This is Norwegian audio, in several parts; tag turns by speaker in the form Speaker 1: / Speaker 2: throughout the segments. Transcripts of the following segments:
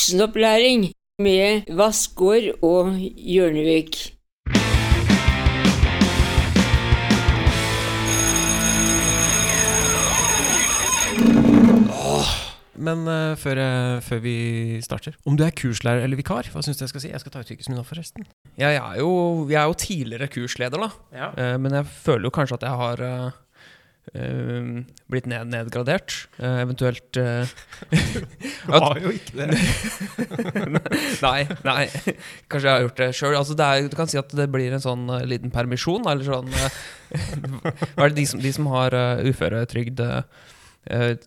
Speaker 1: Voksenopplæring med Vassgård og Hjørnevik.
Speaker 2: Men eh, før, eh, før vi starter Om du er kurslærer eller vikar, hva syns du jeg skal si? Jeg skal ta ut yrkesminnet nå, forresten.
Speaker 3: Jeg er, jo, jeg er jo tidligere kursleder, da. Eh, men jeg føler jo kanskje at jeg har eh, eh, blitt ned, nedgradert. Eh, eventuelt eh,
Speaker 2: Du har jo ikke det.
Speaker 3: Nei, nei. Kanskje jeg har gjort det sjøl. Altså, det er jo- du kan si at det blir en sånn eh, liten permisjon, eller sånn eh, Hva er det de som, de som har eh, uføretrygd eh,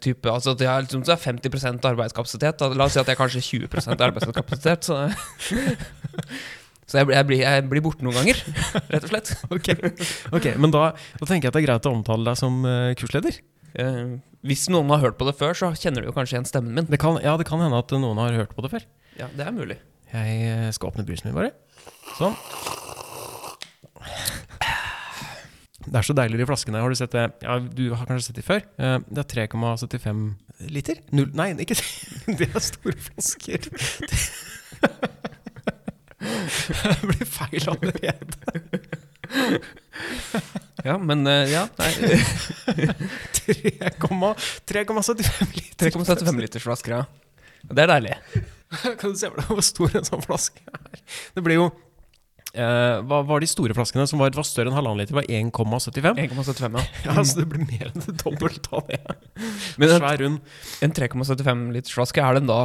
Speaker 3: type, altså at jeg har liksom, så er 50 arbeidskapasitet. Da. La oss si at jeg kanskje er 20 arbeidskapasitet. Så, så jeg, blir- jeg, blir, jeg blir borte noen ganger, rett og slett.
Speaker 2: Ok, Ok, Men da, da tenker jeg at det er greit å omtale deg som eh, kursleder.
Speaker 3: Eh, hvis noen har hørt på det før, så kjenner du jo kanskje igjen stemmen min.
Speaker 2: Det kan, ja, det kan hende at noen har hørt på det før.
Speaker 3: Ja, det er mulig.
Speaker 2: Jeg eh, skal åpne brusen min, bare. Sånn. Det er så deilig i flaskene. Har du sett det? Ja, du har kanskje sett de før. Eh, Det er 3,75 liter? Null, nei, ikke Det er store flasker. Det blir feil allerede.
Speaker 3: Ja, men eh, ja, nei,
Speaker 2: 3,75 liter.
Speaker 3: 3,75 liters flasker, ja. Det er deilig.
Speaker 2: Kan du se for deg hvor stor en sånn flaske er? Det blir jo eh, Hva var de store flaskene som var, var større enn halvannen liter? Var 1,75?
Speaker 3: 1,75, ja.
Speaker 2: Ja, så det blir mer enn det dobbelte av det.
Speaker 3: Men en,
Speaker 2: Svær rund.
Speaker 3: en 3,75 liters flaske, er den da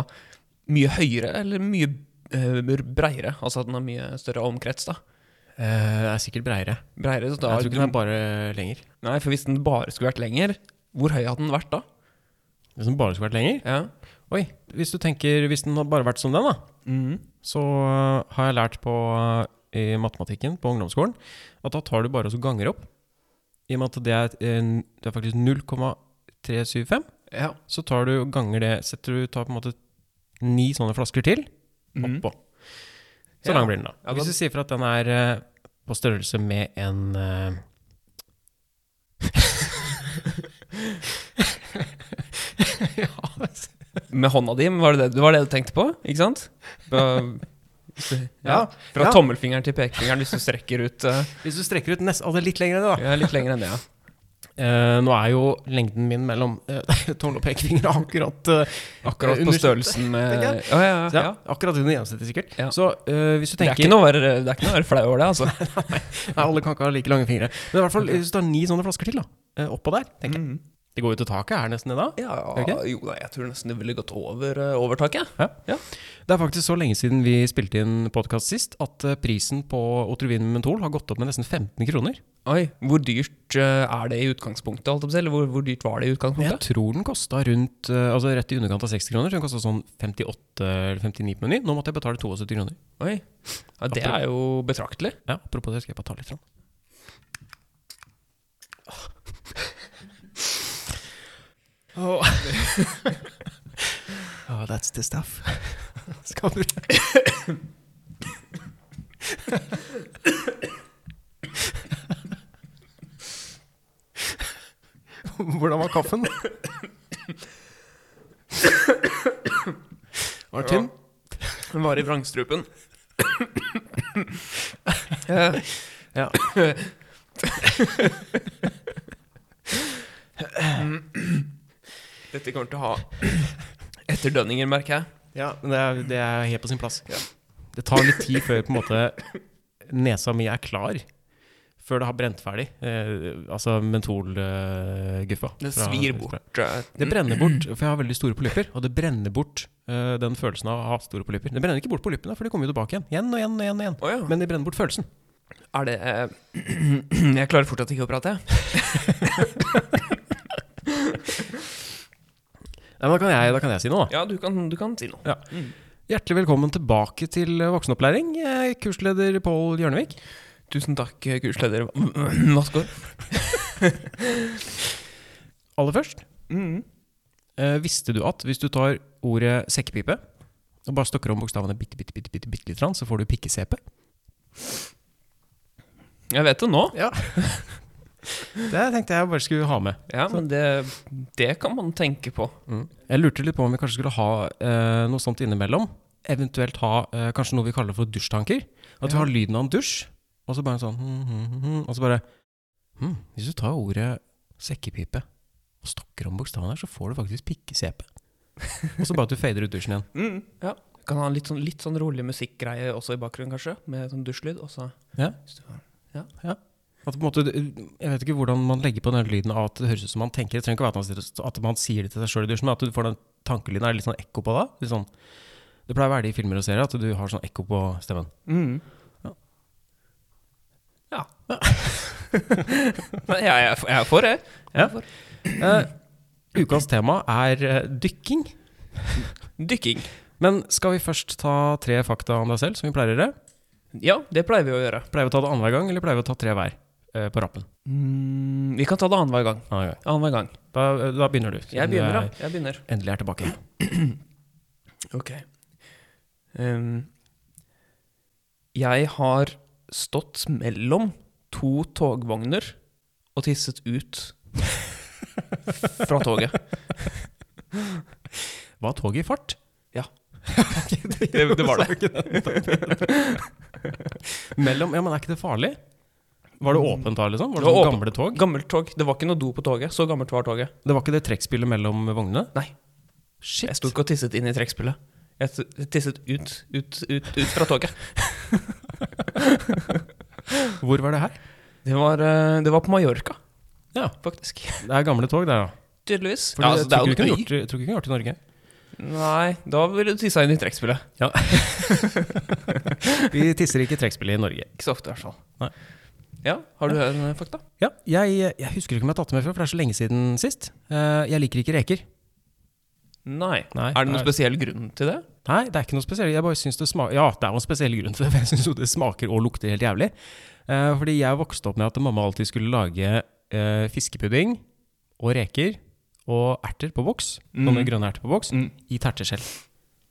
Speaker 3: mye høyere eller mye eh, breiere? Altså at den har mye større omkrets, da?
Speaker 2: Det Eh, er sikkert breiere.
Speaker 3: Breiere, så da
Speaker 2: Jeg tror ikke den er bare lenger.
Speaker 3: Nei, for hvis den bare skulle vært lenger, hvor høy hadde den vært da?
Speaker 2: Hvis den bare skulle vært lenger?
Speaker 3: Ja.
Speaker 2: Oi, hvis du tenker Hvis den hadde bare vært som den, da,
Speaker 3: Mhm.
Speaker 2: så øh, har jeg lært på øh, i matematikken på ungdomsskolen at da tar du bare og så ganger opp. I og med at det er, en, det er faktisk 0,375,
Speaker 3: ja.
Speaker 2: så tar du og ganger det Setter du tar på en måte ni sånne flasker til
Speaker 3: Mhm.
Speaker 2: oppå. Så
Speaker 3: Ja.
Speaker 2: lang blir den, da.
Speaker 3: Ja, da-
Speaker 2: Hvis du sier for at den er øh, på størrelse med en øh,
Speaker 3: Med hånda di, men var det det, det var det du tenkte på? Ikke sant? På- ja, fra
Speaker 2: Ja.
Speaker 3: tommelfingeren til pekefingeren hvis du strekker ut eh,
Speaker 2: Hvis du strekker ut nest, altså litt lenger enn det, da,
Speaker 3: ja, litt lenger enn det. Ja.
Speaker 2: Eh, nå er jo lengden min mellom uh, tommel og pekefinger akkurat, eh,
Speaker 3: Akkurat på
Speaker 2: Under-
Speaker 3: størrelsen med
Speaker 2: Tenker jeg.
Speaker 3: ja, ja, ja,
Speaker 2: ja, akkurat under gjennomsnittet, sikkert.
Speaker 3: Ja.
Speaker 2: Så eh, hvis du
Speaker 3: Det er
Speaker 2: tenker
Speaker 3: ikke noe å være, det er ikke noe å være flau over det, altså.
Speaker 2: Nei, alle kan ikke ha like lange fingre. Men i hvert fall, hvis du tar ni sånne flasker til, da. eh, oppå der. tenker jeg.
Speaker 3: Mm.
Speaker 2: Det går jo til taket her nesten i dag.
Speaker 3: Ja,
Speaker 2: Er det
Speaker 3: jo, nei, jeg tror nesten det ville gått over eh, over taket.
Speaker 2: Det er faktisk så lenge siden vi spilte inn podkast sist at eh, prisen på Otrivin Mentol har gått opp med nesten 15 kroner.
Speaker 3: Oi, hvor dyrt eh, er det i utgangspunktet, holdt jeg på å si? Eller hvor, hvor dyrt var det i
Speaker 2: Jeg
Speaker 3: utgangspunktet?
Speaker 2: tror den kosta rundt eh, Altså rett i underkant av 60 kroner. Så den kosta sånn 58 eller 59 på Meny. Nå måtte jeg betale 72 kroner.
Speaker 3: Oi, ja, det er jo betraktelig.
Speaker 2: Ja, apropos det, skal jeg bare ta litt fram. Oh. that's the stuff. Skal du Hvordan var kaffen? Var den tynn?
Speaker 3: Den var i vrangstrupen. Eh,
Speaker 2: Ja.
Speaker 3: Dette kommer til å ha etterdønninger, merker jeg.
Speaker 2: Ja, men det er, det er helt på sin plass. Det tar litt tid før på en måte nesa mi er klar. Før det har brent ferdig. Eh, altså mentolguffa.
Speaker 3: Det svir bort. eh,
Speaker 2: Det brenner bort, for jeg har veldig store polypper. Og det brenner bort eh, den følelsen av å ha store polypper. Det brenner ikke bort polyppene, for de kommer jo tilbake igjen. Igjen og igjen og igjen. og igjen.
Speaker 3: Å ja.
Speaker 2: Men de brenner bort følelsen.
Speaker 3: Er det eh, Jeg klarer fortsatt ikke å prate, jeg.
Speaker 2: Nei, men da kan jeg, da kan jeg si noe, da.
Speaker 3: Ja, du kan, du kan si noe.
Speaker 2: Ja. Hjertelig velkommen tilbake til voksenopplæring, eh, kursleder Pål Hjørnevik.
Speaker 3: Tusen takk, kursleder Vassgård.
Speaker 2: Aller først,
Speaker 3: Mm.
Speaker 2: eh, visste du at hvis du tar ordet sekkepipe og bare stokker om bokstavene bitte, bitte, bitte, bitte, bitte litt, så får du pikkesepe?
Speaker 3: Jeg vet det nå.
Speaker 2: Ja. Det tenkte jeg bare skulle ha med.
Speaker 3: Ja, men det, det kan man tenke på.
Speaker 2: Mm. Jeg lurte litt på om vi kanskje skulle ha eh, noe sånt innimellom. Eventuelt ha eh, kanskje noe vi kaller for dusjtanker. At vi
Speaker 3: Ja.
Speaker 2: har lyden av en dusj, og så bare sånn hmm, hmm, hmm, hmm, Og så bare hmm, Hvis du tar ordet sekkepipe og stokker om bokstavene her, så får du faktisk pikkesepe. Og så bare at du fader ut dusjen igjen.
Speaker 3: Mm, ja. Kan ha en litt sånn, litt sånn rolig musikkgreie også i bakgrunnen, kanskje. Med sånn dusjlyd. Og så
Speaker 2: Ja. At på en måte, jeg vet ikke hvordan man legger på den lyden av at det høres ut som man tenker. Det trenger ikke være at man, sier- at man sier det til seg sjøl i dusjen, men at du får den tankelyden. Er det litt sånn ekko på da? Litt sånn, det pleier å være det i filmer og serier at du har sånn ekko på stemmen.
Speaker 3: Mm.
Speaker 2: Ja.
Speaker 3: Ja. Nei, jeg, jeg, er for- jeg er for det. Jeg
Speaker 2: Ja.
Speaker 3: er for.
Speaker 2: Eh, ukas tema er eh, dykking.
Speaker 3: Dykking.
Speaker 2: Men skal vi først ta tre fakta om deg selv, som vi pleier å gjøre?
Speaker 3: Ja, det pleier vi å gjøre.
Speaker 2: Pleier vi å ta det annenhver gang, eller pleier vi å ta tre hver eh, på rappen?
Speaker 3: Mm, vi kan ta det annenhver gang.
Speaker 2: Annenhver gang.
Speaker 3: Annenhver gang.
Speaker 2: Da, da begynner du.
Speaker 3: Jeg begynner, da. Jeg begynner.
Speaker 2: Endelig er tilbake.
Speaker 3: Ok. Ehm, jeg har stått mellom to togvogner og tisset ut fra toget.
Speaker 2: Var toget i fart?
Speaker 3: Ja.
Speaker 2: det,
Speaker 3: Det- det var det.
Speaker 2: Mellom, ja, men er ikke det farlig? Var det åpent da, liksom?
Speaker 3: Mm.
Speaker 2: Var
Speaker 3: Det var
Speaker 2: det, sånn
Speaker 3: åpent.
Speaker 2: gamle tog?
Speaker 3: Gammelt tog. Det var ikke noe do på toget. Så gammelt var toget.
Speaker 2: Det var ikke det trekkspillet mellom vognene?
Speaker 3: Nei.
Speaker 2: Shit.
Speaker 3: Jeg sto ikke og tisset inn i trekkspillet. Jeg t- jeg tisset ut, ut, ut, ut fra toget.
Speaker 2: Hvor var det her?
Speaker 3: Det var, eh, det var på Mallorca,
Speaker 2: Ja,
Speaker 3: faktisk.
Speaker 2: det er gamle tog der, ja.
Speaker 3: Tydeligvis. altså,
Speaker 2: Fordi jeg tror ikke
Speaker 3: en øy.
Speaker 2: vi kunne gjort det- jeg tror ikke vi kunne gjort det i Norge.
Speaker 3: Nei, da ville du tissa inn i trekkspillet.
Speaker 2: Vi tisser ikke trekkspillet i Norge.
Speaker 3: Ikke så ofte, i hvert fall.
Speaker 2: Nei.
Speaker 3: Ja, har du en eh, fakta?
Speaker 2: Ja, jeg, jeg husker ikke om jeg har tatt det med før, for det er så lenge siden sist. Eh, jeg liker ikke reker.
Speaker 3: Nei.
Speaker 2: Nei,
Speaker 3: Er det
Speaker 2: nei.
Speaker 3: noen spesiell grunn til det?
Speaker 2: Nei, det er ikke noe spesielt. Jeg bare synes det smaker Ja, det er jo en spesiell grunn til det, for jeg syns jo det smaker og lukter helt jævlig. Eh, fordi jeg vokste opp med at mamma alltid skulle lage eh, fiskepudding og reker og erter på boks. Sånne grønne erter på boks.
Speaker 3: Mm.
Speaker 2: I terteskjell.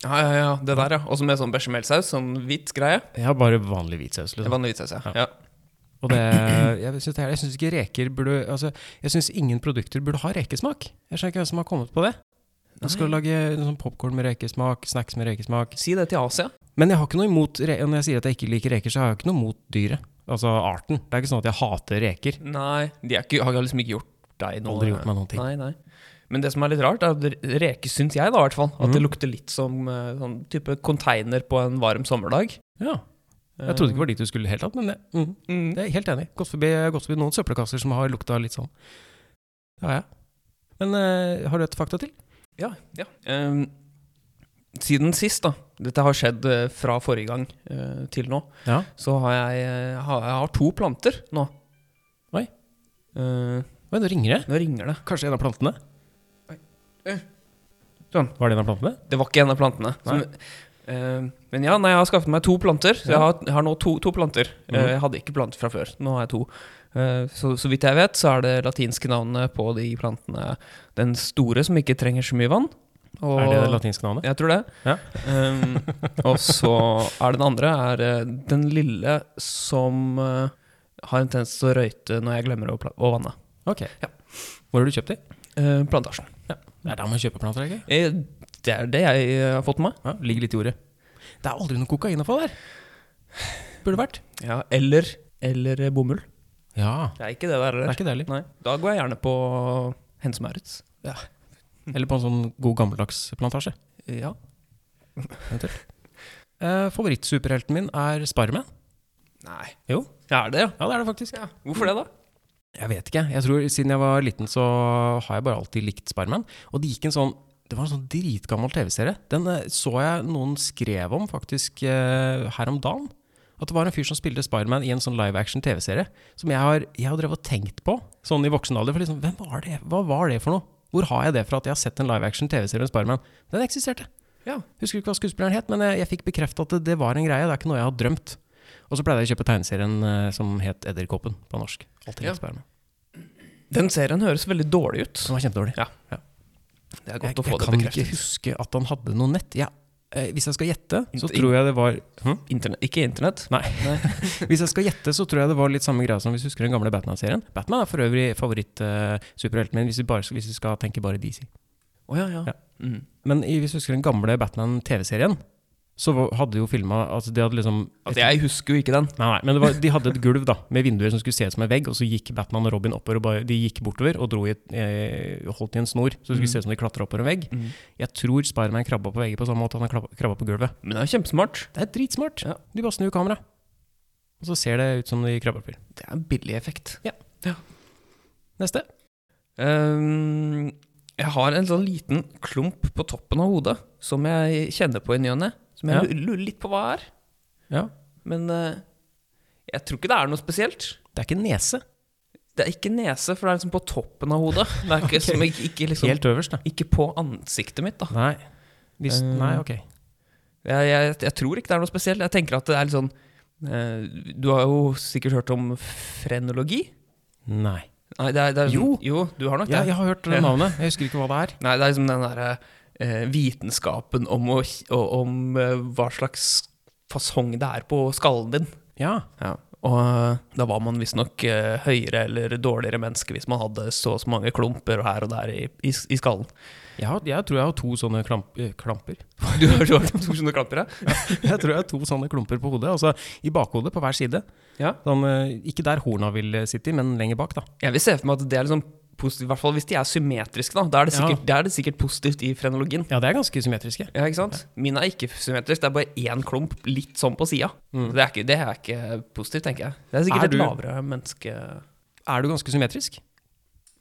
Speaker 3: Ja, ja, ja, det der, ja. Også med sånn bechamelsaus, sånn hvit greie.
Speaker 2: Jeg har bare vanlig hvitsaus. Liksom.
Speaker 3: Vanlig hvitsaus, sånn. ja. ja.
Speaker 2: Og det, jeg syns det er- jeg synes ikke reker burde altså, Jeg syns ingen produkter burde ha rekesmak. Jeg skjønner ikke hvem som har kommet på det. Jeg skal lage sånn popkorn med rekesmak, snacks med rekesmak.
Speaker 3: Si det til Asia.
Speaker 2: Men jeg har ikke noe imot re Når jeg sier at jeg ikke liker reker, så har jeg ikke noe imot dyret. Altså arten. Det er ikke sånn at jeg hater reker.
Speaker 3: Nei, de er ikke, har liksom ikke gjort deg noe.
Speaker 2: Aldri gjort meg noen ting.
Speaker 3: Nei, nei. Men det som er litt rart, er at reker syns jeg, da, i hvert fall. At det lukter litt som eh, sånn type container på en varm sommerdag.
Speaker 2: Ja. Jeg trodde ikke det var dit du skulle i det hele tatt, men det, mm,
Speaker 3: Mm.
Speaker 2: det er jeg helt enig. i. Gått forbi, gått forbi noen søppelkasser som har lukta litt sånn. Det har jeg. Men eh, har du et fakta til?
Speaker 3: Ja, ja. Ehm, siden sist, da. Dette har skjedd eh, fra forrige gang eh, til nå.
Speaker 2: Ja.
Speaker 3: Så har jeg, eh, har, jeg har to planter nå.
Speaker 2: Oi.
Speaker 3: Eh,
Speaker 2: Oi, nå ringer det.
Speaker 3: nå ringer det.
Speaker 2: Kanskje en av plantene?
Speaker 3: Eh. Sånn.
Speaker 2: Var det en av plantene?
Speaker 3: Det var ikke en av plantene. Som, eh, men ja, nei, jeg har skaffet meg to planter. Så jeg,
Speaker 2: Ja.
Speaker 3: har, jeg har nå to, to planter. Eh,
Speaker 2: Mhm.
Speaker 3: jeg hadde ikke planter fra før. Nå har jeg to. Eh, så, så vidt jeg vet, så er det latinske navnet på de plantene den store, som ikke trenger så mye vann. Og-
Speaker 2: Er det det latinske navnet?
Speaker 3: Jeg tror det.
Speaker 2: Ja.
Speaker 3: Ehm, og så er den andre er eh, den lille som eh, har en tendens til å røyte når jeg glemmer å, pla å vanne.
Speaker 2: Ok.
Speaker 3: Ja.
Speaker 2: Hvor har du kjøpt de?
Speaker 3: Eh, plantasjen.
Speaker 2: Det er der man kjøper planter, er det ikke?
Speaker 3: Eh, det er det jeg eh, har fått med meg.
Speaker 2: Ja, ligger litt i ordet. Det er aldri noe kokain å få der. Burde vært.
Speaker 3: Ja, eller, eller eh, bomull.
Speaker 2: Ja.
Speaker 3: Det er ikke det der
Speaker 2: Det er
Speaker 3: heller.
Speaker 2: ikke det heller.
Speaker 3: Nei. Da går jeg gjerne på Hense Maurits.
Speaker 2: Eller på en sånn god gammeldags plantasje.
Speaker 3: Ja.
Speaker 2: Eh, favorittsuperhelten min er Spiderman.
Speaker 3: Nei.
Speaker 2: Jo.
Speaker 3: Ja, er det, ja.
Speaker 2: Ja, det er det faktisk.
Speaker 3: ja. Hvorfor det, da?
Speaker 2: Jeg vet ikke. Jeg tror Siden jeg var liten, så har jeg bare alltid likt Spiderman. Og det gikk en sånn det var en sånn dritgammel TV-serie. Den eh, så jeg noen skrev om faktisk eh, her om dagen. At det var en fyr som spilte Spiderman i en sånn live action TV-serie. Som jeg har, jeg har drevet og tenkt på sånn i voksen alder. For liksom, hvem var det? Hva var det for noe? Hvor har jeg det fra at jeg har sett en live action TV-serie om Spiderman? Den eksisterte.
Speaker 3: Ja.
Speaker 2: Husker ikke hva skuespilleren het, men eh, jeg, jeg fikk bekrefta at det, det var en greie. Det er ikke noe jeg har drømt. Og så pleide jeg å kjøpe tegneserien eh, som het Edderkoppen på norsk. Alltid
Speaker 3: Ja.
Speaker 2: litt spennende.
Speaker 3: Den serien høres veldig dårlig ut.
Speaker 2: Som var kjempedårlig.
Speaker 3: Ja. Det er godt å
Speaker 2: Jeg, jeg
Speaker 3: få det
Speaker 2: kan ikke
Speaker 3: bekreftet.
Speaker 2: huske at han hadde noe nett. Jeg eh, Hvis jeg skal gjette, så
Speaker 3: Int-
Speaker 2: tror jeg det var hm?
Speaker 3: Internett. Ikke internett.
Speaker 2: Nei. Hvis jeg skal gjette, så tror jeg det var litt samme greia som hvis du husker den gamle Batman-serien. Batman er for øvrig favoritt-superhelten min, hvis vi, bare, hvis vi skal tenke bare DC.
Speaker 3: Å ja, ja.
Speaker 2: Ja.
Speaker 3: Mm.
Speaker 2: Men i, hvis du husker den gamle Batman-TV-serien, så var- hadde jo filma altså De hadde liksom
Speaker 3: Altså, jeg husker jo ikke den.
Speaker 2: Nei, nei, men det var, de hadde et gulv da, med vinduer som skulle se ut som en vegg, og så gikk Batman og Robin oppover, og bare, de gikk bortover og dro i et, eh, holdt i en snor,
Speaker 3: Mm.
Speaker 2: så det skulle se ut som de klatra oppover en vegg. Jeg tror Spiderman krabba på veggen på samme måte han krabba- krabba på gulvet.
Speaker 3: Men det er jo kjempesmart.
Speaker 2: Det er dritsmart!
Speaker 3: Ja.
Speaker 2: De bare snur kameraet, og så ser det ut som de krabber til.
Speaker 3: Det er en billig effekt.
Speaker 2: Neste.
Speaker 3: Ehm, jeg har en sånn liten klump på toppen av hodet som jeg kjenner på i ny og ne. Som jeg
Speaker 2: Ja.
Speaker 3: lu- lurer litt på hva er.
Speaker 2: Ja.
Speaker 3: Men eh, jeg tror ikke det er noe spesielt.
Speaker 2: Det er ikke nese.
Speaker 3: Det er ikke nese, for det er liksom på toppen av hodet. Det er ikke, som ikke, ikke, liksom,
Speaker 2: Helt øverst, da.
Speaker 3: ikke på ansiktet mitt, da.
Speaker 2: Nei. Hvis,
Speaker 3: Eh.
Speaker 2: nei, ok.
Speaker 3: Jeg, jeg, jeg tror ikke det er noe spesielt. Jeg tenker at det er litt sånn eh, Du har jo sikkert hørt om frenologi?
Speaker 2: Nei.
Speaker 3: Nei, det er, det er,
Speaker 2: Jo.
Speaker 3: jo, du har nok
Speaker 2: Ja,
Speaker 3: det.
Speaker 2: jeg har hørt
Speaker 3: Ja.
Speaker 2: det navnet, jeg husker ikke hva det er.
Speaker 3: Nei, det er liksom den derre eh, vitenskapen om, å, og, om eh, hva slags fasong det er på skallen din.
Speaker 2: Ja.
Speaker 3: Og eh, da var man visstnok eh, høyere eller dårligere menneske hvis man hadde så og så mange klumper her og der i, i, i skallen.
Speaker 2: Jeg, har, jeg tror jeg har to sånne klamp, eh, klamper.
Speaker 3: Du har, du har to sånne klumper, ja?
Speaker 2: Jeg tror jeg har to sånne klumper på hodet, altså i bakhodet på hver side.
Speaker 3: Ja.
Speaker 2: Sånn, eh, ikke der horna vil eh, sitte i, men lenger bak, da.
Speaker 3: Jeg vil se for meg at det er liksom positivt, i hvert fall hvis de er symmetriske, da. Da er det sikkert,
Speaker 2: Ja.
Speaker 3: da er det sikkert positivt i frenologien.
Speaker 2: Ja, det er ganske symmetriske.
Speaker 3: Ja, ikke sant? Min er ikke symmetrisk, det er bare én klump litt sånn på sida.
Speaker 2: Mm.
Speaker 3: Det, er ikke- det er ikke positivt, tenker jeg. Det er sikkert
Speaker 2: Er
Speaker 3: et
Speaker 2: du-
Speaker 3: lavere menneske...
Speaker 2: Er du ganske symmetrisk?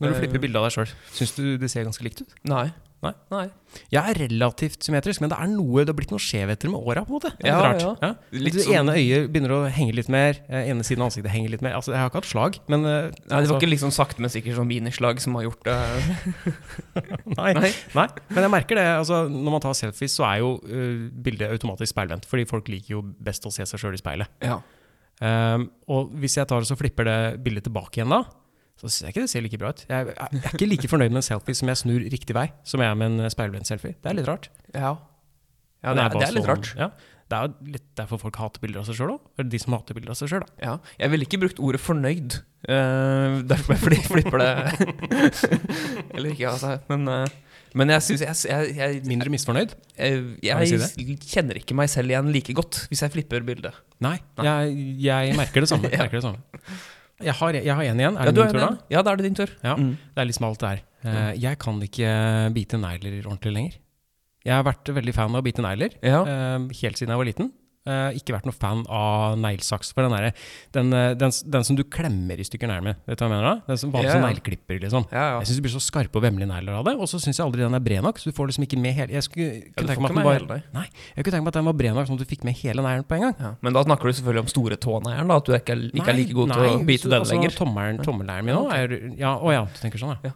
Speaker 2: Når du
Speaker 3: Eh.
Speaker 2: flipper bildet av deg sjøl, syns du det ser ganske likt ut?
Speaker 3: Nei.
Speaker 2: Nei.
Speaker 3: Nei.
Speaker 2: Jeg er relativt symmetrisk, men det er noe, det har blitt noen skjevheter med åra. på en måte. Det er
Speaker 3: Ja,
Speaker 2: litt
Speaker 3: ja. Litt
Speaker 2: det
Speaker 3: sånn-
Speaker 2: ene øyet begynner å henge litt mer, eh, ene siden av ansiktet henger litt mer. Altså, jeg har ikke hatt slag, men eh,
Speaker 3: Nei, det
Speaker 2: altså-
Speaker 3: var ikke liksom sakte, men sikkert sånn minislag som har gjort det
Speaker 2: Nei.
Speaker 3: Nei.
Speaker 2: Nei. Men jeg merker det. altså Når man tar selfies, så er jo eh, bildet automatisk speilvendt. Fordi folk liker jo best å se seg sjøl i speilet.
Speaker 3: Ja.
Speaker 2: Ehm, og hvis jeg tar og så flipper det bildet tilbake igjen da, så syns jeg ikke det ser like bra ut. Jeg, jeg er ikke like fornøyd med en selfie som jeg snur riktig vei, som jeg er med en eh, speilvendt selfie. Det er litt rart.
Speaker 3: Ja. Ja,
Speaker 2: Den
Speaker 3: det, er,
Speaker 2: bare
Speaker 3: det er litt
Speaker 2: sånn-
Speaker 3: rart.
Speaker 2: Ja. Det er jo litt derfor folk hater bilder av seg sjøl òg. Eller de som hater bilder av seg sjøl, da.
Speaker 3: Ja. Jeg ville ikke brukt ordet fornøyd. eh, derfor jeg fli- flipper det Eller ikke, altså. Men, eh, men jeg syns jeg, jeg, jeg, jeg,
Speaker 2: Mindre misfornøyd? Kan vi
Speaker 3: jeg,
Speaker 2: si
Speaker 3: kjenner ikke meg selv igjen like godt hvis jeg flipper bildet.
Speaker 2: Nei. Jeg, jeg merker det samme.
Speaker 3: Ja.
Speaker 2: Jeg merker det samme. Jeg har, jeg har en igjen. Er
Speaker 3: ja,
Speaker 2: det
Speaker 3: du
Speaker 2: min tur da?
Speaker 3: en- Ja, da er det din tur.
Speaker 2: Ja.
Speaker 3: Mm.
Speaker 2: Det er litt smalt der. Eh, jeg kan ikke bite negler ordentlig lenger. Jeg har vært veldig fan av å bite negler,
Speaker 3: Ja.
Speaker 2: eh, helt siden jeg var liten. Eh, ikke vært noe fan av neglesaks. For den, derre- den, eh, den, s- den som du klemmer i stykker negler med. Vet du hva jeg mener da? Den som vanlig
Speaker 3: Ja,
Speaker 2: som
Speaker 3: ja.
Speaker 2: negleklipper, liksom.
Speaker 3: Ja, ja.
Speaker 2: Jeg syns det blir så skarpe og vemmelige negler av det. Og så syns jeg aldri den er bred nok, så du får liksom ikke med hele Jeg skulle,
Speaker 3: Ja,
Speaker 2: kunne
Speaker 3: du
Speaker 2: tenke
Speaker 3: får
Speaker 2: meg at den
Speaker 3: ikke med
Speaker 2: var-
Speaker 3: hele deg.
Speaker 2: Nei, jeg kunne tenke meg at den var bred nok sånn at du fikk med hele neglen på en gang.
Speaker 3: Ja. Men da snakker du selvfølgelig om store tåneieren, da. At du ikke er, ikke er like god til
Speaker 2: nei,
Speaker 3: å bite
Speaker 2: så-
Speaker 3: den
Speaker 2: altså,
Speaker 3: lenger.
Speaker 2: Tommelen, tommelneglen min
Speaker 3: Ja,
Speaker 2: nå er Ja, å ja, du tenker sånn, ja.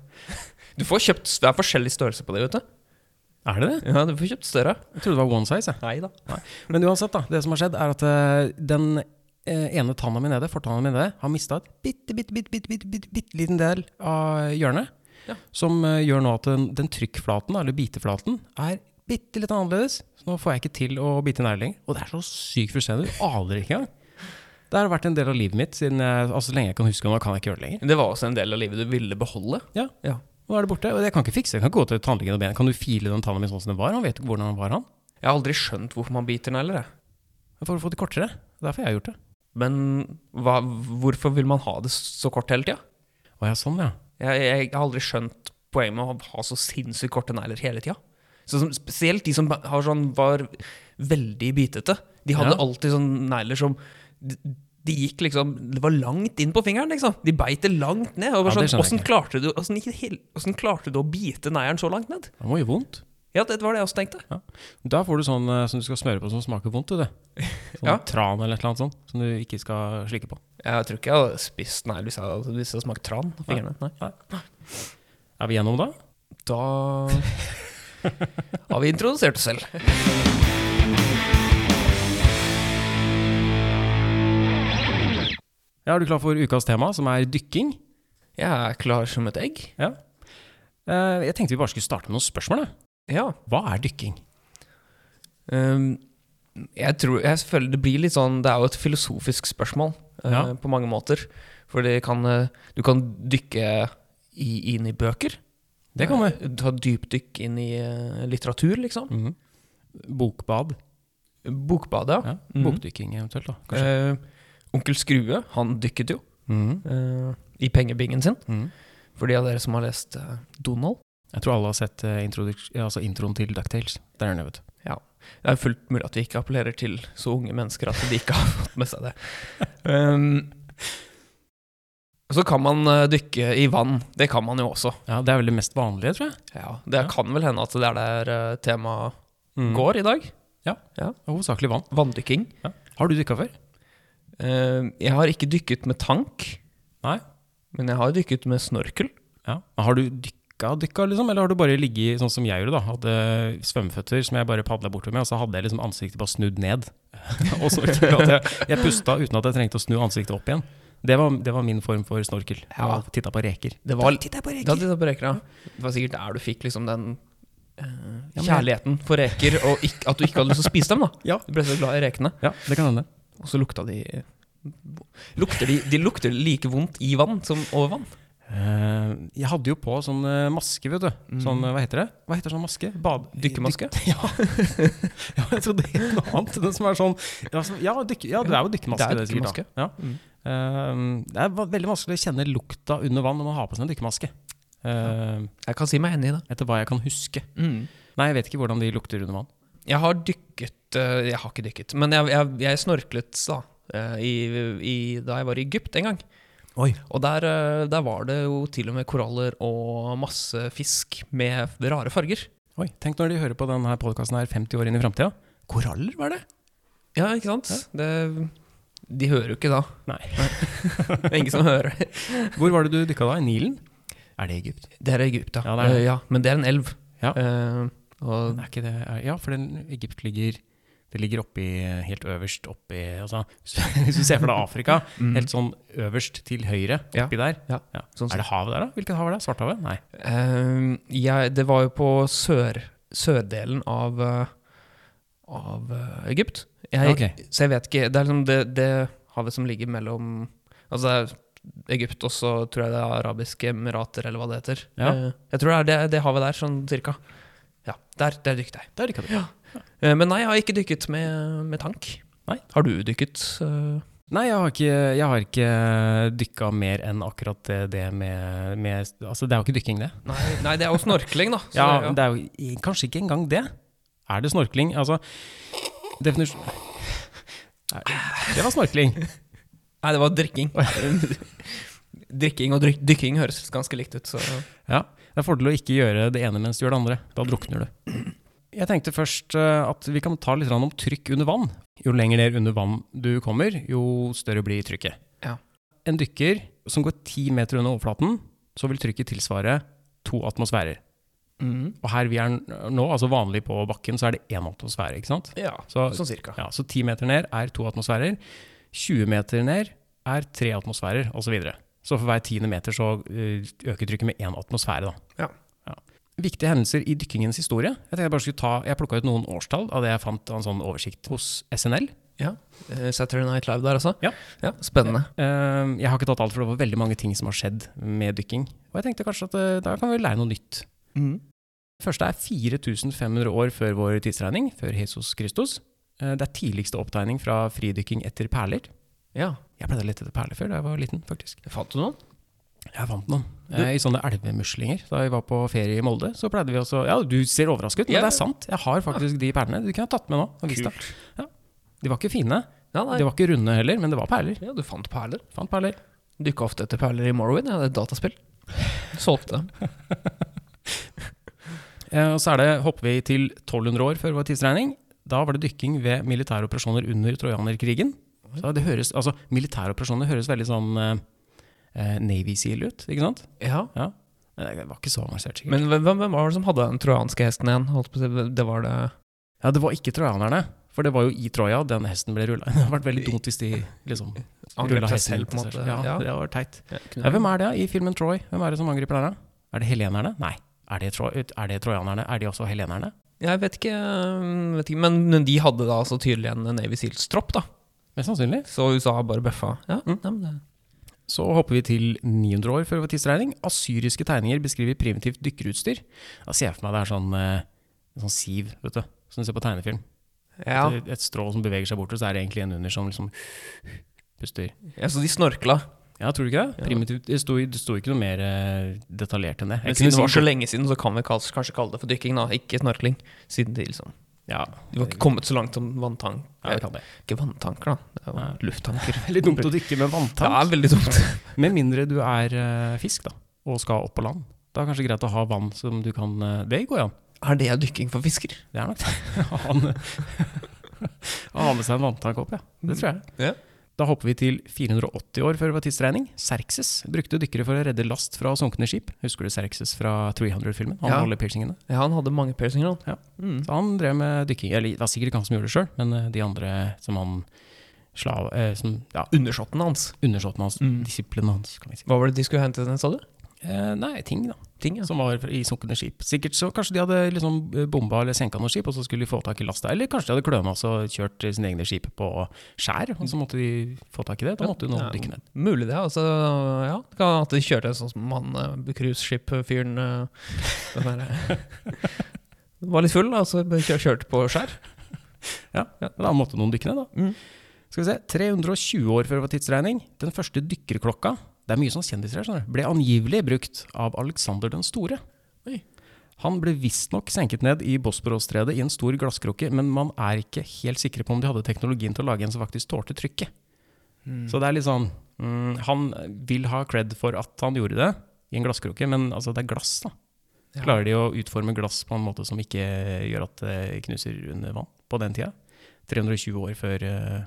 Speaker 3: Du får kjøpt Det er forskjellig størrelse på det, vet du.
Speaker 2: Er det det?
Speaker 3: Ja, du får kjøpt større.
Speaker 2: Jeg trodde det var one size, jeg.
Speaker 3: Nei da.
Speaker 2: Men uansett, da. Det som har skjedd, er at eh, den eh, ene tanna mi nede, fortanna mi nede, har mista et bitte, bitte, bitte, bitte, bitte, bitte, bitte liten del av hjørnet.
Speaker 3: Ja.
Speaker 2: Som eh, gjør nå at den, den trykkflaten, eller biteflaten, er bitte litt annerledes. Så nå får jeg ikke til å bite negler lenger. Og det er så sykt frustrerende. Du aner ikke engang. Det har vært en del av livet mitt siden jeg, altså, så lenge jeg kan huske. og Nå kan jeg ikke gjøre det lenger.
Speaker 3: Det var også en del av livet du ville beholde.
Speaker 2: Ja,
Speaker 3: Ja.
Speaker 2: nå er det borte. Og jeg kan ikke fikse det. Jeg kan ikke gå til tannlegen og be Kan du file den tanna mi sånn som den var? Han vet jo ikke hvordan den var, han.
Speaker 3: Jeg har aldri skjønt hvorfor man biter negler, jeg.
Speaker 2: For å få det kortere. Derfor har jeg gjort det.
Speaker 3: Men hva, hvorfor vil man ha det så kort hele tida?
Speaker 2: Å ja, sånn, ja.
Speaker 3: Jeg, jeg har aldri skjønt poenget med å ha så sinnssykt korte negler hele tida. Så som, spesielt de som har sånn, var veldig bitete. De hadde
Speaker 2: Ja.
Speaker 3: alltid sånne negler som de, de gikk liksom Det var langt inn på fingeren, liksom. De beit det langt ned. Og var
Speaker 2: Ja, det
Speaker 3: sånn,
Speaker 2: skjønner jeg
Speaker 3: hvordan, klarte du, hvordan, gikk det hel- hvordan klarte du å bite neglen så langt ned?
Speaker 2: Det må gjøre vondt.
Speaker 3: Ja, det var det jeg også tenkte.
Speaker 2: Da får du sånn eh, som du skal smøre på som smaker vondt, du det. Sånn
Speaker 3: Ja.
Speaker 2: tran eller et eller annet sånt, som du ikke skal slikke på.
Speaker 3: Jeg tror ikke jeg hadde spist negler hvis jeg hadde hvis jeg hadde smakt tran på fingrene. Nei.
Speaker 2: Er vi gjennom da?
Speaker 3: Da har vi introdusert oss selv.
Speaker 2: Ja, er du klar for ukas tema, som er dykking?
Speaker 3: Jeg er klar som et egg.
Speaker 2: Ja. Eh, jeg tenkte vi bare skulle starte med noen spørsmål. Da.
Speaker 3: Ja.
Speaker 2: Hva er dykking?
Speaker 3: Um, jeg tror, jeg føler det blir litt sånn Det er jo et filosofisk spørsmål eh,
Speaker 2: Ja.
Speaker 3: på mange måter. For det kan, eh, du kan dykke i, inn i bøker.
Speaker 2: Det kan vi.
Speaker 3: Eh, Ta dypdykk inn i eh, litteratur, liksom.
Speaker 2: Mhm. Bokbad.
Speaker 3: Bokbadet.
Speaker 2: Ja.
Speaker 3: Mhm.
Speaker 2: Bokdykking eventuelt, da. Kanskje.
Speaker 3: Eh, onkel Skrue, han dykket jo
Speaker 2: Mhm.
Speaker 3: eh, i pengebingen sin.
Speaker 2: Mhm.
Speaker 3: For de av dere som har lest eh, Donald.
Speaker 2: Jeg tror alle har sett eh, introduks- ja, altså introen til Ducktales. Der er den, vet du.
Speaker 3: Det er fullt mulig at vi ikke appellerer til så unge mennesker at de ikke har fått med seg det. Ehm, så kan man eh, dykke i vann. Det kan man jo også.
Speaker 2: Ja, det er vel det mest vanlige, tror jeg.
Speaker 3: Det
Speaker 2: Ja.
Speaker 3: kan vel hende at det er der eh, temaet
Speaker 2: Mhm.
Speaker 3: går i dag.
Speaker 2: Hovedsakelig vann.
Speaker 3: Vanndykking.
Speaker 2: Har du dykka før?
Speaker 3: Ehm, jeg har ikke dykket med tank.
Speaker 2: Nei.
Speaker 3: Men jeg har dykket med snorkel.
Speaker 2: Ja. Men Har du dykka, dykka, liksom? Eller har du bare ligget i, sånn som jeg gjorde, da? Hadde eh, svømmeføtter som jeg bare padla bortover med, og så hadde jeg liksom ansiktet bare snudd ned. og snorkel. At jeg, jeg pusta uten at jeg trengte å snu ansiktet opp igjen. Det var, det var min form for snorkel.
Speaker 3: Ja.
Speaker 2: Ja. Titta på reker.
Speaker 3: Det var,
Speaker 2: Titta på
Speaker 3: da, det, på reker, ja. det var sikkert der du fikk liksom den eh,
Speaker 2: Ja, men-
Speaker 3: kjærligheten for reker, og ikk- at du ikke hadde lyst til å spise dem. da
Speaker 2: Ja.
Speaker 3: Du ble så glad i rekene.
Speaker 2: Ja, det kan hende.
Speaker 3: Og så lukta de lukter de, de lukter like vondt i vann som over vann.
Speaker 2: Eh, jeg hadde jo på sånn eh, maske, vet du. Sånn, eh, hva heter det? Hva heter sånn maske? Bad
Speaker 3: Dykkermaske?
Speaker 2: Dyk- ja. ja, jeg trodde helt noe annet. Den som er sånn Ja, som- ja, dykke- ja det er jo dykkermaske.
Speaker 3: Det er
Speaker 2: Det er sikkert, da. Ja.
Speaker 3: Mm.
Speaker 2: Eh, det er va- veldig vanskelig å kjenne lukta under vann når man har på seg en dykkermaske. Eh,
Speaker 3: Jeg kan si meg enig i det.
Speaker 2: etter hva jeg kan huske. Nei, jeg vet ikke hvordan de lukter under vann.
Speaker 3: Mm. Jeg har dykket eh, Jeg har ikke dykket, men jeg, jeg, jeg snorklet da, eh, i, i, da jeg var i Egypt en gang.
Speaker 2: Oi.
Speaker 3: Og der, eh, der var det jo til og med koraller og masse fisk med rare farger.
Speaker 2: Oi, Tenk når de hører på denne podkasten her 50 år inn i framtida. Koraller, var det?
Speaker 3: Ja, ikke sant? Det, de hører jo ikke da.
Speaker 2: Nei.
Speaker 3: Det er ingen som hører det.
Speaker 2: Hvor var det du dykka da? I Nilen? Er det Egypt?
Speaker 3: Det er Egypt, ja.
Speaker 2: Ja, det er det.
Speaker 3: Eh, ja men det er en elv.
Speaker 2: Ja.
Speaker 3: Eh, og
Speaker 2: Er ikke det, er, ja, for den, Egypt ligger det ligger oppi, helt øverst oppi altså, Hvis du ser for deg Afrika, helt sånn øverst til høyre
Speaker 3: Mm. Ja,
Speaker 2: oppi der.
Speaker 3: ja, sånn
Speaker 2: er det havet der, da? Hvilket hav er det? Svartehavet? Nei.
Speaker 3: Eh, jeg, det var jo på sør, sørdelen av, eh, av eh, Egypt. Jeg,
Speaker 2: Ok.
Speaker 3: Så jeg vet ikke Det er liksom det, det havet som ligger mellom Altså det er Egypt, og så tror jeg det er Arabiske emirater, eller hva det heter.
Speaker 2: Ja.
Speaker 3: Eh, jeg tror det er det, det havet der, sånn cirka. Ja, der, der dykket jeg.
Speaker 2: Der dykka du.
Speaker 3: Eh, men nei, jeg har ikke dykket med, med tank.
Speaker 2: Nei.
Speaker 3: Har du dykket? eh?
Speaker 2: Nei, jeg har ikke, jeg har ikke dykka mer enn akkurat det, det med, med Altså, det er jo ikke dykking, det.
Speaker 3: nei, nei, det er jo snorkling, da. Så,
Speaker 2: Ja, men det er jo i- kanskje ikke engang det. Er det snorkling? Altså, definisjon Nei, Det var snorkling.
Speaker 3: Nei, det var drikking. drikking og dryk- dykking høres ganske likt ut, så
Speaker 2: Ja, det er fordel å ikke gjøre det ene mens du gjør det andre. Da drukner du. Jeg tenkte først eh, at vi kan ta litt grann om trykk under vann. Jo lenger ned under vann du kommer, jo større blir trykket.
Speaker 3: Ja.
Speaker 2: En dykker som går ti meter under overflaten, så vil trykket tilsvare to atmosfærer.
Speaker 3: Mm.
Speaker 2: Og her vi er nå, altså vanlig på bakken, så er det én atmosfære, ikke sant?
Speaker 3: Ja,
Speaker 2: Så,
Speaker 3: sånn cirka.
Speaker 2: ja, så 10 meter ned er to atmosfærer. 20 meter ned er tre atmosfærer, osv. Så, videre. så for hver tiende meter så eh, øker trykket med én atmosfære. Da.
Speaker 3: Ja.
Speaker 2: Viktige hendelser i dykkingens historie. Jeg tenkte jeg bare skulle ta, jeg plukka ut noen årstall av det jeg fant av en sånn oversikt hos SNL.
Speaker 3: Ja. Eh, Saturday Night Live der, altså?
Speaker 2: Ja.
Speaker 3: Spennende.
Speaker 2: Eh, Jeg har ikke tatt alt, for det var veldig mange ting som har skjedd med dykking. Og jeg tenkte kanskje at eh, da kan vi lære noe nytt.
Speaker 3: Mm.
Speaker 2: Det første er 4500 år før vår tidsregning, før Jesus Kristus. Eh, Det er tidligste opptegning fra fridykking etter perler.
Speaker 3: Ja.
Speaker 2: Jeg pleide å lete etter perler før da jeg var liten, faktisk.
Speaker 3: Fant du noen?
Speaker 2: Jeg vant noen. Eh, I sånne elvemuslinger. Da vi var på ferie i Molde, så pleide vi også Ja, du ser overrasket ut, men
Speaker 3: Ja.
Speaker 2: det er sant. Jeg har faktisk de perlene. Du kunne ha tatt med nå. og vist deg. Ja. De var ikke fine.
Speaker 3: Ja, nei.
Speaker 2: De var ikke runde heller, men det var perler.
Speaker 3: ja, du fant perler.
Speaker 2: Fant perler.
Speaker 3: Dukka ofte etter perler i Morrowind, ja, det er et dataspill. Solgte dem.
Speaker 2: Eh, og så er det, hopper vi til 1200 år før vår tidsregning. Da var det dykking ved militære operasjoner under trojanerkrigen. Så det høres, altså, militære operasjoner høres veldig sånn eh, eh, Navy Seal ut, ikke sant?
Speaker 3: Ja.
Speaker 2: Ja. Eh, Det var ikke så avansert, sikkert.
Speaker 3: Men hvem, hvem var det som hadde den trojanske hesten igjen? Holdt på å si, det var det
Speaker 2: Ja, det var ikke trojanerne. For det var jo i Troja den hesten ble rulla. Det hadde vært veldig dumt hvis de liksom
Speaker 3: Angrep
Speaker 2: rullet
Speaker 3: seg
Speaker 2: hesten
Speaker 3: selv, på en
Speaker 2: til
Speaker 3: måte.
Speaker 2: seg selv. Ja,
Speaker 3: Ja.
Speaker 2: det var teit.
Speaker 3: Ja,
Speaker 2: Ja, hvem er det da i filmen Troy? Hvem er det som angriper der, da? Er det helenerne? Nei. Er det, tro er det trojanerne? Er de også helenerne?
Speaker 3: Jeg vet ikke, eh, vet ikke men, men de hadde da så tydelig en Navy Seals-tropp, da.
Speaker 2: Mest sannsynlig.
Speaker 3: Så USA bare bøffa. Ja,
Speaker 2: Mm.
Speaker 3: ja, men det
Speaker 2: Så hopper vi til 900 år før vår tidsregning. Assyriske tegninger beskriver primitivt dykkerutstyr. Da ser jeg for meg det er sånn, eh, en sånn siv, vet du, som du ser på tegnefilm.
Speaker 3: ja.
Speaker 2: Et, et strå som beveger seg bortover, så er det egentlig en under som liksom puster.
Speaker 3: ja, Så de snorkla.
Speaker 2: Ja, tror du ikke det? Primitivt, det sto, det sto ikke noe mer eh, detaljert enn det.
Speaker 3: Men
Speaker 2: Jeg
Speaker 3: siden det
Speaker 2: kunne
Speaker 3: var
Speaker 2: si-
Speaker 3: så lenge siden, så kan vi kall- kanskje kalle det for dykking, da. Ikke snorkling. Siden de liksom
Speaker 2: Ja,
Speaker 3: De var ikke kommet så langt som vanntank.
Speaker 2: ja, vi kan det.
Speaker 3: Ikke vanntanker, da. Det er jo
Speaker 2: Nei.
Speaker 3: lufttanker.
Speaker 2: Veldig dumt å dykke med
Speaker 3: Det
Speaker 2: vanntank.
Speaker 3: er veldig dumt.
Speaker 2: Med mindre du er eh, fisk, da, og skal opp på land. Da er det kanskje greit å ha vann som du kan eh, Det går an.
Speaker 3: Er det dykking for fisker?
Speaker 2: Det er nok det. Han, han har med seg en vanntank opp, ja. Det tror jeg.
Speaker 3: Ja.
Speaker 2: Da hopper vi til 480 år før vår tidsregning. Serxes brukte dykkere for å redde last fra sunkne skip. Husker du Serxes fra 300-filmen? Han
Speaker 3: Ja.
Speaker 2: med oljepiercingene.
Speaker 3: Ja, han hadde mange piercinger, han. Mm.
Speaker 2: Ja. Så han drev med dykking. Eller det var sikkert ikke han som gjorde det sjøl, men eh, de andre som han slav... eh, som ja,
Speaker 3: Undersåtten hans.
Speaker 2: undersåttene hans.
Speaker 3: Mm.
Speaker 2: Disiplinen hans, kan vi si.
Speaker 3: Hva var det de skulle hente, sa du?
Speaker 2: Eh, nei, ting, da.
Speaker 3: Ting, ja.
Speaker 2: Som var i sunkne skip. Sikkert så Kanskje de hadde liksom eh, bomba eller senka noen skip, og så skulle de få tak i lasta. Eller kanskje de hadde kløna og kjørt eh, sine egne skip på skjær, og så måtte de få tak i det. Da måtte jo noen
Speaker 3: Ja,
Speaker 2: dykke ned.
Speaker 3: Mulig det, altså. Ja, det kan hende at de kjørte en sånn som han eh, cruiseskip-fyren eh, den der, eh, Var litt full, da, så kjør- kjørte på skjær.
Speaker 2: Ja, men Da måtte noen dykke ned, da.
Speaker 3: Mm.
Speaker 2: Skal vi se, 320 år før det var tidsregning. Den første dykkerklokka det er mye sånn kjendiser her, skjønner du, ble angivelig brukt av Alexander den store.
Speaker 3: Oi.
Speaker 2: Han ble visstnok senket ned i Bosporosstredet i en stor glasskrukke, men man er ikke helt sikre på om de hadde teknologien til å lage en som faktisk tålte trykket.
Speaker 3: Mm.
Speaker 2: Så det er litt sånn mm, Han vil ha cred for at han gjorde det i en glasskrukke, men altså, det er glass, da.
Speaker 3: Ja.
Speaker 2: Klarer de å utforme glass på en måte som ikke gjør at det knuser under vann på den tida? 320 år før eh,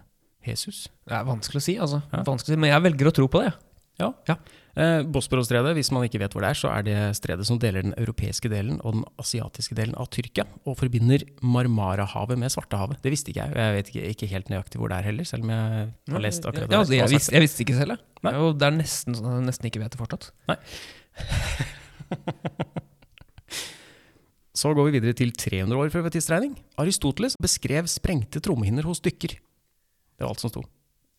Speaker 2: Jesus.
Speaker 3: Det er vanskelig å si, altså.
Speaker 2: Ja.
Speaker 3: Vanskelig å si, men jeg velger å tro på det. jeg.
Speaker 2: Eh, Bosporosstredet, hvis man ikke vet hvor det er, så er det stredet som deler den europeiske delen og den asiatiske delen av Tyrkia, og forbinder Marmarahavet med Svartehavet. Det visste ikke jeg, og jeg vet ikke, ikke helt nøyaktig hvor det er heller, selv om jeg har lest akkurat det.
Speaker 3: ja, altså,
Speaker 2: der.
Speaker 3: jeg, visste, jeg visste ikke selv, jeg.
Speaker 2: Nei.
Speaker 3: Det er jo- Det er nesten sånn at jeg nesten ikke vet det fortsatt.
Speaker 2: Så går vi videre til 300 år før vår tidsregning. Aristoteles beskrev sprengte trommehinner hos dykker. Det var alt som sto.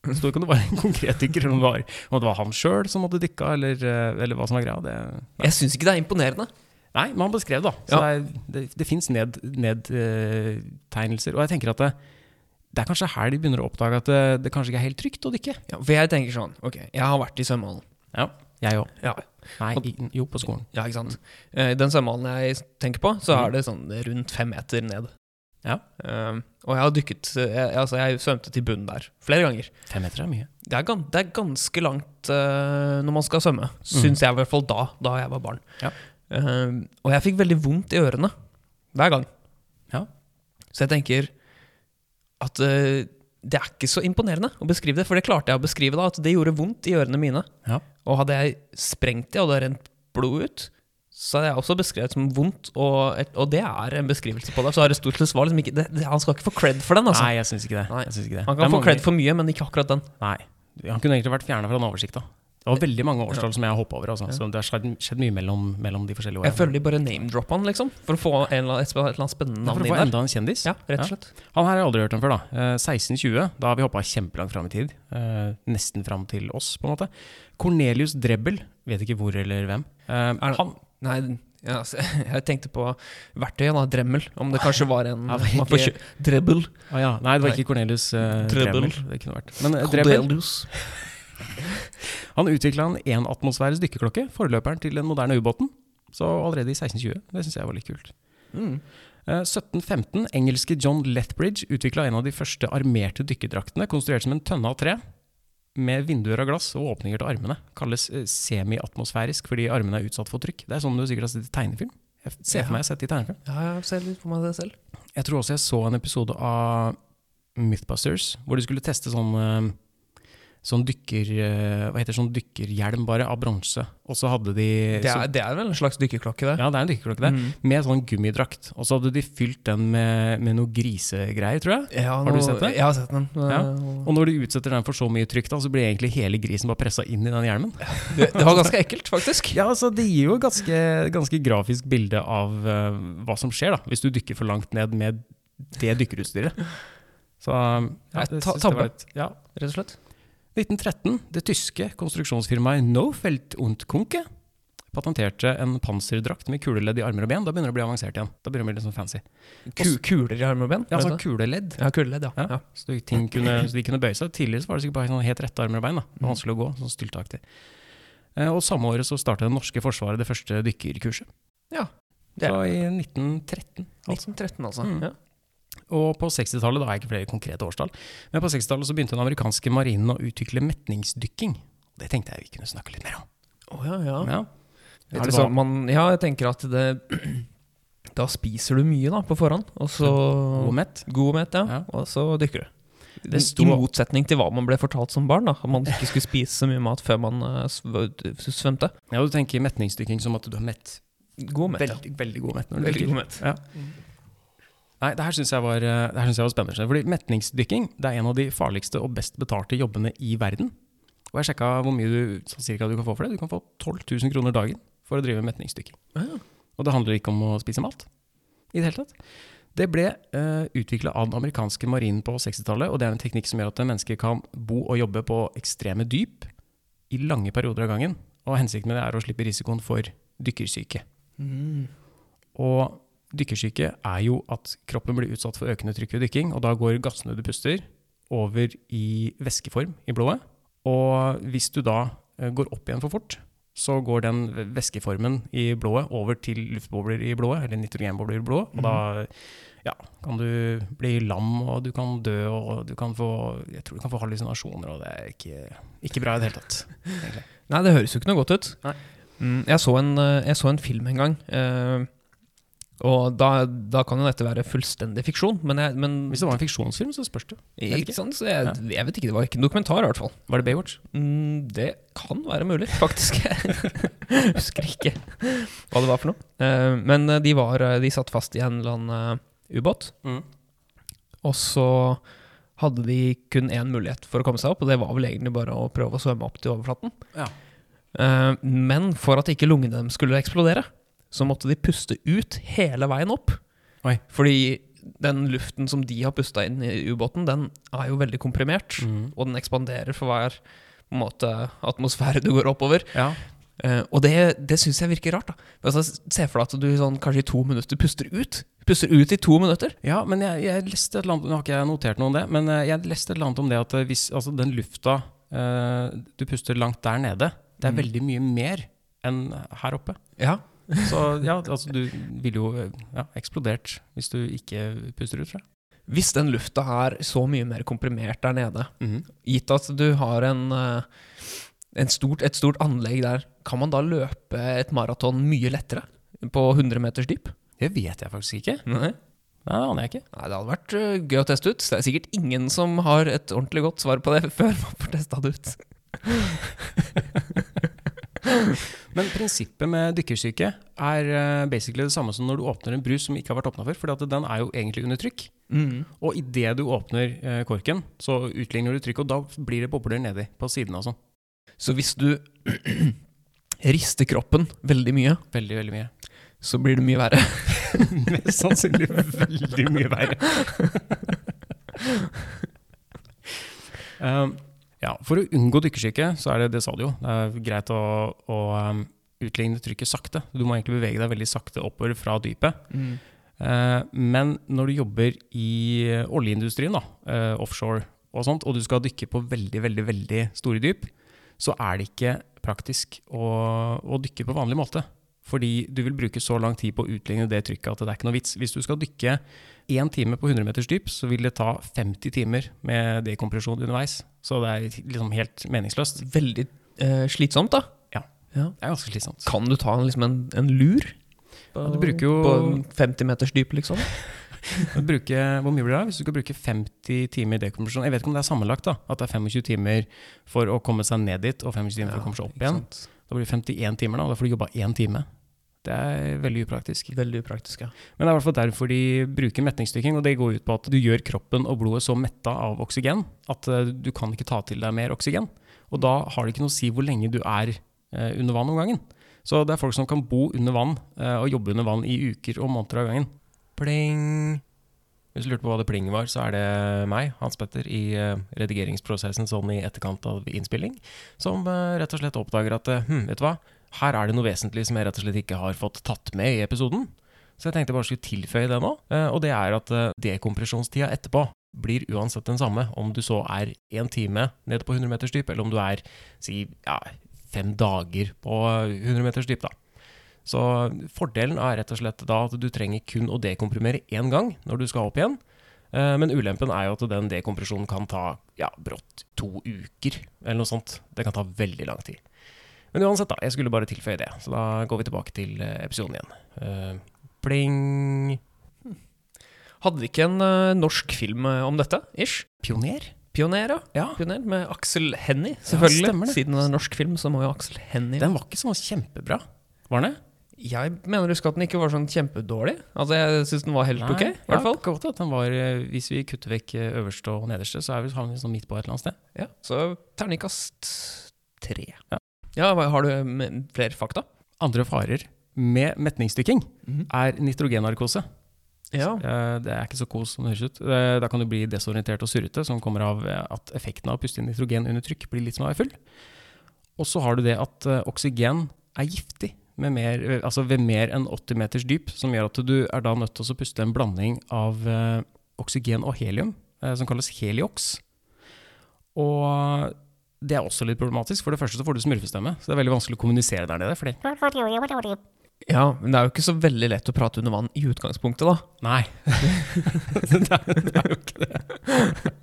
Speaker 2: Det sto ikke om det var en konkret dykker, eller om det var, om det var han sjøl som hadde dykka, eller, eh, eller hva som var greia. Det,
Speaker 3: Jeg syns ikke det er imponerende.
Speaker 2: nei, men han beskrev det, da. Så det, er- det, det fins nedtegnelser. eh, og jeg tenker at det, det er kanskje her de begynner å oppdage at eh, det, det kanskje ikke er helt trygt å dykke.
Speaker 3: Ja, for jeg tenker sånn Ok, jeg har vært i svømmehallen.
Speaker 2: Ja, jeg òg.
Speaker 3: Ja.
Speaker 2: Nei, i- jo, på skolen.
Speaker 3: ja, ikke sant. Eh, I den svømmehallen jeg tenker på, så er det sånn rundt fem meter ned.
Speaker 2: Mm. Ja.
Speaker 3: Eh, og jeg har dykket eh, jeg, Altså, jeg svømte til bunnen der flere ganger.
Speaker 2: Fem meter er mye.
Speaker 3: Det er, gan det er ganske langt eh, når man skal svømme, syns jeg i hvert fall da, da jeg var barn.
Speaker 2: Mm. Ja.
Speaker 3: Eh, og jeg fikk veldig vondt i ørene hver gang.
Speaker 2: Ja.
Speaker 3: Så jeg tenker at eh, det er ikke så imponerende å beskrive det, for det klarte jeg å beskrive da, at det gjorde vondt i ørene mine.
Speaker 2: Ja.
Speaker 3: Og hadde jeg sprengt det, og det hadde rent blod ut, så hadde jeg også beskrevet som vondt, og, et, og det er en beskrivelse på det. Så Aristoteles var liksom ikke det, det, Han skal ikke få cred for den, altså.
Speaker 2: Nei, jeg syns ikke det.
Speaker 3: Nei.
Speaker 2: Jeg synes ikke det.
Speaker 3: Han
Speaker 2: Det er
Speaker 3: kan få
Speaker 2: mange-
Speaker 3: cred for mye, men ikke akkurat den.
Speaker 2: Nei. Han kunne egentlig vært fjerna fra den oversikta. Det var veldig mange årstall som jeg hoppa over. Altså. Så det har skjedd, skjedd mye mellom, mellom de forskjellige årene.
Speaker 3: Jeg føler de bare name-droppa han, liksom, for å få en eller annen, et eller annet spennende
Speaker 2: Ja, for
Speaker 3: navn
Speaker 2: å få
Speaker 3: inn der.
Speaker 2: enda en kjendis.
Speaker 3: Ja, rett
Speaker 2: Ja.
Speaker 3: og slett.
Speaker 2: Han her har jeg aldri hørt om før. Da Eh, 1620, da har vi hoppa kjempelangt fram i tid. Eh, nesten fram til oss, på en måte. Cornelius Drebbel, vet ikke hvor eller hvem. Eh,
Speaker 3: det-
Speaker 2: han,
Speaker 3: Nei, ja, altså, jeg tenkte på verktøyet, da. Dremmel. Om det kanskje var en
Speaker 2: Ja,
Speaker 3: man
Speaker 2: det er
Speaker 3: får
Speaker 2: ikke-
Speaker 3: kjø- Drebbel.
Speaker 2: Å ja, nei, det var
Speaker 3: Nei.
Speaker 2: ikke Cornelius eh,
Speaker 3: Drebbel.
Speaker 2: Drebbel. Det kunne vært. Men eh, Drebbel
Speaker 3: Cornelius.
Speaker 2: han utvikla en enatmosfæres dykkerklokke, forløperen til den moderne ubåten. Så allerede i 1620. Det syns jeg var litt kult.
Speaker 3: Mm.
Speaker 2: Eh, 1715, engelske John Lethbridge utvikla en av de første armerte dykkerdraktene, konstruert som en tønne av tre, med vinduer av glass og åpninger til armene. Kalles eh, semiatmosfærisk fordi armene er utsatt for trykk. Det er sånn du sikkert har sett i tegnefilm. Jeg ser for meg jeg har sett det i tegnefilm.
Speaker 3: Ja, jeg ser litt på meg det selv.
Speaker 2: Jeg tror også jeg så en episode av Mythbusters hvor de skulle teste sånn eh, sånn dykker... eh, Hva heter det, sånn dykkerhjelm bare av bronse. Og så hadde de
Speaker 3: Det
Speaker 2: Eh, så-
Speaker 3: er, det er vel en slags dykkerklokke, det.
Speaker 2: Ja, det er en dykkerklokke der.
Speaker 3: Mm.
Speaker 2: Med sånn gummidrakt. Og så hadde de fylt den med, med noe grisegreier, tror jeg.
Speaker 3: Ja,
Speaker 2: Har du
Speaker 3: nå-
Speaker 2: sett det?
Speaker 3: Jeg har sett den.
Speaker 2: Ja.
Speaker 3: Eh,
Speaker 2: Og når du utsetter den for så mye trykk, da, så blir egentlig hele grisen bare pressa inn i den hjelmen.
Speaker 3: Det, det var ganske ekkelt, faktisk.
Speaker 2: Ja, altså Det gir jo et ganske, ganske grafisk bilde av eh, hva som skjer da, hvis du dykker for langt ned med det dykkerutstyret. Så
Speaker 3: Nei,
Speaker 2: ja, det
Speaker 3: ta-
Speaker 2: synes jeg var
Speaker 3: tabbe.
Speaker 2: litt- ja.
Speaker 3: Rett og slett.
Speaker 2: 1913, det tyske konstruksjonsfirmaet Nofeld und Kunke patenterte en panserdrakt med kuleledd i armer og ben. Da begynner det å bli avansert igjen. Da begynner det å bli litt sånn fancy.
Speaker 3: Ku, kuler i armer og ben?
Speaker 2: Ja,
Speaker 3: vet
Speaker 2: sånn
Speaker 3: du?
Speaker 2: kuleledd.
Speaker 3: ja kuleledd, ja.
Speaker 2: Ja.
Speaker 3: ja.
Speaker 2: Så, de- ting kunne, så de kunne bøye seg. Tidligere så var det sikkert bare sånn helt rette armer og bein. Da. Det
Speaker 3: Mm.
Speaker 2: var vanskelig å gå, sånn stylteaktig. Eh, Og samme året så starta det norske forsvaret det første dykkerkurset.
Speaker 3: Ja, det
Speaker 2: Det
Speaker 3: er
Speaker 2: var i 1913. Altså.
Speaker 3: 1913, altså.
Speaker 2: Mm.
Speaker 3: Ja.
Speaker 2: Og på 60-tallet, da har jeg ikke flere konkrete årstall, men på 60-tallet så begynte den amerikanske marinen å utvikle metningsdykking. Det tenkte jeg vi kunne snakke litt mer om.
Speaker 3: Å, ja, ja.
Speaker 2: Ja.
Speaker 3: Er
Speaker 2: Vet
Speaker 3: det
Speaker 2: du hva?
Speaker 3: sånn man, ja, jeg tenker at det Da spiser du mye da, på forhånd, og så
Speaker 2: God mett.
Speaker 3: God mett, ja.
Speaker 2: Ja.
Speaker 3: Og så dykker du.
Speaker 2: Det
Speaker 3: I
Speaker 2: sto-
Speaker 3: motsetning til hva man ble fortalt som barn, da. At man ikke skulle spise så mye mat før man eh, sv- svømte.
Speaker 2: Ja, du tenker metningsdykking som at du er mett.
Speaker 3: God mett, ja.
Speaker 2: Veldig, veldig god mett når du
Speaker 3: Veldig
Speaker 2: dykker.
Speaker 3: god mett.
Speaker 2: Nei, det her syns jeg, var- eh, det her synes jeg var spennende. Fordi metningsdykking det er en av de farligste og best betalte jobbene i verden. Og jeg sjekka hvor mye du, sånn cirka, du kan få for det. Du kan få 12 000 kroner dagen for å drive med metningsdykking.
Speaker 3: Ja.
Speaker 2: Og det handler ikke om å spise mat i det hele tatt. Det ble uh, utvikla av den amerikanske marinen på 60-tallet, og det er en teknikk som gjør at mennesker kan bo og jobbe på ekstreme dyp i lange perioder av gangen. Og hensikten med det er å slippe risikoen for dykkersyke. Mm. Og dykkersyke er jo at kroppen blir utsatt for økende trykk ved dykking, og da går gassene du puster, over i væskeform i blodet. Og hvis du da eh, går opp igjen for fort, så går den væskeformen i blodet over til luftbobler i blodet, eller nitrogenbobler i blodet, og da ja, kan du bli lam, og du kan dø, og du kan få, jeg tror du kan få hallusinasjoner, og det er ikke, ikke bra i det hele tatt. egentlig.
Speaker 3: Nei, det høres jo ikke noe godt ut.
Speaker 2: Nei.
Speaker 3: Mm, jeg, så en, eh, jeg så en film en gang. eh, og da, da kan jo dette være fullstendig fiksjon, men, jeg, men
Speaker 2: Hvis det var en fiksjonsfilm, så spørs det.
Speaker 3: ikke,
Speaker 2: ikke.
Speaker 3: sant? Så jeg, jeg vet ikke, det var ikke en dokumentar i hvert fall.
Speaker 2: Var det Baywatch?
Speaker 3: Mm, det kan være mulig, faktisk. Jeg husker ikke hva det var for noe. Eh, men eh, de, var, eh, de satt fast i en eller annen eh, ubåt, og så hadde de kun én mulighet for å komme seg opp, og det var vel egentlig bare å prøve å svømme opp til overflaten.
Speaker 2: Ja.
Speaker 3: Eh, men for at ikke lungene dem skulle eksplodere, så måtte de puste ut hele veien opp.
Speaker 2: Oi.
Speaker 3: Fordi den luften som de har pusta inn i ubåten, den er jo veldig komprimert
Speaker 2: Mhm.
Speaker 3: og den ekspanderer for hver på en måte, atmosfære du går oppover.
Speaker 2: Ja.
Speaker 3: Eh, og det, det syns jeg virker rart. da. Altså, se for deg at du sånn, kanskje i to minutter puster ut. Puster ut i to minutter.
Speaker 2: Ja, men jeg, jeg leste et eller annet, nå har ikke jeg notert noe om det, men eh, jeg leste et eller annet om det at eh, hvis, altså den lufta eh, du puster langt der nede, det er
Speaker 3: Mm.
Speaker 2: veldig mye mer enn her oppe.
Speaker 3: Ja.
Speaker 2: Så ja, altså du ville jo eh, ja, eksplodert hvis du ikke puster ut, tror jeg.
Speaker 3: Hvis den lufta er så mye mer komprimert der nede, gitt at du har en, eh, en stort, et stort anlegg der, kan man da løpe et maraton mye lettere? På 100 meters dyp?
Speaker 2: Det vet jeg faktisk ikke.
Speaker 3: Nei.
Speaker 2: Nei, det aner jeg ikke.
Speaker 3: Nei, Det hadde vært eh, gøy å teste ut. Det er sikkert ingen som har et ordentlig godt svar på det før man får testa det ut.
Speaker 2: Men prinsippet med dykkersyke er eh, basically det samme som når du åpner en brus som ikke har vært åpna før, fordi at den er jo egentlig under trykk. Og idet du åpner eh, korken, så utligner du trykket, og da blir det bobler nedi på sidene og sånn.
Speaker 3: Så hvis du rister kroppen veldig mye,
Speaker 2: Veldig, veldig mye.
Speaker 3: så blir det mye verre.
Speaker 2: Mest sannsynlig veldig mye verre. um, ja, for å unngå dykkersyke, så er det det sa du jo, det er greit å, å um, utligne trykket sakte. Du må egentlig bevege deg veldig sakte oppover fra dypet. Eh, men når du jobber i oljeindustrien, da, eh, offshore og sånt, og du skal dykke på veldig, veldig, veldig store dyp, så er det ikke praktisk å, å dykke på vanlig måte. Fordi du vil bruke så lang tid på å utligne det trykket at det er ikke noe vits. Hvis du skal dykke én time på 100 meters dyp, så vil det ta 50 timer med dekompresjon underveis. Så det er liksom helt meningsløst.
Speaker 3: Veldig eh, slitsomt, da.
Speaker 2: Det er ganske slitsomt.
Speaker 3: Kan du ta en, liksom en, en lur?
Speaker 2: du bruker jo-
Speaker 3: På 50 meters dyp, liksom?
Speaker 2: Bruke, hvor mye blir det? da? Hvis du skal bruke 50 timer dekompresjon Jeg vet ikke om det er sammenlagt, da. At det er 25 timer for å komme seg ned dit, og 25 timer for å komme seg opp
Speaker 3: ikke
Speaker 2: igjen.
Speaker 3: sant?
Speaker 2: Da blir det 51 timer, da. og Da får du jobba én time. Det er veldig upraktisk.
Speaker 3: Veldig upraktisk, ja.
Speaker 2: Men det er i hvert fall derfor de bruker metningsdykking, og det går ut på at du gjør kroppen og blodet så metta av oksygen at eh, du kan ikke ta til deg mer oksygen. Og da har det ikke noe å si hvor lenge du er eh, under vann om gangen. Så det er folk som kan bo under vann eh, og jobbe under vann i uker og måneder av gangen. Pling! Hvis du lurte på hva det pling var, så er det meg, Hans Petter, i eh, redigeringsprosessen sånn i etterkant av innspilling, som eh, rett og slett oppdager at eh, hm, vet du hva, her er det noe vesentlig som jeg rett og slett ikke har fått tatt med i episoden. Så jeg tenkte jeg bare skulle tilføye det nå, eh, og det er at eh, dekompresjonstida etterpå blir uansett den samme, om du så er én time nede på 100 meters dyp, eller om du er si ja, fem dager på 100 meters dyp, da. Så fordelen er rett og slett da at du trenger kun å dekomprimere én gang når du skal opp igjen. Eh, Men ulempen er jo at den dekompresjonen kan ta ja, brått to uker, eller noe sånt. Det kan ta veldig lang tid. Men uansett, da. Jeg skulle bare tilføye det. Så da går vi tilbake til eh, episoden igjen. Eh, Pling
Speaker 3: Hadde vi ikke en eh, norsk film eh, om dette? Ish?
Speaker 2: Pioner?
Speaker 3: Pioner, ja.
Speaker 2: Ja.
Speaker 3: Pioner med Aksel Hennie, selvfølgelig.
Speaker 2: stemmer det.
Speaker 3: Siden det er en norsk film, så må jo Aksel Hennie
Speaker 2: Den var ikke sånn kjempebra, var den det?
Speaker 3: Jeg mener å huske at den ikke var sånn kjempedårlig. Altså, jeg syns den var helt ok, i hvert fall.
Speaker 2: Ja, godt at den var, eh, hvis vi kutter vekk eh, øverste og nederste, så er vi, har vi sånn midt på et eller annet sted.
Speaker 3: Ja, så terningkast tre.
Speaker 2: Ja.
Speaker 3: Ja, hva- har du mm, flere fakta?
Speaker 2: Andre farer med metningsdykking er nitrogennarkose.
Speaker 3: Ja.
Speaker 2: Eh, Det er ikke så kos som det høres ut. Eh, Da kan du bli desorientert og surrete, som kommer av eh, at effekten av å puste inn nitrogen under trykk blir litt som å være full. Og så har du det at eh, oksygen er giftig med mer, eh, altså ved mer enn 80 meters dyp, som gjør at du er da nødt til å puste en blanding av eh, oksygen og helium, eh, som kalles heliox. Og det er også litt problematisk. For det første så får du smurfestemme, så det er veldig vanskelig å kommunisere der nede. Fordi
Speaker 3: ja, men det er jo ikke så veldig lett å prate under vann i utgangspunktet, da.
Speaker 2: Nei. det, er, det er jo ikke det.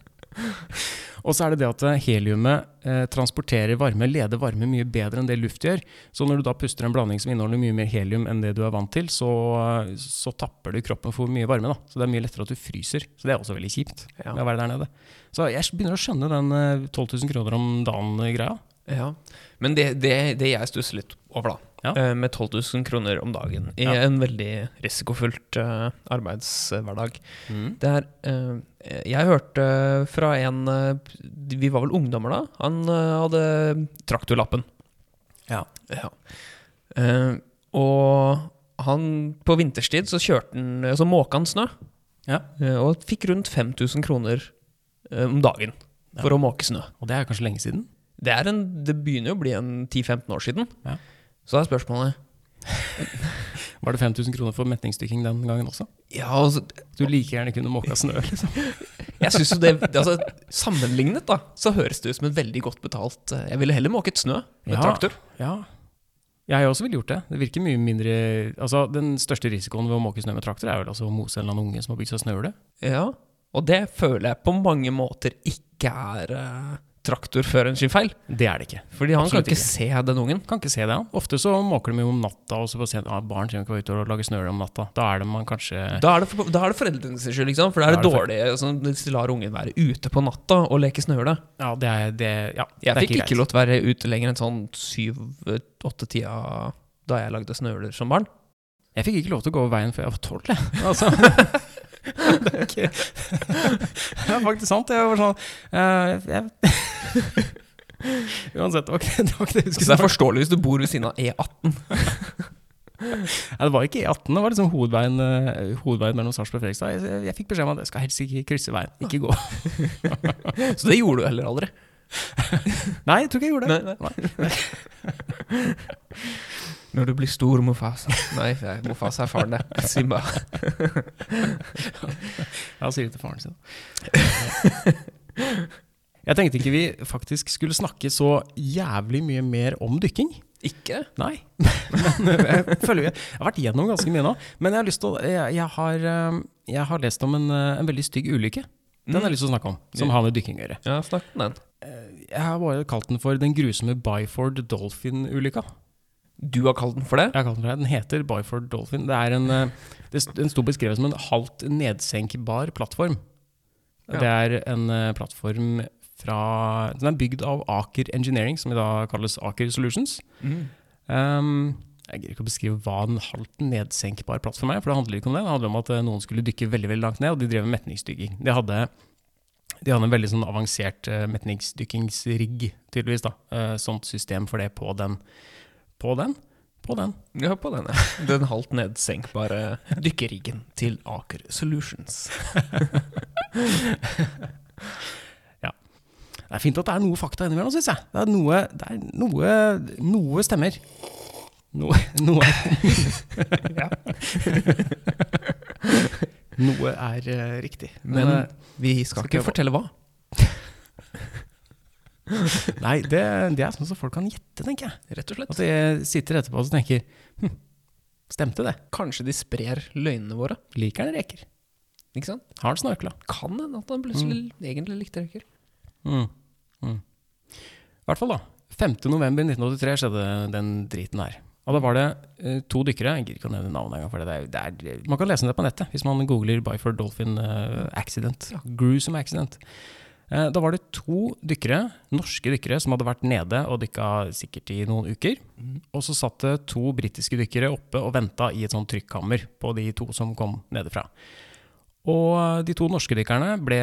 Speaker 2: Og så er det det at heliumet eh, transporterer varme, leder varme mye bedre enn det luft gjør. Så når du da puster en blanding som inneholder mye mer helium enn det du er vant til, så, så tapper du kroppen for mye varme. da. Så det er mye lettere at du fryser. Så det er også veldig kjipt
Speaker 3: Ja.
Speaker 2: med å være der nede. Så jeg begynner å skjønne den eh, 12 000 kroner om dagen-greia.
Speaker 3: Ja, Men det, det, det jeg stusser litt over, da,
Speaker 2: Ja.
Speaker 3: eh, med 12 000 kroner om dagen i
Speaker 2: Ja.
Speaker 3: en veldig risikofullt eh, arbeidshverdag Det er eh, Jeg hørte fra en eh, Vi var vel ungdommer da. Han eh, hadde traktorlappen.
Speaker 2: Ja.
Speaker 3: Eh, og han på vinterstid så kjørte han eh, Så måka han snø.
Speaker 2: Ja.
Speaker 3: Eh, og fikk rundt 5000 kroner eh, om dagen for å måke snø.
Speaker 2: Og det er kanskje lenge siden.
Speaker 3: Det, er en, det begynner jo å bli en 10-15 år siden.
Speaker 2: Ja.
Speaker 3: Så er spørsmålet
Speaker 2: Var det 5000 kroner for metningsdykking den gangen også?
Speaker 3: Ja, altså,
Speaker 2: Du like gjerne kunne måka snø, liksom.
Speaker 3: jeg synes jo det, det altså, Sammenlignet, da, så høres det ut som en veldig godt betalt eh, Jeg ville heller måket snø med
Speaker 2: Ja.
Speaker 3: traktor.
Speaker 2: Ja. Jeg også ville gjort det. Det virker mye mindre Altså, Den største risikoen ved å måke snø med traktor er vel altså å mose en eller annen unge som har bygd seg snøhule.
Speaker 3: Ja, Og det føler jeg på mange måter ikke er eh, traktorføreren sin feil.
Speaker 2: Det er det ikke.
Speaker 3: Fordi han
Speaker 2: Absolutt
Speaker 3: kan ikke, se den ungen.
Speaker 2: Kan ikke se det. han. Ofte så måker de jo om natta, og så bare sier de at ah, barn trenger ikke være ute og lage snøhule om natta. Da er det man kanskje
Speaker 3: Da er det, for- da er det foreldrene sin skyld, ikke sant? for da er det
Speaker 2: Da er
Speaker 3: dårlig. Sånn, hvis de lar ungen være ute på natta og leke snøhule.
Speaker 2: Ja, det er det Ja, det
Speaker 3: Jeg
Speaker 2: er
Speaker 3: fikk ikke,
Speaker 2: greit.
Speaker 3: lov til å være ute lenger enn sånn syv-åtte-tida da jeg lagde snøhuler som barn.
Speaker 2: Jeg fikk ikke lov til å gå veien før jeg var tolv, jeg. Altså. det, er ikke, det er faktisk sant. Jeg var sånn eh, jeg, Uansett, det var ikke det, var ikke
Speaker 3: Så
Speaker 2: det jeg skulle
Speaker 3: det er forståelig hvis du bor ved siden av E18.
Speaker 2: Nei, det var ikke E18, det var liksom hovedveien, eh, hovedveien mellom Sarpsborg og Fredrikstad. Jeg, jeg fikk beskjed om at jeg skal helst ikke krysse veien, ikke gå.
Speaker 3: Så det gjorde du heller aldri.
Speaker 2: Nei, jeg tror ikke jeg gjorde det.
Speaker 3: Når du blir stor, Mofasa Nei, jeg- Mofasa er faren, det. Simba.
Speaker 2: Ja, sier det til faren sin. Jeg tenkte ikke vi faktisk skulle snakke så jævlig mye mer om dykking.
Speaker 3: Ikke?
Speaker 2: Nei. Men eh, jeg føler jeg har vært gjennom ganske mye nå. Men jeg har lyst til å Jeg, jeg, har, eh, jeg har lest om en, eh, en veldig stygg ulykke. Den har jeg lyst til å snakke om, som har med dykking å gjøre.
Speaker 3: Ja, snakk om den.
Speaker 2: Jeg har bare kalt den for den grusomme Byford Dolphin-ulykka.
Speaker 3: Du har kalt den for det?
Speaker 2: Jeg har kalt den for det. Den heter Byford Dolphin. Det er en, eh, det, st- den sto beskrevet som en halvt nedsenkbar plattform.
Speaker 3: Ja.
Speaker 2: Det er en eh, plattform fra Den er bygd av Aker Engineering, som i dag kalles Aker Solutions.
Speaker 3: Mm.
Speaker 2: Ehm, jeg greier ikke å beskrive hva en halvt nedsenkbar plattform er, for det handler ikke om det. Det handler om at eh, noen skulle dykke veldig veldig langt ned, og de drev med metningsdykking. De hadde, de hadde en veldig sånn avansert eh, metningsdykkingsrigg, tydeligvis. da. Eh, sånt system for det på den. På den. På den.
Speaker 3: Ja, på denne. Den halvt nedsenkbare dykkeriggen til Aker Solutions.
Speaker 2: Det er fint at det er noe fakta innimellom, syns jeg. Det er noe, det er noe, noe stemmer. Noe, noe
Speaker 3: Ja.
Speaker 2: Noe er eh, riktig.
Speaker 3: Men
Speaker 2: eh,
Speaker 3: vi skal, ikke fortelle hva.
Speaker 2: Nei, det, det er sånn som folk kan gjette, tenker jeg.
Speaker 3: Rett og slett.
Speaker 2: At jeg sitter etterpå og så tenker hm, stemte det?
Speaker 3: Kanskje de sprer løgnene våre.
Speaker 2: Liker han reker?
Speaker 3: Ikke sant?
Speaker 2: Har han snorkla?
Speaker 3: Kan hende at han plutselig egentlig likte reker.
Speaker 2: Mm. Mm. I hvert fall, da. 5.11.1983 skjedde den driten her. Og da var det eh, to dykkere Jeg gidder ikke å nevne navnet engang. For det er, det er, man kan lese om det på nettet hvis man googler Byford Dolphin eh, accident. Gruesome accident. Eh, da var det to dykkere, norske dykkere som hadde vært nede og dykka sikkert i noen uker. Og så satt det to britiske dykkere oppe og venta i et sånt trykkammer på de to som kom nedefra. Og eh, de to norske dykkerne ble,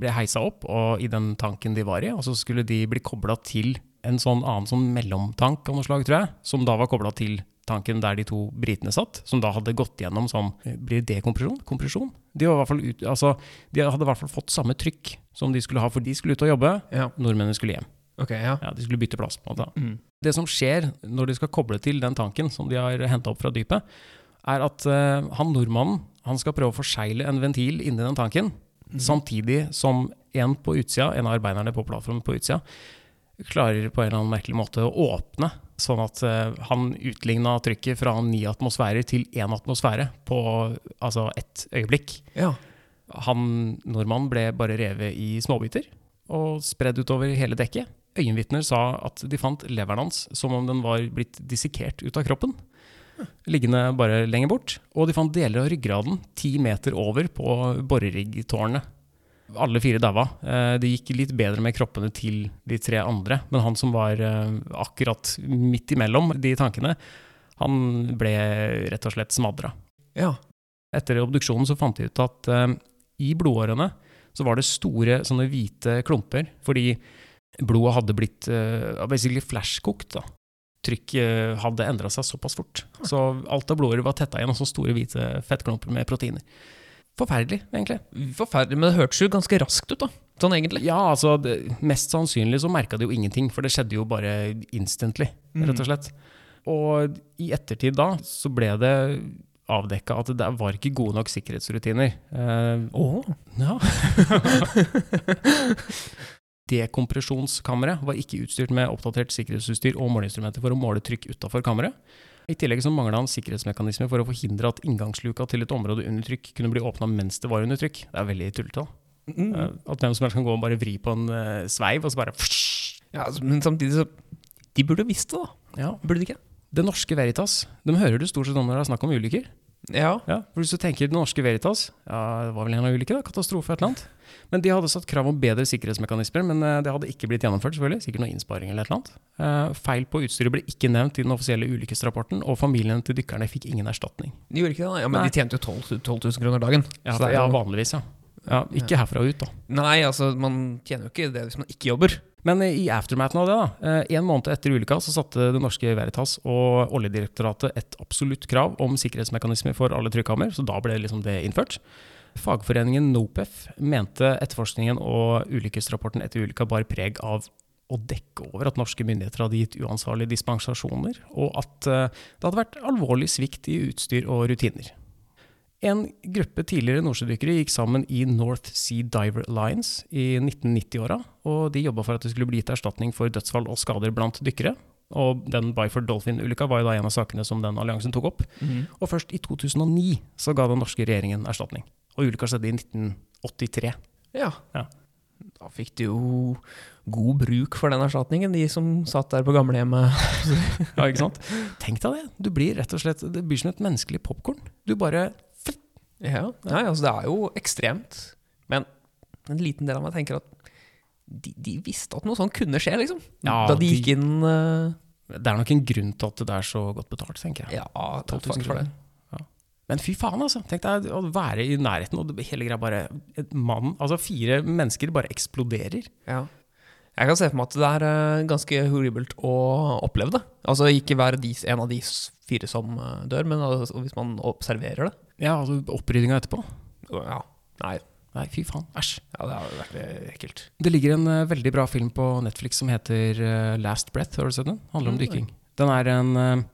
Speaker 2: ble heisa opp og i den tanken de var i, og så skulle de bli kobla til en sånn annen sånn mellomtank av noe slag, tror jeg, som da var kobla til tanken der de to britene satt, som da hadde gått gjennom sånn Blir det kompresjon? Kompresjon? De, var i hvert fall ut, altså, de hadde i hvert fall fått samme trykk som de skulle ha, for de skulle ut og jobbe,
Speaker 3: Ja.
Speaker 2: nordmennene skulle hjem.
Speaker 3: Ok, ja.
Speaker 2: Ja, De skulle bytte plass, på en måte. da.
Speaker 3: Mm.
Speaker 2: Det som skjer når de skal koble til den tanken som de har henta opp fra dypet, er at eh, han nordmannen han skal prøve å forsegle en ventil inni den tanken,
Speaker 3: Mhm.
Speaker 2: samtidig som en på utsida, en av arbeiderne på plattformen på utsida, klarer på en eller annen merkelig måte å åpne, sånn at eh, han utligna trykket fra ni atmosfærer til én atmosfære på altså ett øyeblikk.
Speaker 3: ja.
Speaker 2: Han nordmannen ble bare revet i småbiter og spredd utover hele dekket. Øyenvitner sa at de fant leveren hans som om den var blitt dissekert ut av kroppen. Liggende bare lenger bort. Og de fant deler av ryggraden ti meter over på boreriggtårnet. Alle fire daua. Eh, Det gikk litt bedre med kroppene til de tre andre, men han som var eh, akkurat midt imellom de tankene, han ble rett og slett smadra.
Speaker 3: Ja.
Speaker 2: Etter obduksjonen så fant de ut at eh, i blodårene så var det store sånne hvite klumper, fordi blodet hadde blitt eh, basically flashkokt. da. Trykk eh, hadde endra seg såpass fort. Så alt av blodårer var tetta igjen av sånne store hvite fettklumper med proteiner. Forferdelig, egentlig.
Speaker 3: Forferdelig, men det hørtes jo ganske raskt ut, da. Sånn egentlig.
Speaker 2: Ja, altså, det, mest sannsynlig så merka de jo ingenting, for det skjedde jo bare instantly,
Speaker 3: Mm.
Speaker 2: rett og slett. Og i ettertid da så ble det avdekka at det var ikke gode nok sikkerhetsrutiner. Eh,
Speaker 3: Åh.
Speaker 2: Ja. Dekompresjonskammeret var ikke utstyrt med oppdatert sikkerhetsutstyr og måleinstrumenter for å måle trykk utafor kammeret. I tillegg så mangla han sikkerhetsmekanismer for å forhindre at inngangsluka til et område under trykk kunne bli åpna mens det var under trykk. Det er veldig tullete. da.
Speaker 3: Mm.
Speaker 2: Eh, At hvem som helst kan gå og bare vri på en eh, sveiv, og så bare
Speaker 3: Ja, altså, men samtidig så De burde visst det, da.
Speaker 2: Ja.
Speaker 3: Burde de ikke?
Speaker 2: Det norske Veritas, de hører du stort sett om når det er snakk om ulykker.
Speaker 3: Ja.
Speaker 2: Ja, for Hvis du tenker Den norske Veritas ja, Det var vel en av ulykkene? da, Katastrofe? et eller annet. Men de hadde satt krav om bedre sikkerhetsmekanismer, men eh, det hadde ikke blitt gjennomført. selvfølgelig. Sikkert noe innsparing eller et eller annet. Eh, Feil på utstyret ble ikke nevnt i den offisielle ulykkesrapporten, og familien til dykkerne fikk ingen erstatning.
Speaker 3: De gjorde ikke det, da. Ja, men
Speaker 2: Nei.
Speaker 3: de tjente jo 12, 12 000 kroner dagen.
Speaker 2: Ja,
Speaker 3: Så det er jo-
Speaker 2: vanligvis, ja. ja. Ikke herfra og ut, da.
Speaker 3: Nei, altså, man tjener jo ikke det hvis man ikke jobber.
Speaker 2: Men eh, i aftermathen av det, da, eh, en måned etter ulykka, så satte Det norske Veritas og Oljedirektoratet et absolutt krav om sikkerhetsmekanismer for alle trykkammer, så da ble liksom det innført. Fagforeningen NOPEF mente etterforskningen og ulykkesrapporten etter ulykka bar preg av å dekke over at norske myndigheter hadde gitt uansvarlige dispensasjoner, og at eh, det hadde vært alvorlig svikt i utstyr og rutiner. En gruppe tidligere nordsjødykkere gikk sammen i North Sea Diver Alliance i 1990-åra, og de jobba for at det skulle bli gitt erstatning for dødsfall og skader blant dykkere. Og den Byford Dolphin-ulykka var jo da en av sakene som den alliansen tok opp.
Speaker 3: Mm.
Speaker 2: Og først i 2009 så ga den norske regjeringen erstatning. Og ulykka skjedde i 1983.
Speaker 3: Ja.
Speaker 2: Ja.
Speaker 3: da fikk de jo god bruk for den erstatningen, de som satt der på gamlehjemmet.
Speaker 2: Ja, ikke sant? Tenk deg det. Du blir rett og slett Det blir som et menneskelig popkorn. Du bare
Speaker 3: Ja, nei, altså det er jo ekstremt. Men en liten del av meg tenker at de, de visste at noe sånt kunne skje, liksom.
Speaker 2: Ja,
Speaker 3: da de
Speaker 2: de-
Speaker 3: gikk inn eh,
Speaker 2: Det er nok en grunn til at det er så godt betalt, tenker jeg.
Speaker 3: Ja, 12 000 for det.
Speaker 2: Ja. Men fy faen, altså. Tenk deg å være i nærheten, og det hele greia bare et mann, altså Fire mennesker bare eksploderer.
Speaker 3: Ja. Jeg kan se for meg at det er eh, ganske horribelt å oppleve det. Altså ikke være de, en av de s- fire som eh, dør, men altså, hvis man observerer det.
Speaker 2: Ja, altså Oppryddinga etterpå.
Speaker 3: Ja, nei.
Speaker 2: Nei, fy faen. Æsj.
Speaker 3: Ja, det har jo vært eh, ekkelt.
Speaker 2: Det ligger en eh, veldig bra film på Netflix som heter eh, Last Breath. Har du sett den? Handler om
Speaker 3: Nei.
Speaker 2: dykking. Den er en eh,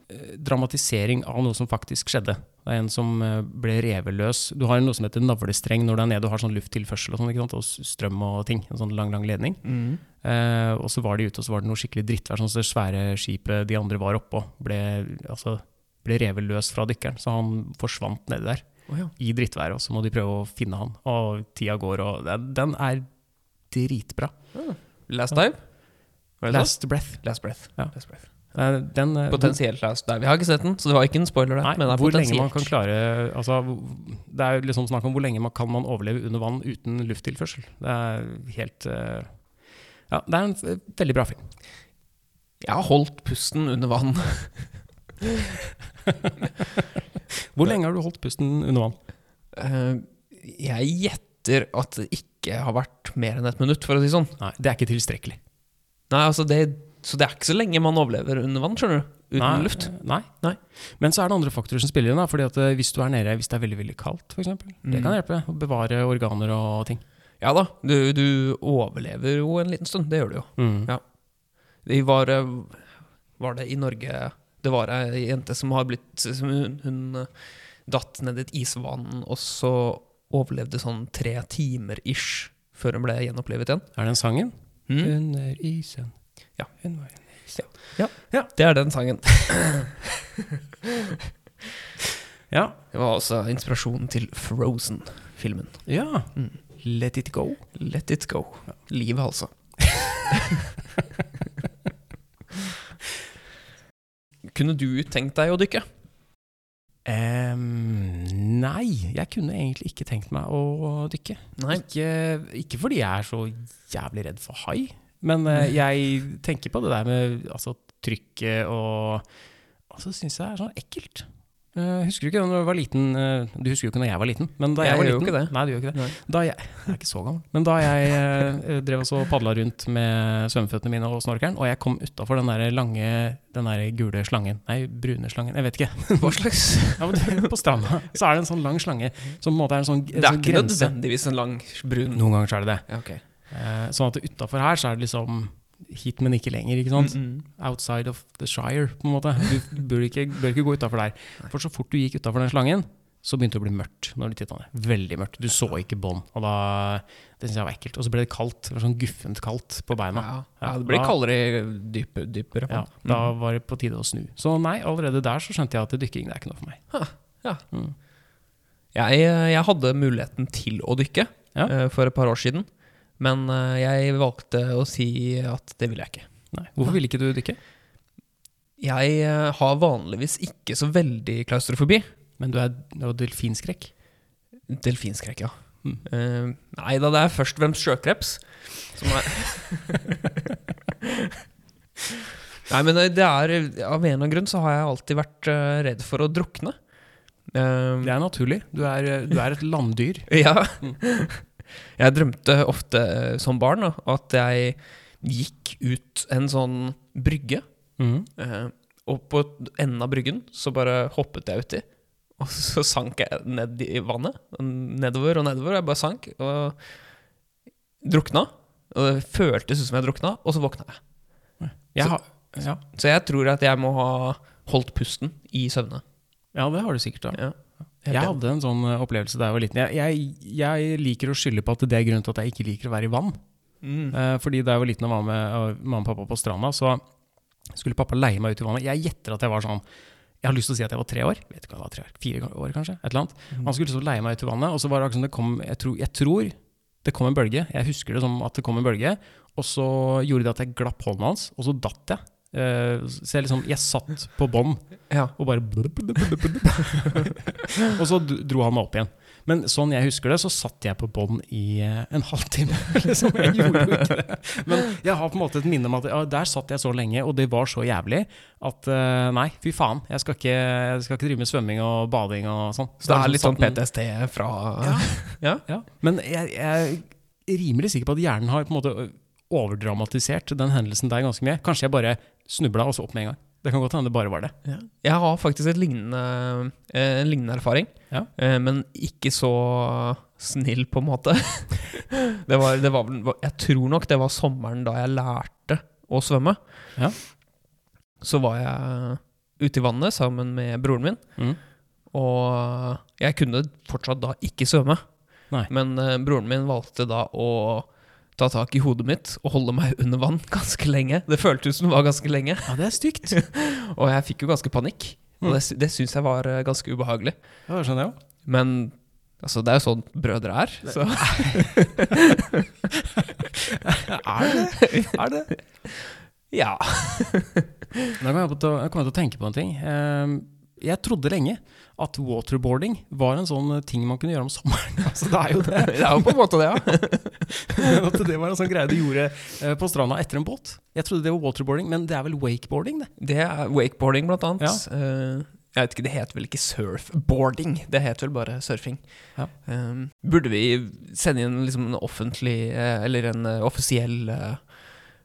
Speaker 2: dramatisering av noe som faktisk skjedde. Det er en som eh, ble reveløs. Du har noe som heter navlestreng når du er nede og har sånn lufttilførsel og sånn, ikke sant? Og s- strøm og ting. En sånn lang, lang ledning. Eh, og så var de ute, og så var det noe skikkelig drittvær. Sånn som det svære skipet de andre var oppå, ble, altså, ble revet løs fra dykkeren. Så han forsvant nedi der
Speaker 3: Å ja.
Speaker 2: i drittværet, og så må de prøve å finne han. Og tida går, og den- den er dritbra.
Speaker 3: Last dive? Var det
Speaker 2: Last breath.
Speaker 3: sånn? last breath.
Speaker 2: Ja.
Speaker 3: Last breath.
Speaker 2: Eh, Den, eh,
Speaker 3: Potensielt last dive. Jeg har ikke sett den, så det var ikke en spoiler der.
Speaker 2: Nei,
Speaker 3: men det er
Speaker 2: hvor lenge man kan
Speaker 3: potensielt.
Speaker 2: klare altså, hvor- Det er jo liksom snakk om hvor lenge man kan man overleve under vann uten lufttilførsel. Det er helt eh, Ja, det er en f- veldig bra film.
Speaker 3: Jeg har holdt pusten under vann.
Speaker 2: Hvor lenge har du holdt pusten under vann?
Speaker 3: Eh, Jeg gjetter at det ikke har vært mer enn et minutt, for å si det sånn.
Speaker 2: Nei, det er ikke tilstrekkelig.
Speaker 3: Nei, altså det, så det er ikke så lenge man overlever under vann, skjønner du. Uten
Speaker 2: Nei,
Speaker 3: luft.
Speaker 2: Nei.
Speaker 3: Nei.
Speaker 2: Men så er det andre faktorer som spiller inn. Da, fordi at eh, Hvis du er nede hvis det er veldig veldig kaldt, for eksempel, det
Speaker 3: Mm.
Speaker 2: kan hjelpe. Å bevare organer og ting.
Speaker 3: Ja da, du, du overlever jo en liten stund. Det gjør du jo.
Speaker 2: Mm.
Speaker 3: Ja. Vi var, eh, var det i Norge Det var ei jente som har blitt som hun, hun eh, datt ned i et isvann, og så overlevde sånn tre timer ish før hun ble gjenopplivet igjen.
Speaker 2: Er den sangen?
Speaker 3: Mm.
Speaker 2: Under isen.
Speaker 3: Ja.
Speaker 2: Hun var en-
Speaker 3: Det er den sangen.
Speaker 2: ja.
Speaker 3: Det var også inspirasjonen til Frozen-filmen.
Speaker 2: ja.
Speaker 3: Mm.
Speaker 2: Let it go.
Speaker 3: Let it go. Livet, altså. Kunne du tenkt deg å dykke?
Speaker 2: Em, nei, jeg kunne egentlig ikke tenkt meg å dykke. Ikke, ikke fordi jeg er så jævlig redd for hai, men eh, jeg tenker på det der med altså, trykket og Altså syns jeg det er sånn ekkelt. Eh, husker du ikke da du var liten eh, Du husker jo ikke da jeg var liten, men da jeg,
Speaker 3: Jeg
Speaker 2: var
Speaker 3: gjør jo
Speaker 2: liten
Speaker 3: ikke det.
Speaker 2: Nei, du gjør ikke det.
Speaker 3: Nei.
Speaker 2: Da jeg, jeg er ikke så gammel, men da jeg eh, drev og så padla rundt med svømmeføttene mine og snorkelen, og jeg kom utafor den der lange, den der gule slangen Nei, brune slangen, jeg vet ikke.
Speaker 3: Hva slags
Speaker 2: Ja, men det- på stranda så er det en sånn lang slange som på en måte er en sånn, en
Speaker 3: Det er
Speaker 2: sånn
Speaker 3: ikke nødvendigvis en lang brun
Speaker 2: Noen ganger så er det det.
Speaker 3: Ja, ok.
Speaker 2: Eh, sånn at utafor her så er det liksom hit, men ikke lenger. ikke sant?
Speaker 3: Mm, mm.
Speaker 2: Outside of the shire, på en måte. Du bør ikke, bør ikke gå utafor der. For så fort du gikk utafor den slangen, så begynte det å bli mørkt. når du tittet ned. Veldig mørkt. Du så ikke bånd. Og da, Det synes jeg var ekkelt. Og så ble det kaldt. Det var sånn guffent kaldt på beina.
Speaker 3: Ja, ja, det blir
Speaker 2: Ja.
Speaker 3: kaldere i dyp, dypere Mm.
Speaker 2: Ja,
Speaker 3: vann.
Speaker 2: Mm. Da var det på tide å snu. Så nei, allerede der så skjønte jeg at dykking det er ikke noe for meg.
Speaker 3: Jeg, eh, jeg hadde muligheten til å dykke
Speaker 2: Ja.
Speaker 3: eh, for et par år siden, men eh, jeg valgte å si at det ville jeg ikke.
Speaker 2: Nei. Hvorfor ville ikke du dykke?
Speaker 3: Jeg eh, har vanligvis ikke så veldig klaustrofobi.
Speaker 2: Men du er du har delfinskrekk.
Speaker 3: Delfinskrekk, ja.
Speaker 2: Mm.
Speaker 3: Eh, nei da, det er først og fremst sjøkreps. Som er Nei, men eh, det er Av en eller annen grunn så har jeg alltid vært eh, redd for å drukne. Eh,
Speaker 2: Det er naturlig. Du er, du er et landdyr.
Speaker 3: Ja. Jeg drømte ofte eh, som barn da, at jeg gikk ut en sånn brygge,
Speaker 2: Mm.
Speaker 3: eh, og på enden av bryggen så bare hoppet jeg uti. Og så sank jeg ned i vannet, nedover og nedover, og jeg bare sank. Og drukna. Og det føltes ut som jeg drukna, og så våkna jeg.
Speaker 2: Jeg har, ja.
Speaker 3: Så jeg tror at jeg må ha holdt pusten i søvne.
Speaker 2: ja, det har du sikkert. da.
Speaker 3: Ja. Helt
Speaker 2: Jeg
Speaker 3: enig.
Speaker 2: hadde en sånn eh, opplevelse da jeg var liten. Jeg, jeg, jeg liker å skylde på at det er grunnen til at jeg ikke liker å være i vann.
Speaker 3: Mm.
Speaker 2: Eh, fordi da jeg var liten og var med eh, mamma og pappa på stranda, så skulle pappa leie meg ut i vannet. Jeg gjetter at jeg var sånn Jeg har lyst til å si at jeg var tre år. Vet ikke om jeg
Speaker 3: Mm. Altså,
Speaker 2: liksom var tre år, Fire år, kanskje? Et eller annet. Han skulle så leie meg ut i vannet, og så var det akkurat som det kom Jeg tror, jeg tror Det kom en bølge. Jeg husker det som at det kom en bølge. Og så gjorde det at jeg glapp hånden hans, og så datt jeg. Eh, så jeg liksom Jeg satt på bånn
Speaker 3: Ja.
Speaker 2: og bare blup, blup, blup, blup. Og så d- dro han meg opp igjen. Men sånn jeg husker det, så satt jeg på bånn i eh, en halvtime. Liksom. Jeg gjorde jo ikke det. Men jeg har på en måte et minne om at ja, der satt jeg så lenge, og det var så jævlig at eh, nei, fy faen. Jeg skal ikke, jeg skal ikke drive med svømming og bading og sånn.
Speaker 3: Så det er litt sånn
Speaker 2: satt en-
Speaker 3: PTSD fra
Speaker 2: ja. Men jeg, jeg er rimelig sikker på at hjernen har på en måte overdramatisert den hendelsen der ganske mye. Kanskje jeg bare snubla og så opp med en gang. Det kan godt hende det bare var det.
Speaker 3: Ja. Jeg har faktisk et lignende, eh, en lignende erfaring,
Speaker 2: Ja.
Speaker 3: eh, men ikke så snill, på en måte. det var, det var, vel- jeg tror nok det var sommeren da jeg lærte å svømme.
Speaker 2: Ja.
Speaker 3: Så var jeg ute i vannet sammen med broren min,
Speaker 2: Mm.
Speaker 3: og jeg kunne fortsatt da ikke svømme.
Speaker 2: Nei.
Speaker 3: Men eh, broren min valgte da å ta tak i hodet mitt og holde meg under vann ganske lenge. Det føltes som det var ganske lenge.
Speaker 2: Ja, det er stygt.
Speaker 3: Og jeg fikk jo ganske panikk.
Speaker 2: Mm.
Speaker 3: Og det, sy- det syns jeg var eh, ganske ubehagelig.
Speaker 2: Ja, det skjønner jeg òg.
Speaker 3: Men altså, det er jo sånn brødre er. Så.
Speaker 2: Er det er det?
Speaker 3: Ja.
Speaker 2: Nå kom jeg på til å- jeg kom til å tenke på en ting. Ehm, Jeg trodde lenge at waterboarding var en sånn ting man kunne gjøre om sommeren. Altså, det er jo det.
Speaker 3: Det er jo på en måte det, ja.
Speaker 2: At det var en sånn greie du gjorde eh, på stranda etter en båt. Jeg trodde det var waterboarding, men det er vel wakeboarding, det.
Speaker 3: Det er wakeboarding, blant annet. Eh, jeg vet ikke, Det het vel ikke surfboarding, det het vel bare surfing.
Speaker 2: Ja.
Speaker 3: Eh, burde vi sende inn liksom en offentlig, eh, eller en eh, offisiell eh,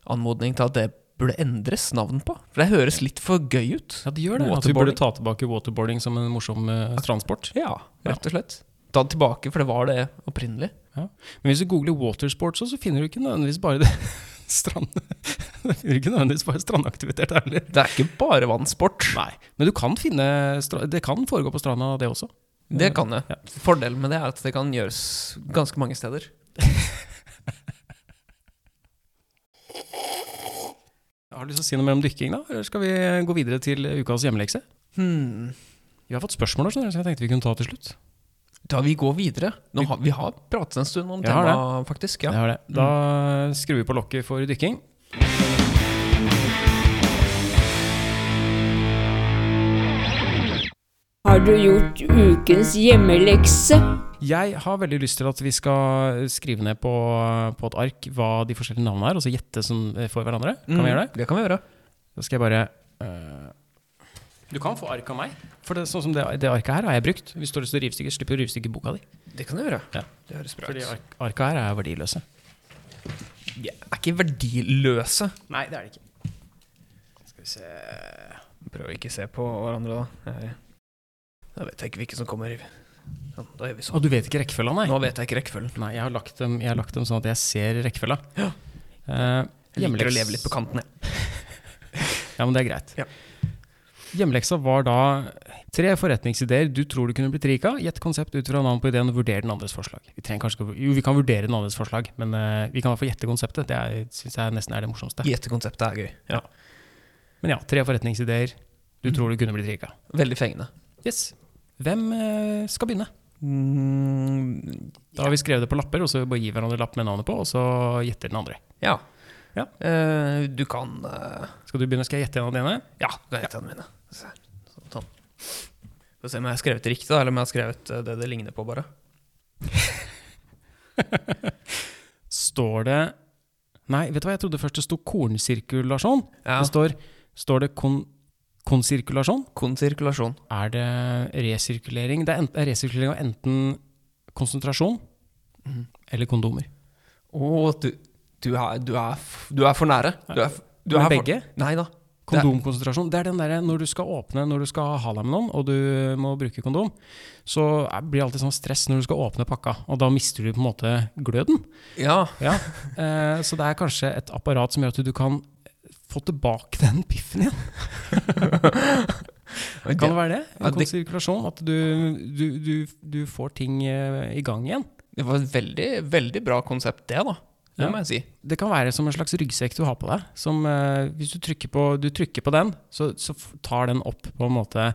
Speaker 3: anmodning til at det burde endres navn på? For det høres litt for gøy ut.
Speaker 2: Ja, det gjør det. At vi burde
Speaker 3: Waterboarding.
Speaker 2: ta tilbake waterboarding som en morsom eh, transport.
Speaker 3: Ja, rett og slett. Ta det tilbake, for det var det opprinnelig.
Speaker 2: Men hvis du googler watersports, også, så finner du ikke nødvendigvis bare det strand... Du finner ikke nødvendigvis bare strandaktivitet heller.
Speaker 3: Det er ikke bare vannsport.
Speaker 2: Nei, men du kan finne stra Det kan foregå på stranda, det også.
Speaker 3: Det kan det.
Speaker 2: Ja.
Speaker 3: Fordelen med det er at det kan gjøres ganske mange steder.
Speaker 2: Har du lyst til å si noe mer om dykking, da? Eller skal vi gå videre til ukas hjemmelekse?
Speaker 3: Hmm.
Speaker 2: Vi har fått spørsmål, skjønner du, så jeg tenkte vi kunne ta til slutt.
Speaker 3: Da vi går videre. Nå har, vi har pratet en stund om
Speaker 2: Jeg har
Speaker 3: temaet, faktisk.
Speaker 2: Det
Speaker 3: Ja.
Speaker 2: er det. Da skrur vi på lokket for dykking.
Speaker 1: Har du gjort ukens hjemmelekse?
Speaker 2: Jeg har veldig lyst til at vi skal skrive ned på, på et ark hva de forskjellige navnene er, og så gjette som eh, for hverandre. Kan vi gjøre det?
Speaker 3: Mm, Det kan vi gjøre.
Speaker 2: Da skal jeg bare eh, Du kan få ark av meg. For det, sånn som det, det arket her har jeg brukt. Hvis du har lyst til å rivstykke, slipper du å rivstykke boka di.
Speaker 3: Det kan vi gjøre.
Speaker 2: Ja.
Speaker 3: Det høres bra
Speaker 2: Fordi
Speaker 3: ut.
Speaker 2: ark, arka her er verdiløse.
Speaker 3: Vi er ikke verdiløse.
Speaker 2: Nei, det er det ikke.
Speaker 3: Skal vi se Prøv å ikke se på hverandre, da. Jeg- Da vet jeg ikke hvilken som kommer. Sånn, da gjør vi sånn.
Speaker 2: Og du vet ikke rekkefølga, nei?
Speaker 3: Nå vet jeg ikke rekkefølgen.
Speaker 2: Nei, jeg har lagt dem, jeg har lagt dem sånn at jeg ser rekkefølga.
Speaker 3: Ja.
Speaker 2: Eh,
Speaker 3: Jeg liker å
Speaker 2: hjemmeleks-
Speaker 3: leve litt på kanten, jeg.
Speaker 2: Ja, men det er greit.
Speaker 3: Ja.
Speaker 2: Hjemmeleksa var da tre forretningsideer du tror du kunne blitt rik av. Gjett konsept ut fra navn på ideen og vurder den andres forslag. Vi trenger kanskje ikke å- Jo, vi kan vurdere den andres forslag, men eh, vi kan i hvert fall gjette konseptet. Det syns jeg nesten er det morsomste.
Speaker 3: Gjetekonseptet er gøy. Ja.
Speaker 2: Men ja, tre forretningsideer du tror du kunne blitt rik av.
Speaker 3: Veldig fengende.
Speaker 2: Yes. Hvem eh, skal begynne?
Speaker 3: Mm,
Speaker 2: Da har vi skrevet det på lapper, og så bare gir hverandre lapp med navnet på, og så gjetter den andre.
Speaker 3: Ja.
Speaker 2: Ja.
Speaker 3: Eh, du kan eh,
Speaker 2: Skal du begynne? Skal jeg gjette en av dine?
Speaker 3: Ja, du kan gjette den mine. Så her. Sånn, Sånn. Får se om jeg har skrevet riktig, da, eller om jeg har skrevet eh, det det ligner på, bare.
Speaker 2: Står det Nei, vet du hva, jeg trodde først det sto kornsirkulasjon.
Speaker 3: Ja.
Speaker 2: Det står, står det kon, konsirkulasjon?
Speaker 3: Konsirkulasjon.
Speaker 2: Er det resirkulering? Det er, ent, er resirkulering av enten konsentrasjon
Speaker 3: Mhm.
Speaker 2: eller kondomer.
Speaker 3: Å, du, du, er, du, er, f- du er for nære. Du er, f- du
Speaker 2: Men
Speaker 3: er for-
Speaker 2: begge?
Speaker 3: Nei da. Det er-
Speaker 2: Kondomkonsentrasjon. Det er den derre når du skal åpne, når du skal ha deg med noen, og du må bruke kondom, så er- blir det alltid sånn stress når du skal åpne pakka, og da mister du på en måte gløden.
Speaker 3: Ja.
Speaker 2: Ja. Eh, så det er kanskje et apparat som gjør at du kan få tilbake den piffen igjen. Kan det
Speaker 3: Det,
Speaker 2: være det?
Speaker 3: Ja,
Speaker 2: En
Speaker 3: det-
Speaker 2: konsirkulasjon? At du, du, du, du får ting eh, i gang igjen?
Speaker 3: det var et veldig, veldig bra konsept, det, da. Det
Speaker 2: Ja.
Speaker 3: må jeg si.
Speaker 2: Det kan være som en slags ryggsekk du har på deg. Som, eh, hvis du trykker på, du trykker på den, så, så f- tar den opp på en måte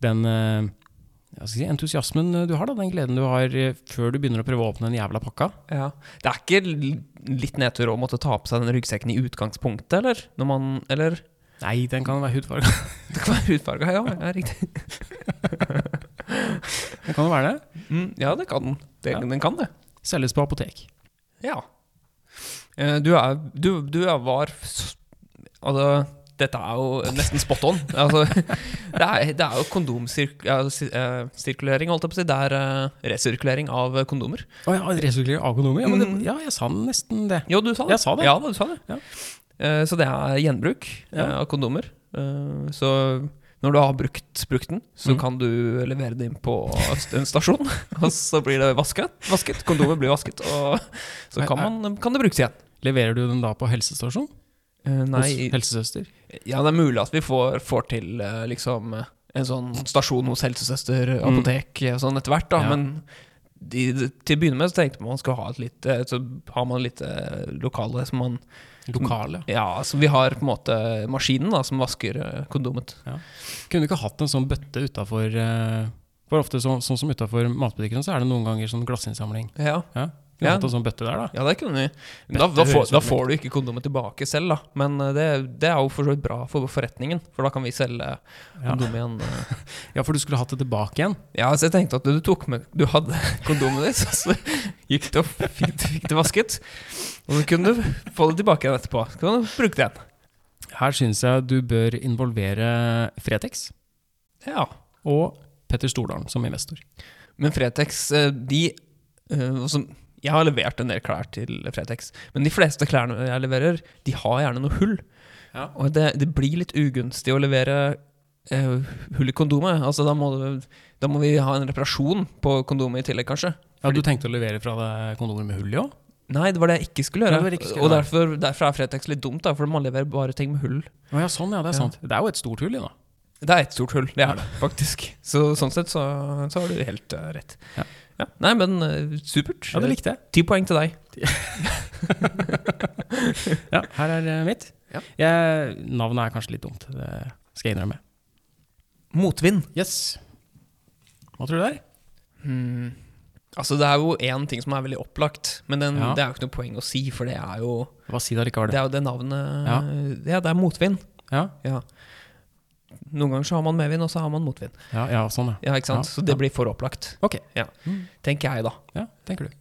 Speaker 2: den eh, hva skal jeg si, entusiasmen du har, da, den gleden du har eh, før du begynner å prøve å åpne den jævla pakka.
Speaker 3: Ja. Det er ikke l- litt nedtur å måtte ta på seg den ryggsekken i utgangspunktet, eller? Når man, eller?
Speaker 2: Nei, den kan være hudfarga.
Speaker 3: Det kan være hudfarga, ja. ja riktig.
Speaker 2: Den kan jo være det.
Speaker 3: Mm, ja, det kan den. Det,
Speaker 2: Ja.
Speaker 3: Den kan det.
Speaker 2: Selges på apotek.
Speaker 3: Ja. Eh, Du er Du, du er var s- Altså, dette er jo nesten spot on. Altså, det, er, det er jo kondomsirkulering, eh, holdt jeg på å si. Det er eh, resirkulering av eh, kondomer.
Speaker 2: Å ja, resirkulering av kondomer? Ja, men det, ja, jeg sa nesten det.
Speaker 3: Jo, du sa det.
Speaker 2: Jeg sa det.
Speaker 3: Ja, du sa det.
Speaker 2: Ja.
Speaker 3: Eh, Så det er gjenbruk eh,
Speaker 2: Ja.
Speaker 3: av kondomer. Eh, Så når du har brukt, brukt den, så
Speaker 2: Mm.
Speaker 3: kan du levere den inn på st- en stasjon. Og så blir det vasket. vasket. Kondomet blir vasket, og så kan, man, kan det brukes igjen.
Speaker 2: Leverer du den da på helsestasjon?
Speaker 3: Eh,
Speaker 2: Hos helsesøster?
Speaker 3: Ja, det er mulig at vi får, får til eh, liksom eh, en sånn stasjon hos helsesøster, eh,
Speaker 2: Mm.
Speaker 3: apotek eh, sånn etter hvert, da.
Speaker 2: Ja.
Speaker 3: Men de, de, til å begynne med så tenkte man man skulle ha et litt eh, Så har man litt eh, lokale som man
Speaker 2: Lokale.
Speaker 3: Ja, så vi har på en måte maskinen da som vasker eh, kondomet.
Speaker 2: Kunne du ikke hatt en sånn bøtte utafor eh, For ofte så, sånn som utafor matbutikkene, så er det noen ganger sånn glassinnsamling.
Speaker 3: Ja,
Speaker 2: Ja? Kunne du
Speaker 3: Ja.
Speaker 2: hatt en sånn bøtte der, da?
Speaker 3: ja det kunne vi. Men Da,
Speaker 2: Dette
Speaker 3: da, får,
Speaker 2: høres
Speaker 3: da
Speaker 2: ut som-
Speaker 3: får du ikke kondomet tilbake selv, da. Men eh, det, det er jo for så vidt bra for forretningen, for da kan vi selge
Speaker 2: Ja.
Speaker 3: kondomet igjen. eh,
Speaker 2: ja, for du skulle hatt det tilbake igjen.
Speaker 3: Ja, så jeg tenkte at du tok med Du hadde kondomet ditt, og så gikk du og fikk, fikk det vasket. Og så kunne du få det tilbake igjen etterpå. Så kan du bruke det igjen.
Speaker 2: Her syns jeg du bør involvere Fretex
Speaker 3: Ja.
Speaker 2: og Petter Stordalen som investor.
Speaker 3: Men Fretex, eh, de eh, og som- Jeg har levert en del klær til Fretex, men de fleste klærne jeg leverer, de har gjerne noe hull.
Speaker 2: Ja.
Speaker 3: Og det, det blir litt ugunstig å levere eh, hull i kondomet. Altså, da, må, du- da må vi ha en reparasjon på kondomet i tillegg, kanskje.
Speaker 2: Ja, Du tenkte å levere fra deg kondomer med hull i òg?
Speaker 3: Nei, det var det jeg ikke skulle gjøre.
Speaker 2: Ja, det var det jeg ikke skulle
Speaker 3: og
Speaker 2: gjøre.
Speaker 3: derfor, derfor er Fretex litt dumt, da, for man leverer bare ting med hull.
Speaker 2: Å ja, sånn, ja. Det
Speaker 3: Ja.
Speaker 2: er sant. Det er jo et stort hull i, da.
Speaker 3: Det er ett stort hull, det er det faktisk. Så sånn sett så, så har du helt eh, rett.
Speaker 2: Ja.
Speaker 3: Ja. Nei, men eh, supert.
Speaker 2: Ja, det likte jeg.
Speaker 3: Ti poeng til deg.
Speaker 2: Ja, her er eh, mitt.
Speaker 3: Ja.
Speaker 2: Jeg, navnet er kanskje litt dumt, det skal jeg innrømme.
Speaker 3: Motvind.
Speaker 2: Yes. Hva tror du det er?
Speaker 3: Hmm. Altså, det er jo én ting som er veldig opplagt, men den,
Speaker 2: Ja.
Speaker 3: det er jo ikke noe poeng å si, for det er jo
Speaker 2: Hva si det
Speaker 3: det,
Speaker 2: allikevel.
Speaker 3: er jo det navnet
Speaker 2: Ja.
Speaker 3: ja. det er motvind.
Speaker 2: Ja.
Speaker 3: Ja. Noen ganger så har man medvind, og så har man motvind.
Speaker 2: Ja, ja, sånn, ja.
Speaker 3: Ja, ikke sant?
Speaker 2: Ja,
Speaker 3: Så
Speaker 2: ja.
Speaker 3: det blir for opplagt,
Speaker 2: Ok. Mm.
Speaker 3: tenker jeg, da.
Speaker 2: Ja, tenker du.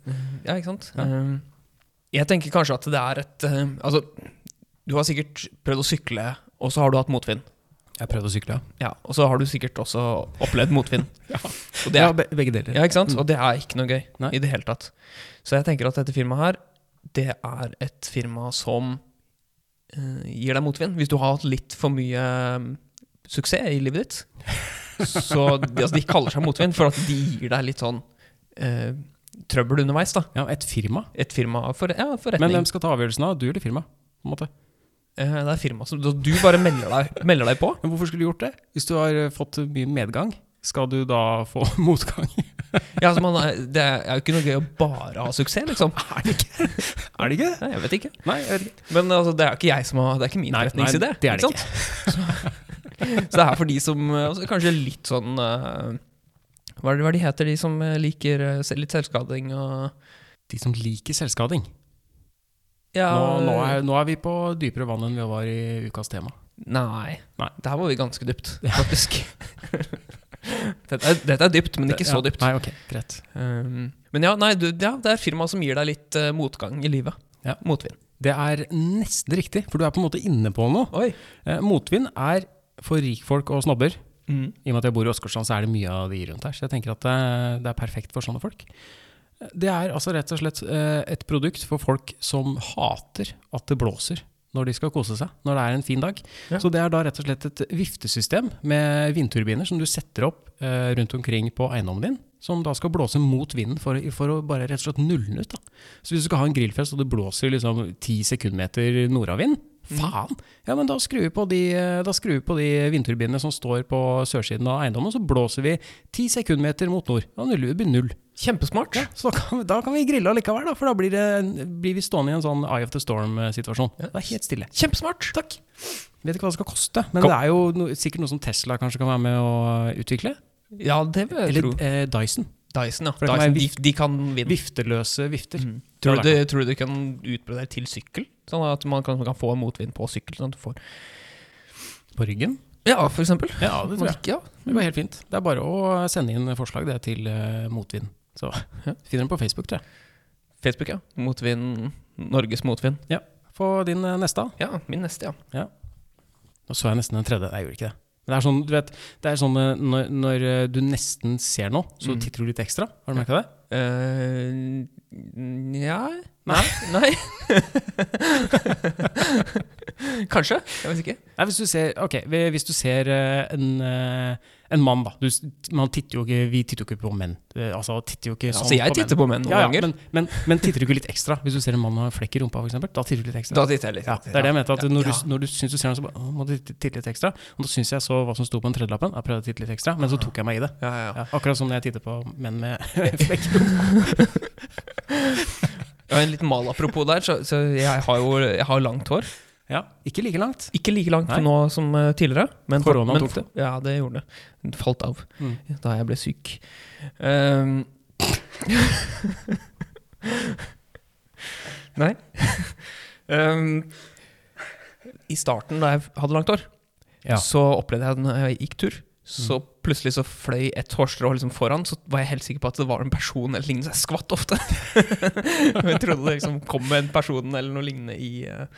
Speaker 3: Ja, ikke sant?
Speaker 2: Ja.
Speaker 3: Eh, Jeg tenker kanskje at det er et eh, Altså, du har sikkert prøvd å sykle, og så har du hatt motvind.
Speaker 2: Jeg prøvde å sykle, ja.
Speaker 3: Ja, Og så har du sikkert også opplevd motvind. Og det
Speaker 2: ja,
Speaker 3: er,
Speaker 2: be begge deler.
Speaker 3: ja, ikke sant?
Speaker 2: Mm.
Speaker 3: Og det er ikke noe gøy
Speaker 2: Nei.
Speaker 3: i det hele tatt. Så jeg tenker at dette firmaet her, det er et firma som eh, gir deg motvind. Hvis du har hatt litt for mye eh, suksess i livet ditt, så de, altså, de kaller seg motvind, for at de gir deg litt sånn eh, trøbbel underveis, da.
Speaker 2: Ja, et firma.
Speaker 3: Et firma for, ja,
Speaker 2: Men
Speaker 3: forretning.
Speaker 2: hvem skal ta avgjørelsen av? Du eller firmaet? På en måte.
Speaker 3: Eh, det er firma som Du du bare melder deg, melder deg på?
Speaker 2: Men hvorfor skulle du gjort det? Hvis du har eh, fått mye medgang, skal du da få motgang?
Speaker 3: Ja, altså, man, er- det er jo ikke noe gøy å bare ha suksess, liksom.
Speaker 2: Er det ikke? Er det ikke?
Speaker 3: Nei, jeg vet ikke.
Speaker 2: Nei, jeg vet ikke.
Speaker 3: Men altså, det er jo ikke jeg som har Det er ikke min
Speaker 2: Nei,
Speaker 3: forretningsidé.
Speaker 2: nei, det er det
Speaker 3: sant? Så, så det er for de som eh, altså, Kanskje litt sånn eh, hva er det hva er det de heter, de som eh, liker eh, se- litt selvskading og
Speaker 2: De som liker selvskading.
Speaker 3: ja,
Speaker 2: Nå, nå, er, nå er vi på dypere vann enn vi var i ukas tema.
Speaker 3: Nei.
Speaker 2: Nei.
Speaker 3: Der var vi ganske dypt, faktisk. dette, er, dette er dypt, men ikke så dypt.
Speaker 2: Nei, ok, greit.
Speaker 3: Um, men ja, nei, du, ja, det er firmaet som gir deg litt eh, motgang i livet.
Speaker 2: Ja.
Speaker 3: Motvind.
Speaker 2: Det er nesten riktig, for du er på en måte inne på noe.
Speaker 3: Oi.
Speaker 2: Eh, motvind er for rikfolk og snobber.
Speaker 3: Mm.
Speaker 2: I og med at jeg bor i Åsgårdstrand, så er det mye av de rundt her. Så jeg tenker at det, det er perfekt for sånne folk. Det er altså rett og slett eh, et produkt for folk som hater at det blåser når de skal kose seg, når det er en fin dag.
Speaker 3: Ja.
Speaker 2: Så det er da rett og slett et viftesystem med vindturbiner som du setter opp eh, rundt omkring på eiendommen din, som da skal blåse mot vinden for, for å bare rett og slett nulle den ut. Da. Så hvis du skal ha en grillfest og det blåser liksom ti sekundmeter nordavind, faen! Ja, men da skrur vi på de, da skrur vi på de vindturbinene som står på sørsiden av eiendommen, så blåser vi ti sekundmeter mot nord. Da nuller vi det blir null.
Speaker 3: Kjempesmart.
Speaker 2: Ja, så da kan, da kan vi grille allikevel, da, for da blir, det, blir vi stående i en sånn Eye of the Storm-situasjon. Det er helt stille.
Speaker 3: Kjempesmart. Takk.
Speaker 2: Vet ikke hva det skal koste, men
Speaker 3: Kom.
Speaker 2: det er jo no, sikkert noe som Tesla kanskje kan være med å utvikle.
Speaker 3: Ja, det vil jeg
Speaker 2: Eller
Speaker 3: tro.
Speaker 2: eh, Dyson.
Speaker 3: Dyson, ja.
Speaker 2: For det kan
Speaker 3: Dyson,
Speaker 2: være
Speaker 3: de,
Speaker 2: vift-
Speaker 3: de kan vinne.
Speaker 2: Vifteløse vifter.
Speaker 3: Mm. Tror, du
Speaker 2: Det er
Speaker 3: det, tror du det kan utbrodere til sykkel? Sånn at man kan, man kan få en motvind på sykkel? Sånn at du får
Speaker 2: På ryggen?
Speaker 3: Ja, for eksempel.
Speaker 2: Ja, det tror
Speaker 3: Man
Speaker 2: jeg.
Speaker 3: ikke, ja.
Speaker 2: Det var helt fint. Det er bare å sende inn forslag det til eh, Motvind. Så finner den på Facebook, tror jeg.
Speaker 3: Facebook, ja. Motvind. Norges motvind.
Speaker 2: Få din eh, neste, da.
Speaker 3: Ja, min neste, ja.
Speaker 2: Nå så jeg nesten den tredje. Nei, jeg gjorde ikke det. Men det er sånn, du vet, det er sånn eh, når, når eh, du nesten ser noe, så
Speaker 3: Mm.
Speaker 2: titter du litt ekstra. Har du merka det?
Speaker 3: Eh, Nja
Speaker 2: Nei.
Speaker 3: Nei. Nei. Kanskje. Jeg vet ikke.
Speaker 2: Nei, hvis du ser, ok, hvis du ser eh, en, eh, en mann, da. Du, s- man titter jo ikke, vi titter jo ikke på menn. Eh, Altså, titter jo ikke sånn
Speaker 3: altså, jeg
Speaker 2: på menn.
Speaker 3: titter på menn noen
Speaker 2: Ja, ja,
Speaker 3: ganger.
Speaker 2: men, men, men titter du ikke litt ekstra hvis du ser en mann med flekk i rumpa, for eksempel, Da titter du litt ekstra.
Speaker 3: Da titter jeg litt.
Speaker 2: ja, det er det jeg mente. at
Speaker 3: Ja.
Speaker 2: Når,
Speaker 3: Ja.
Speaker 2: du, når du syns du ser noe, så bare, «Å, må du titte titte litt ekstra. Og da syns jeg så hva som sto på den tredjelappen. Jeg prøvde å titte litt ekstra, men så tok jeg meg i det.
Speaker 3: Ja, ja, ja.
Speaker 2: Ja, akkurat som når jeg titter på menn med flekk.
Speaker 3: Ja, en liten mal apropos der, så, så jeg har jo jeg har langt hår.
Speaker 2: Ja, ikke like langt.
Speaker 3: Ikke like langt
Speaker 2: Nei.
Speaker 3: nå som eh, tidligere. Men
Speaker 2: Korona
Speaker 3: men,
Speaker 2: tok det.
Speaker 3: Ja, det gjorde det. Det falt av
Speaker 2: Mm.
Speaker 3: da jeg ble syk. Ehm. Nei. Ehm, I starten, da jeg hadde langt hår,
Speaker 2: Ja. Mm.
Speaker 3: så opplevde jeg når jeg gikk tur. Så plutselig så fløy et hårstrå liksom foran, så var jeg helt sikker på at det var en person eller lignende. Så jeg skvatt ofte. Men jeg trodde det liksom kom med en person eller noe lignende i, eh,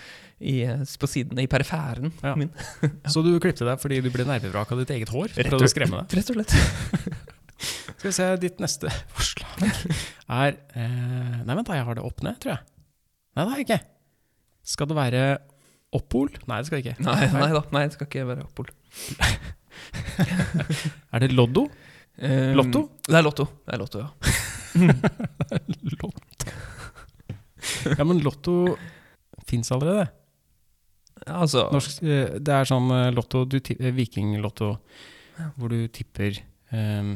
Speaker 3: i, eh, på sidene, i periferen
Speaker 2: Ja.
Speaker 3: min.
Speaker 2: Så du klipte deg fordi du ble nervevrak av ditt eget hår?
Speaker 3: Rett
Speaker 2: Prøvde
Speaker 3: og-
Speaker 2: å skremme deg?
Speaker 3: Rett og slett.
Speaker 2: Skal vi se, ditt neste forslag er eh, Nei, vent da, jeg har det opp ned, tror jeg. Nei, det har jeg ikke. Skal det være Oppol? Nei, Eh, det skal det ikke.
Speaker 3: Nei, nei da. Nei, det skal ikke være Apol.
Speaker 2: Er det Loddo?
Speaker 3: Eh,
Speaker 2: Lotto?
Speaker 3: Det er Lotto. Det er Lotto, ja.
Speaker 2: Lotto. ja, men Lotto fins allerede.
Speaker 3: ja altså,
Speaker 2: Norsk, eh, det er sånn eh, lotto, du ti- eh, vikinglotto, hvor du tipper ehm,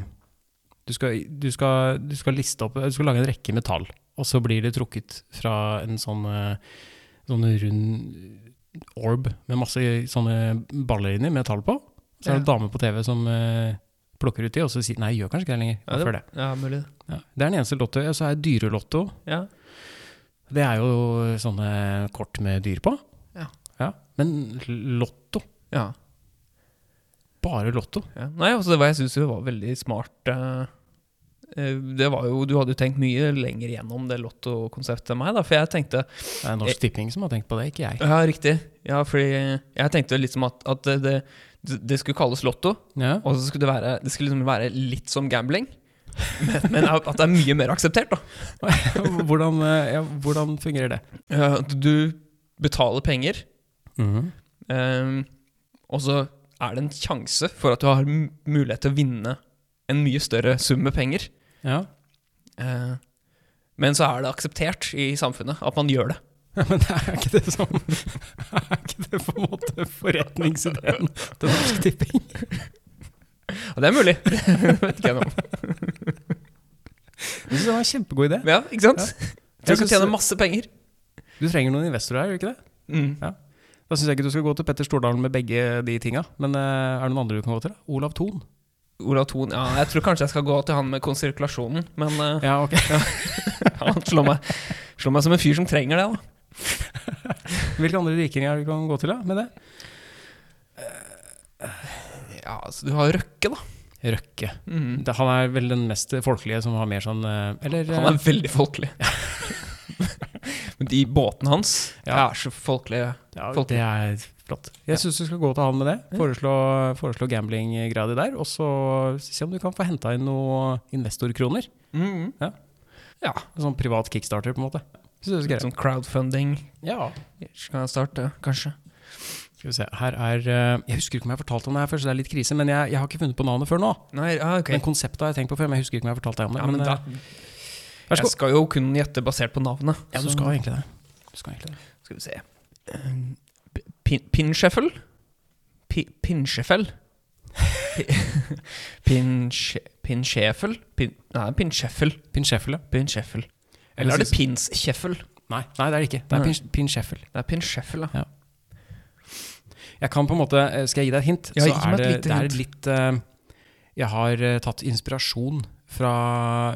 Speaker 2: du, skal, du, skal, du skal liste opp Du skal lage en rekke med tall, og så blir det trukket fra en sånn, eh, sånn rund orb med masse sånne baller inni med tall på. Så er det en dame på TV som eh, plukker ut de, og så sier Nei, gjør kanskje ikke det lenger.
Speaker 3: ja,
Speaker 2: Ja, det,
Speaker 3: det, ja, mulig det.
Speaker 2: ja. det er den eneste lotto. Og så er dyrelotto.
Speaker 3: Ja.
Speaker 2: Det er jo sånne kort med dyr på.
Speaker 3: Ja.
Speaker 2: Men lotto
Speaker 3: ja.
Speaker 2: Bare Lotto.
Speaker 3: ja. Nei, altså, det var, jeg syns det var veldig smart. eh, eh, det var jo, Du hadde jo tenkt mye lenger gjennom det Lotto-konseptet enn meg, da, for jeg tenkte
Speaker 2: Det er Norsk Tipping som har tenkt på det, ikke jeg.
Speaker 3: Ja, riktig. Ja, fordi jeg tenkte liksom at, at det, det, det skulle kalles Lotto,
Speaker 2: Ja.
Speaker 3: og så skulle det være, det skulle liksom være litt som gambling. Men, men at det er mye mer akseptert, da.
Speaker 2: Hvordan, eh, ja, hvordan fungerer det?
Speaker 3: Eh, at Du betaler penger,
Speaker 2: Mhm.
Speaker 3: Ehm, og så er det en sjanse for at du har m- mulighet til å vinne en mye større sum med penger.
Speaker 2: Ja.
Speaker 3: Eh, men så er det akseptert i samfunnet at man gjør det.
Speaker 2: Men det er ikke det som Er ikke det på en måte forretningsideen til Norsk Tipping?
Speaker 3: Og det er mulig. Det vet ikke jeg noe om.
Speaker 2: Jeg synes det var en kjempegod idé.
Speaker 3: Ja, ikke sant?
Speaker 2: Jeg
Speaker 3: Jeg skal
Speaker 2: synes-
Speaker 3: tjene masse penger.
Speaker 2: Du trenger noen investorer her, gjør du ikke det?
Speaker 3: Mm.
Speaker 2: Da syns jeg ikke du skal gå til Petter Stordalen med begge de tinga. Men eh, er det noen andre du kan gå til? da? Olav Thon.
Speaker 3: Olav Thon Ja, jeg tror kanskje jeg skal gå til han med konsirkulasjonen, men eh,
Speaker 2: Ja, ok.
Speaker 3: han slår meg, slår meg som en fyr som trenger det, da.
Speaker 2: Hvilke andre rikinger er det du kan gå til da, med det?
Speaker 3: Ja, altså, du har Røkke, da.
Speaker 2: Røkke.
Speaker 3: Mm.
Speaker 2: Det, han er vel den mest folkelige som har mer sånn eh, Eller eh,
Speaker 3: Han er veldig folkelig. Men de båtene hans
Speaker 2: Ja.
Speaker 3: er så folkelige.
Speaker 2: Ja,
Speaker 3: Folk-
Speaker 2: det er flott. Jeg syns du skal gå til han med det. Foreslå, foreslå gambling-greia di der, og så se om du kan få henta inn noen investorkroner.
Speaker 3: Mm.
Speaker 2: Ja.
Speaker 3: Ja.
Speaker 2: En Sånn privat kickstarter, på en måte. Synes jeg du skal gjøre.
Speaker 3: Sånn crowdfunding
Speaker 2: Ja.
Speaker 3: kan jeg starte, kanskje.
Speaker 2: Skal vi se. Her er eh, Jeg husker ikke om jeg har fortalt om det her før, så det er litt krise, men jeg, jeg har ikke funnet på navnet før nå.
Speaker 3: Nei, ja, ok.
Speaker 2: Men konseptet har jeg tenkt på før, men jeg husker ikke om jeg har fortalt deg om det.
Speaker 3: ja, men
Speaker 2: men,
Speaker 3: da,
Speaker 2: eh, vær så
Speaker 3: jeg
Speaker 2: god.
Speaker 3: skal jo kun gjette basert på navnet.
Speaker 2: Ja, du
Speaker 3: så-
Speaker 2: skal egentlig det. Du skal egentlig det.
Speaker 3: Skal vi se Um, pin- Pinscheffel? Pi- Pinscheffel? Pi- Pinsche- Pinscheffel? Pin, nei, Pinscheffel.
Speaker 2: Pinn Sheffel, ja.
Speaker 3: Pinscheffel.
Speaker 2: Eller
Speaker 3: Eller er det
Speaker 2: synes-
Speaker 3: Pinskjeffel?
Speaker 2: Nei, nei, det er det ikke. Det er
Speaker 3: Nei.
Speaker 2: Pinn- Pinn Sheffel.
Speaker 3: Det er Pinscheffel, da.
Speaker 2: Jeg kan på en måte, eh, Skal jeg gi deg et hint?
Speaker 3: Ja,
Speaker 2: så
Speaker 3: gi meg
Speaker 2: er det,
Speaker 3: et lite
Speaker 2: det er litt eh, jeg har eh, tatt inspirasjon fra,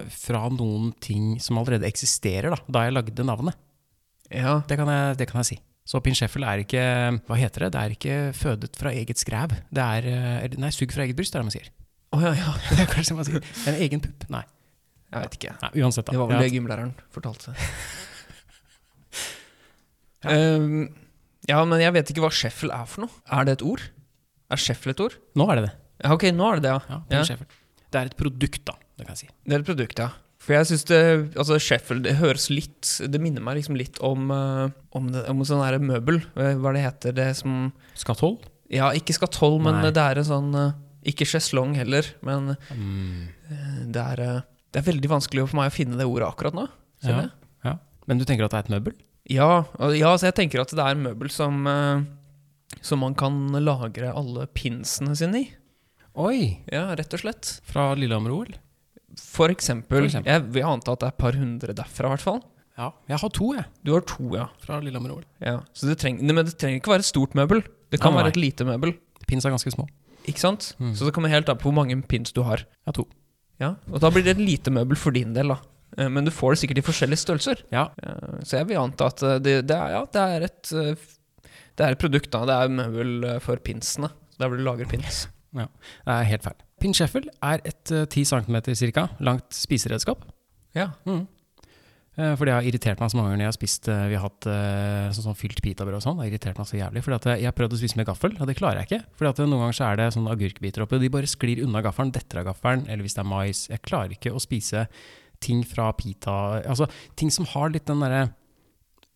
Speaker 2: fra noen ting som allerede eksisterer, da, da jeg lagde navnet.
Speaker 3: Ja.
Speaker 2: Det kan jeg, det kan jeg si. Så pin Sheffield er ikke Hva heter det? Det er ikke fødet fra eget skræv. Det er eh, eller Nei, sugd fra eget bryst, er det man sier.
Speaker 3: Å ja, ja.
Speaker 2: Det er kanskje det man sier. En egen pupp. Nei.
Speaker 3: Jeg vet ikke.
Speaker 2: nei uansett, da.
Speaker 3: Det var vel
Speaker 2: Ja.
Speaker 3: det gymlæreren fortalte seg. Ehm, ja, men jeg vet ikke hva scheffel er for noe. Er det et ord? Er scheffel et ord?
Speaker 2: Nå er det det.
Speaker 3: Ja, ok, nå er det det, ja.
Speaker 2: Ja, Pin Sheffield. Det er et produkt, da. Det kan jeg si.
Speaker 3: Det er et produkt, ja. For jeg syns det Altså, Sheffield det høres litt Det minner meg liksom litt om eh, Om, det, om sånn derre møbel. Eh, Hva det heter det som
Speaker 2: Skatthold?
Speaker 3: Ja, ikke skatoll, men
Speaker 2: Nei.
Speaker 3: det er en sånn eh, Ikke sjeslong heller, men
Speaker 2: Mm.
Speaker 3: eh, det er eh, Det er veldig vanskelig for meg å finne det ordet akkurat nå.
Speaker 2: Ja.
Speaker 3: Ja.
Speaker 2: ja. Men du tenker at det er et møbel?
Speaker 3: Ja, og- ja, så jeg tenker at det er en møbel som eh, Som man kan lagre alle pinsene sine i.
Speaker 2: Oi!
Speaker 3: Ja, rett og slett.
Speaker 2: Fra Lillehammer-OL?
Speaker 3: For eksempel.
Speaker 2: For eksempel.
Speaker 3: Jeg vil ante at det er et par hundre derfra, i hvert fall.
Speaker 2: Ja. Jeg har to, jeg.
Speaker 3: Du har to, ja.
Speaker 2: Fra Lillehammer-OL.
Speaker 3: Ja, så det treng, nei, Men det trenger ikke være et stort møbel. Det kan
Speaker 2: Nei, nei. Mm.
Speaker 3: være et lite møbel.
Speaker 2: Pins er ganske små.
Speaker 3: Ikke sant? Så det kommer helt an på hvor mange pins du har.
Speaker 2: Jeg har to.
Speaker 3: Ja, Og da blir det et lite møbel for din del, da. Eh, Men du får det sikkert i forskjellige størrelser.
Speaker 2: Ja.
Speaker 3: Eh, Så jeg vil anta at eh, det, det, er, ja, det er et eh, f- Det er et produkt, da. Det er møbel eh, for pinsene. Der hvor du lager pins.
Speaker 2: Det er helt feil. Pin Sheffield er et eh, 10 cm cirka langt spiseredskap.
Speaker 3: Ja.
Speaker 2: Eh, For det har irritert meg så mange ganger når jeg har spist eh, Vi har hatt eh, sånn, sånn fylt pitabrød og sånn. Det har irritert meg så jævlig. Fordi at jeg- jeg har prøvd å spise med gaffel, og det klarer jeg ikke. Fordi at noen ganger så er det sånne agurkbiter oppi, og de bare sklir unna gaffelen, detter av gaffelen, eller hvis det er mais. Jeg klarer ikke å spise ting fra pita Altså ting som har litt den derre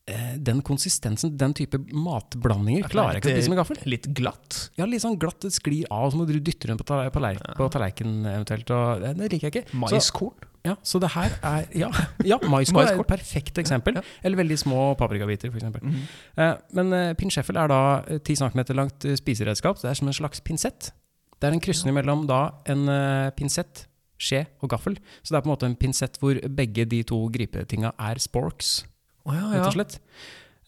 Speaker 2: eh, Den konsistensen, den type matblandinger, klarer jeg ikke å spise med gaffel.
Speaker 3: Litt glatt.
Speaker 2: Ja, litt sånn glatt, det sklir av, og så må du dytte rundt på, talle- på, tallerken- på tallerkenen eventuelt. Og det, det liker jeg ikke. Så,
Speaker 3: Maiskorn.
Speaker 2: ja, så det her er Ja, ja maiskorn er
Speaker 3: Maiskorn.
Speaker 2: et perfekt eksempel. Eller veldig små paprikabiter, f.eks. eksempel
Speaker 3: Mhm.
Speaker 2: Eh, men eh, pinsjeffel er da eh, 10 cm langt eh, spiseredskap. Det er som en slags pinsett. Det er en krysning mellom da en eh, pinsett, skje og gaffel. Så det er på en måte en pinsett hvor begge de to gripetinga er sporks
Speaker 3: Å ja,
Speaker 2: rett
Speaker 3: ja.
Speaker 2: og slett.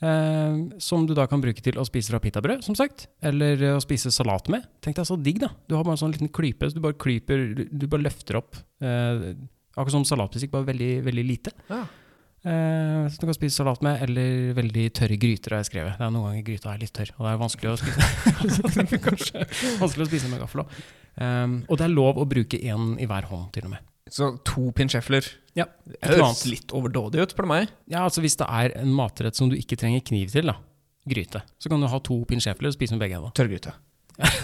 Speaker 2: Eh, som du da kan bruke til å spise fra pitabrød, som sagt. Eller eh, å spise salat med. Tenk deg så digg, da. Du har bare en sånn liten klype, så du bare klyper Du bare løfter opp. eh, akkurat som salatpistikk, bare veldig, veldig lite.
Speaker 3: Ja.
Speaker 2: Eh, som du kan spise salat med, eller veldig tørre gryter, har jeg skrevet. Det er Noen ganger gryta er litt tørr, og det er vanskelig å spise, Så det er kanskje vanskelig å spise med gaffel òg. og det er lov å bruke én i hver hånd, til og med.
Speaker 3: Så to pinchefler.
Speaker 2: Ja,
Speaker 3: Det
Speaker 2: et eller
Speaker 3: høres
Speaker 2: annet.
Speaker 3: litt overdådig ut, spør du meg.
Speaker 2: Ja, altså hvis det er en matrett som du ikke trenger kniv til, da, gryte, så kan du ha to pinsjefler og spise med begge henda.
Speaker 3: Tørrgryte.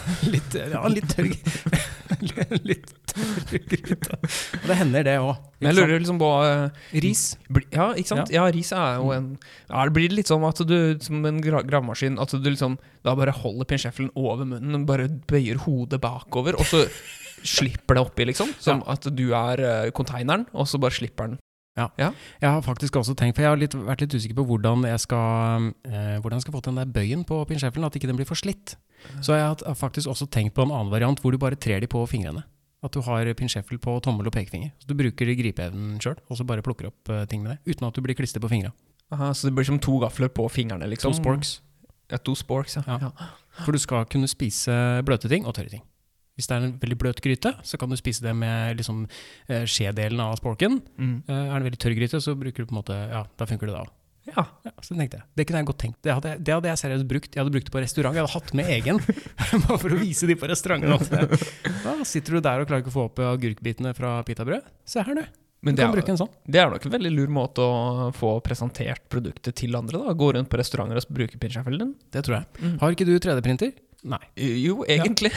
Speaker 2: Litt, ja, litt tørr Litt tørr gryte. Og det hender, det òg.
Speaker 3: Men jeg lurer liksom på eh,
Speaker 2: Ris.
Speaker 3: Bli, ja, ikke sant? Ja, ris er jo en ja, Det blir litt som at du, som en gra gravemaskin, at du liksom da bare holder pinsjeffelen over munnen, bare bøyer hodet bakover, og så slipper det oppi, liksom. Som at du er eh, konteineren, og så bare slipper den.
Speaker 2: Jeg har faktisk også tenkt, for jeg har litt, vært litt usikker på hvordan jeg skal, eh, hvordan jeg skal få til den der bøyen på pinsjeflen, at ikke den blir for slitt. Så jeg har hatt- har faktisk også tenkt på en annen variant, hvor du bare trer de på fingrene. At du har pinsjeffel på tommel og pekefinger. Så du bruker gripeevnen sjøl, og så bare plukker opp eh, ting med det. Uten at du blir klistret på fingra.
Speaker 3: Aha, så det blir som to gafler på fingrene, liksom.
Speaker 2: To sporks.
Speaker 3: Ja, to sporks, ja.
Speaker 2: Ja.
Speaker 3: ja.
Speaker 2: For du skal kunne spise bløte ting og tørre ting. Hvis det er en veldig bløt gryte, så kan du spise det med liksom, eh, skjedelen av sporken.
Speaker 3: Mm.
Speaker 2: Eh, Er det veldig tørr gryte, så bruker du på en måte, ja, da funker det da.
Speaker 3: ja.
Speaker 2: Ja, så tenkte jeg, Det kunne jeg godt tenkt. Det hadde, jeg- det hadde jeg seriøst brukt. Jeg hadde brukt det på restaurant. Jeg hadde hatt med egen, bare for å vise de på restauranten. at det- Da sitter du der og klarer ikke å få opp agurkbitene fra pitabrød. Se her, du. Du
Speaker 3: Men det
Speaker 2: kan
Speaker 3: er,
Speaker 2: bruke en sånn.
Speaker 3: det er nok en veldig lur måte å få presentert produktet til andre, da. Gå rundt på restauranter og bruke pinsjeffelen din.
Speaker 2: Det tror jeg.
Speaker 3: Mm.
Speaker 2: Har ikke du 3D-printer? Nei.
Speaker 3: Jo, egentlig.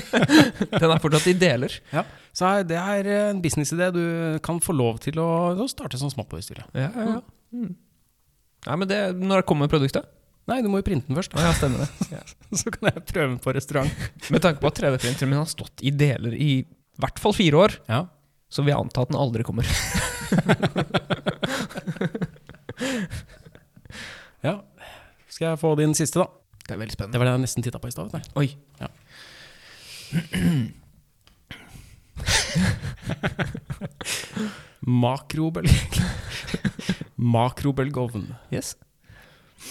Speaker 3: den er fortsatt i deler.
Speaker 2: Ja. Så er- det er en businessidé du kan få lov til å, å starte som småpåstyrer.
Speaker 3: Ja, ja, ja. Nei, men det, når det kommer produktet
Speaker 2: Nei, du må jo printe den først.
Speaker 3: Å ja, stemmer det.
Speaker 2: Så kan jeg prøve den på restaurant.
Speaker 3: Med tanke på at 3D-printeren min har stått i deler i hvert fall fire år,
Speaker 2: Ja.
Speaker 3: så vil jeg anta at den aldri kommer.
Speaker 2: ja. Skal jeg få din siste, da?
Speaker 3: Det er veldig
Speaker 2: Det
Speaker 3: spennende.
Speaker 2: var det jeg nesten titta på i stad. vet du.
Speaker 3: Oi.
Speaker 2: Ja. Makrobølg. Makrobølgeovn.
Speaker 3: Yes.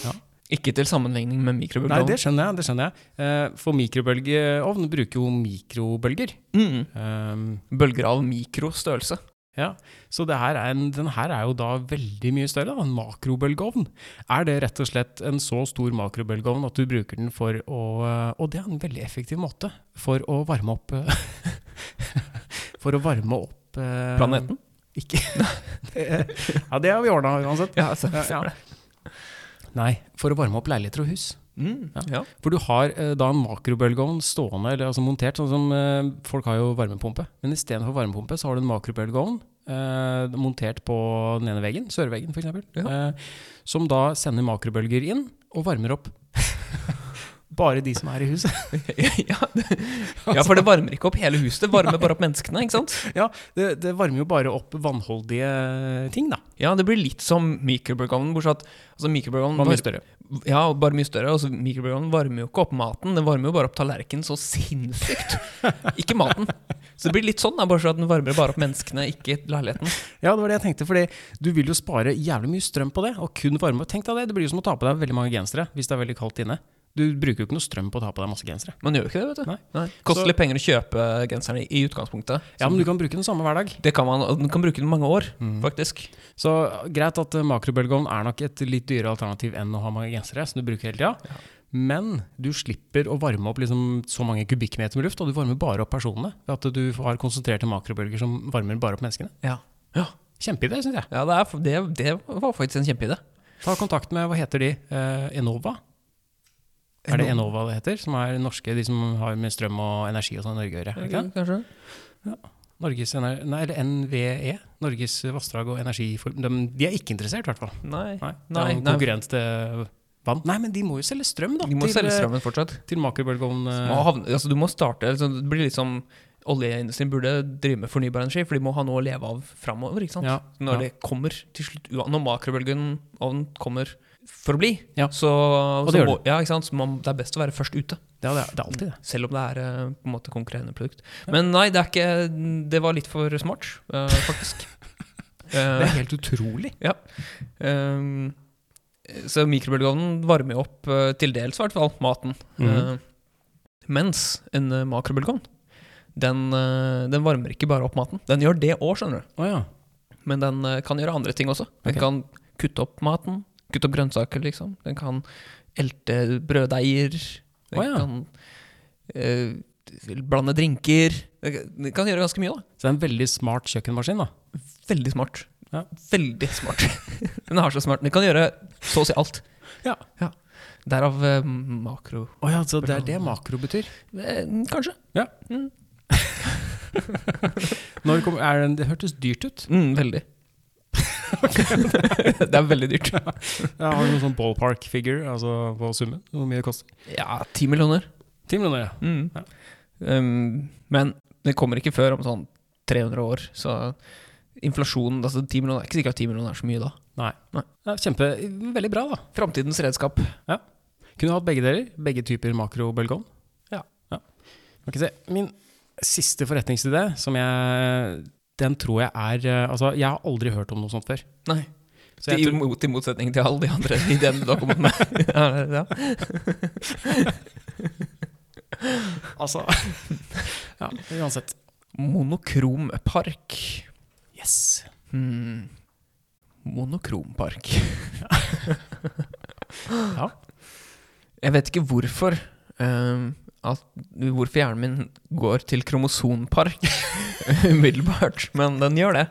Speaker 2: Ja.
Speaker 3: Ikke til sammenligning med
Speaker 2: Nei,
Speaker 3: mikrobølgeovn.
Speaker 2: det skjønner jeg. det skjønner jeg. Eh, For mikrobølgeovn bruker jo mikrobølger.
Speaker 3: mm.
Speaker 2: Um,
Speaker 3: Bølger av mikrostørrelse.
Speaker 2: ja. Så det her er en, den her er jo da veldig mye større da, en makrobølgeovn. Er det rett og slett en så stor makrobølgeovn at du bruker den for å eh, Og det er en veldig effektiv måte for å varme opp eh, For å varme opp eh,
Speaker 3: Planeten.
Speaker 2: Ikke Ja, det har vi ordna uansett.
Speaker 3: Ja, altså.
Speaker 2: Ja, ja. Nei, for å varme opp leiligheter og hus.
Speaker 3: Mm. Ja.
Speaker 2: For du har eh, da en makrobølgeovn stående, eller altså montert, sånn som eh, folk har jo varmepumpe. Men istedenfor varmepumpe, så har du en makrobølgeovn eh, montert på den ene veggen, sørveggen f.eks.,
Speaker 3: Ja.
Speaker 2: eh, som da sender makrobølger inn og varmer opp. Bare de som er i huset.
Speaker 3: ja, ja, for det varmer ikke opp hele huset, det varmer bare opp menneskene. ikke sant?
Speaker 2: Ja, det, det varmer jo bare opp vannholdige ting, da.
Speaker 3: Ja, det blir litt som mikrobølgeovnen, bortsett fra at altså, mikrobølgeovnen
Speaker 2: Var mye
Speaker 3: var-
Speaker 2: Mm, større.
Speaker 3: Ja, og bare mye større. Altså, mikrobølgeovnen varmer jo ikke opp maten, den varmer jo bare opp tallerkenen så sinnssykt. ikke maten. Så det blir litt sånn, da, bare så at den varmer bare opp menneskene, ikke leiligheten.
Speaker 2: Ja, det var det jeg tenkte, fordi du vil jo spare jævlig mye strøm på det, og kun varme. Tenk deg det, det blir jo som å ta på deg veldig mange gensere hvis det er veldig kaldt inne. Du bruker jo ikke noe strøm på å ta på deg masse gensere.
Speaker 3: Man gjør jo ikke det, vet du.
Speaker 2: Nei.
Speaker 3: Koster
Speaker 2: Så-
Speaker 3: litt penger å kjøpe genserne i- i utgangspunktet.
Speaker 2: Ja, men du Mm. kan bruke den samme hver dag.
Speaker 3: Det kan man, og den kan bruke den i mange år, faktisk.
Speaker 2: Så greit at eh, makrobølgeovn er nok et litt dyrere alternativ enn å ha mange gensere, som du bruker hele tida. Men du slipper å varme opp liksom så mange kubikkmeter med luft, og du varmer bare opp personene ved at du har konsentrerte makrobølger som varmer bare opp menneskene.
Speaker 3: Ja. Ja,
Speaker 2: Kjempeidé, syns jeg.
Speaker 3: det, er, det, det var faktisk en kjempeidé.
Speaker 2: Ta kontakt med, hva heter de, Eh, Enova? Er det
Speaker 3: Enova?
Speaker 2: Enova det heter? Som er norske, de som har med strøm og energi og sånn i Norge å gjøre? er det ikke det?
Speaker 3: Kanskje?
Speaker 2: Norges, ener- nei, eller NVE, Norges vassdrag og energiform... De, de er ikke interessert, i hvert fall.
Speaker 3: Nei.
Speaker 2: Nei, det
Speaker 3: Nei,
Speaker 2: er jo
Speaker 3: nei.
Speaker 2: konkurrent til vann. Nei, men de må jo selge strøm, da.
Speaker 3: De må
Speaker 2: til, eh,
Speaker 3: selge strømmen fortsatt.
Speaker 2: Til makerbølgeovn. eh,
Speaker 3: Må havne, altså, du må starte altså, Det blir litt som Oljeindustrien burde drive med fornybar energi, for de må ha noe å leve av framover. Ikke sant?
Speaker 2: Ja,
Speaker 3: Når
Speaker 2: ja.
Speaker 3: det kommer til slutt, ua- når makrobølgeovnen kommer for å bli,
Speaker 2: Ja.
Speaker 3: så,
Speaker 2: det
Speaker 3: så
Speaker 2: gjør
Speaker 3: må, ja, ikke sant? så man, det er best å være først ute.
Speaker 2: Ja, det er, det er alltid det.
Speaker 3: Selv om det er eh, på en måte konkurrerende produkt. Men nei, det, er ikke, det var litt for smart, eh, faktisk.
Speaker 2: Det
Speaker 3: Eh,
Speaker 2: er helt utrolig.
Speaker 3: ehm, så mikrobølgeovnen varmer jo opp eh, til dels, i hvert fall, maten.
Speaker 2: Mhm.
Speaker 3: Eh, mens en eh, makrobølgeovn, den, eh, den varmer ikke bare opp maten. Den gjør det òg, skjønner du.
Speaker 2: Å ja.
Speaker 3: Men den eh, kan gjøre andre ting også. Den
Speaker 2: Ok.
Speaker 3: kan kutte opp maten, kutte opp grønnsaker, liksom. Den kan elte brødeiger. Den
Speaker 2: Å, ja.
Speaker 3: kan eh, blande drinker. Den kan- Den kan gjøre ganske mye, da.
Speaker 2: Så det er en veldig smart kjøkkenmaskin, da.
Speaker 3: Veldig smart.
Speaker 2: Ja.
Speaker 3: Veldig smart. den er så smart. Den kan gjøre så å si alt.
Speaker 2: Ja.
Speaker 3: Derav eh, makro...
Speaker 2: Å ja, så det er det makro betyr.
Speaker 3: Eh, kanskje.
Speaker 2: Når kom, er den, det hørtes dyrt ut.
Speaker 3: Mm, veldig. det er veldig dyrt.
Speaker 2: Jeg har noen sånn ballpark figure altså på summen, hvor mye det koster.
Speaker 3: Ja, ti millioner.
Speaker 2: Ti millioner, ja.
Speaker 3: Mm.
Speaker 2: Ja.
Speaker 3: Um, men det kommer ikke før om sånn 300 år, så inflasjonen altså 10 millioner, Ikke sikkert at 10 millioner er så mye da.
Speaker 2: Det er kjempe, veldig bra, da.
Speaker 3: Framtidens redskap.
Speaker 2: Kunne hatt begge deler. Begge typer makrobølgeovn.
Speaker 3: Ja.
Speaker 2: Ok, se. Min siste forretningsidé, som jeg Den tror jeg er eh, Altså, jeg har aldri hørt om noe sånt før.
Speaker 3: Nei,
Speaker 2: Så jeg
Speaker 3: til,
Speaker 2: tror-
Speaker 3: mot, til motsetning til alle de andre ideene du har kommet med. ja, ja.
Speaker 2: Altså Ja, uansett.
Speaker 3: Monokrom park.
Speaker 2: Yes.
Speaker 3: Hmm. Monokrom park.
Speaker 2: Ja.
Speaker 3: Jeg vet ikke hvorfor eh, at, Hvorfor hjernen min går til kromosonpark umiddelbart, men den gjør det.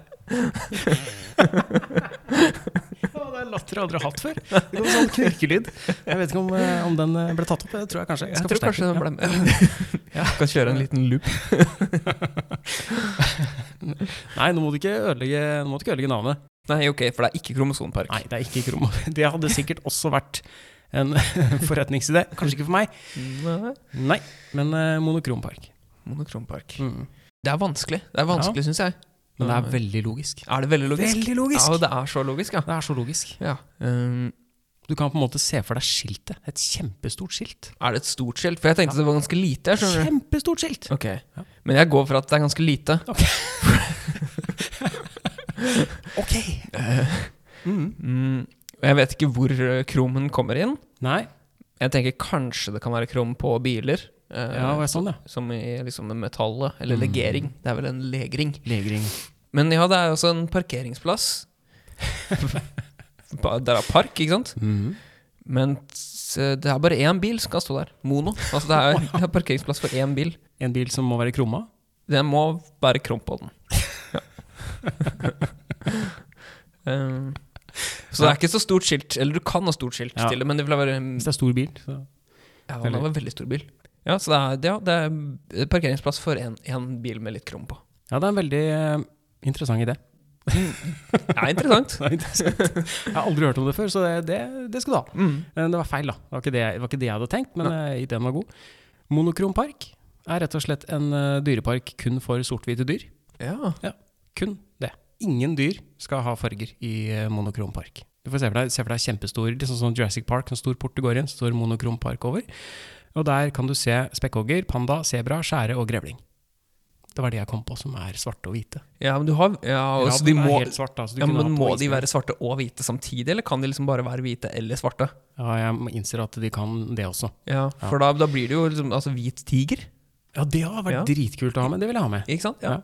Speaker 2: det er latter jeg aldri har hatt før. Det kom sånn knirkelyd. Jeg vet ikke om, eh, om den eh, ble tatt opp. Det tror jeg kanskje.
Speaker 3: Jeg tror kanskje den ble med.
Speaker 2: Ja.
Speaker 3: Kan kjøre en liten loop.
Speaker 2: Nei, nå må du ikke ødelegge, nå må du ikke ødelegge navnet.
Speaker 3: Nei, ok, for det er ikke kromosonpark.
Speaker 2: Nei, det er ikke Kromo. Det hadde sikkert også vært en forretningsidé. Kanskje ikke for meg.
Speaker 3: Nei.
Speaker 2: Nei, men eh, monokrompark.
Speaker 3: Monokrompark.
Speaker 2: Mm.
Speaker 3: Det er vanskelig, Det er vanskelig, synes jeg.
Speaker 2: Men det er veldig logisk.
Speaker 3: Er det veldig logisk?
Speaker 2: Veldig
Speaker 3: Ja, og det er så logisk, ja.
Speaker 2: Det er så logisk.
Speaker 3: ja. Um,
Speaker 2: Du kan på en måte se for deg skiltet. Et kjempestort skilt.
Speaker 3: er det et stort skilt? For jeg tenkte det var ganske lite. jeg skjønner du.
Speaker 2: Kjempestort skilt!
Speaker 3: Ok, Men jeg går for at det er ganske lite.
Speaker 2: Ok. Mm.
Speaker 3: Mm, og jeg vet ikke hvor eh, kromen øh, kommer inn,
Speaker 2: Nei?
Speaker 3: Jeg tenker kanskje det kan være krom på biler. eh,
Speaker 2: Ja, det var sånn, ja.
Speaker 3: Som i liksom metallet. Eller legering. Det er vel en legring.
Speaker 2: Legring.
Speaker 3: Men ja, det er jo også en parkeringsplass. Ba- Der er park, ikke sant?
Speaker 2: Mhm.
Speaker 3: Men s- det er bare én bil som kan stå der. Mono. Altså det er, det er parkeringsplass for én bil.
Speaker 2: En bil som må være krumma?
Speaker 3: Det må være krom på den. Ja. um, så det er ikke så stort skilt. Eller du kan ha stort skilt
Speaker 2: Ja.
Speaker 3: til det, men det vil være
Speaker 2: Hvis det er stor bil, så
Speaker 3: Ja, det var en veldig stor bil. Ja, så det er, ja, det er parkeringsplass for én bil med litt krom på.
Speaker 2: Ja, det er en veldig eh, interessant idé.
Speaker 3: Det er interessant.
Speaker 2: Det er interessant. Jeg har aldri hørt om det før, så det, det, det skal du ha.
Speaker 3: Mm.
Speaker 2: Eh, Det var feil, da. Det var ikke det, det var ikke det jeg hadde tenkt, men eh, ideen var god. Monokrom park er rett og slett en eh, dyrepark kun for sort-hvite dyr.
Speaker 3: Ja.
Speaker 2: Kun det. Ingen dyr skal ha farger i eh, monokrom park. Du får se for deg, se for deg kjempestor, liksom sånn Jurassic Park, en stor port du går inn, så står monokrom park over. Og der kan du se spekkhogger, panda, sebra, skjære og grevling. Det var det jeg kom på som er svarte og hvite.
Speaker 3: ja, men du har Ja, og så
Speaker 2: Raven
Speaker 3: de
Speaker 2: er
Speaker 3: må,
Speaker 2: helt svart, da, så du
Speaker 3: ja
Speaker 2: kunne
Speaker 3: men
Speaker 2: hatt
Speaker 3: må
Speaker 2: noe
Speaker 3: de
Speaker 2: isbjørn.
Speaker 3: være svarte og hvite samtidig, eller kan de liksom bare være hvite eller svarte?
Speaker 2: Ja, jeg innser at de kan det også.
Speaker 3: Ja, For da, da blir det jo liksom, altså, hvit tiger,
Speaker 2: Ja, det har vært
Speaker 3: Ja.
Speaker 2: dritkult å ha med. Det vil jeg ha med.
Speaker 3: ikke sant? Ja.
Speaker 2: Ja.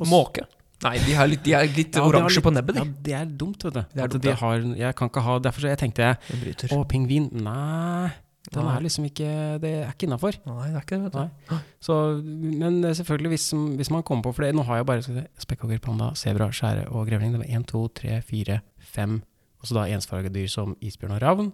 Speaker 3: Og Måke. Nei, de har litt, de er litt
Speaker 2: Ja, det har
Speaker 3: oransje
Speaker 2: litt-
Speaker 3: på nebbet,
Speaker 2: Ja,
Speaker 3: de.
Speaker 2: det er dumt, vet du.
Speaker 3: er
Speaker 2: at
Speaker 3: dumt,
Speaker 2: de
Speaker 3: ja.
Speaker 2: har, jeg kan ikke ha Derfor så jeg tenkte jeg
Speaker 3: Den bryter.
Speaker 2: Å, pingvin. Nei, den
Speaker 3: Nei.
Speaker 2: er liksom ikke Det er ikke innafor.
Speaker 3: Nei, det er ikke det, vet du.
Speaker 2: Nei. Så, men eh, selvfølgelig, hvis, hvis man kommer på For det, nå har jeg bare skal vi se, spekkhogger, panda, sebra, skjære og grevling. Det var én, to, tre, fire, fem. Og så da ensfarga dyr som isbjørn og ravn.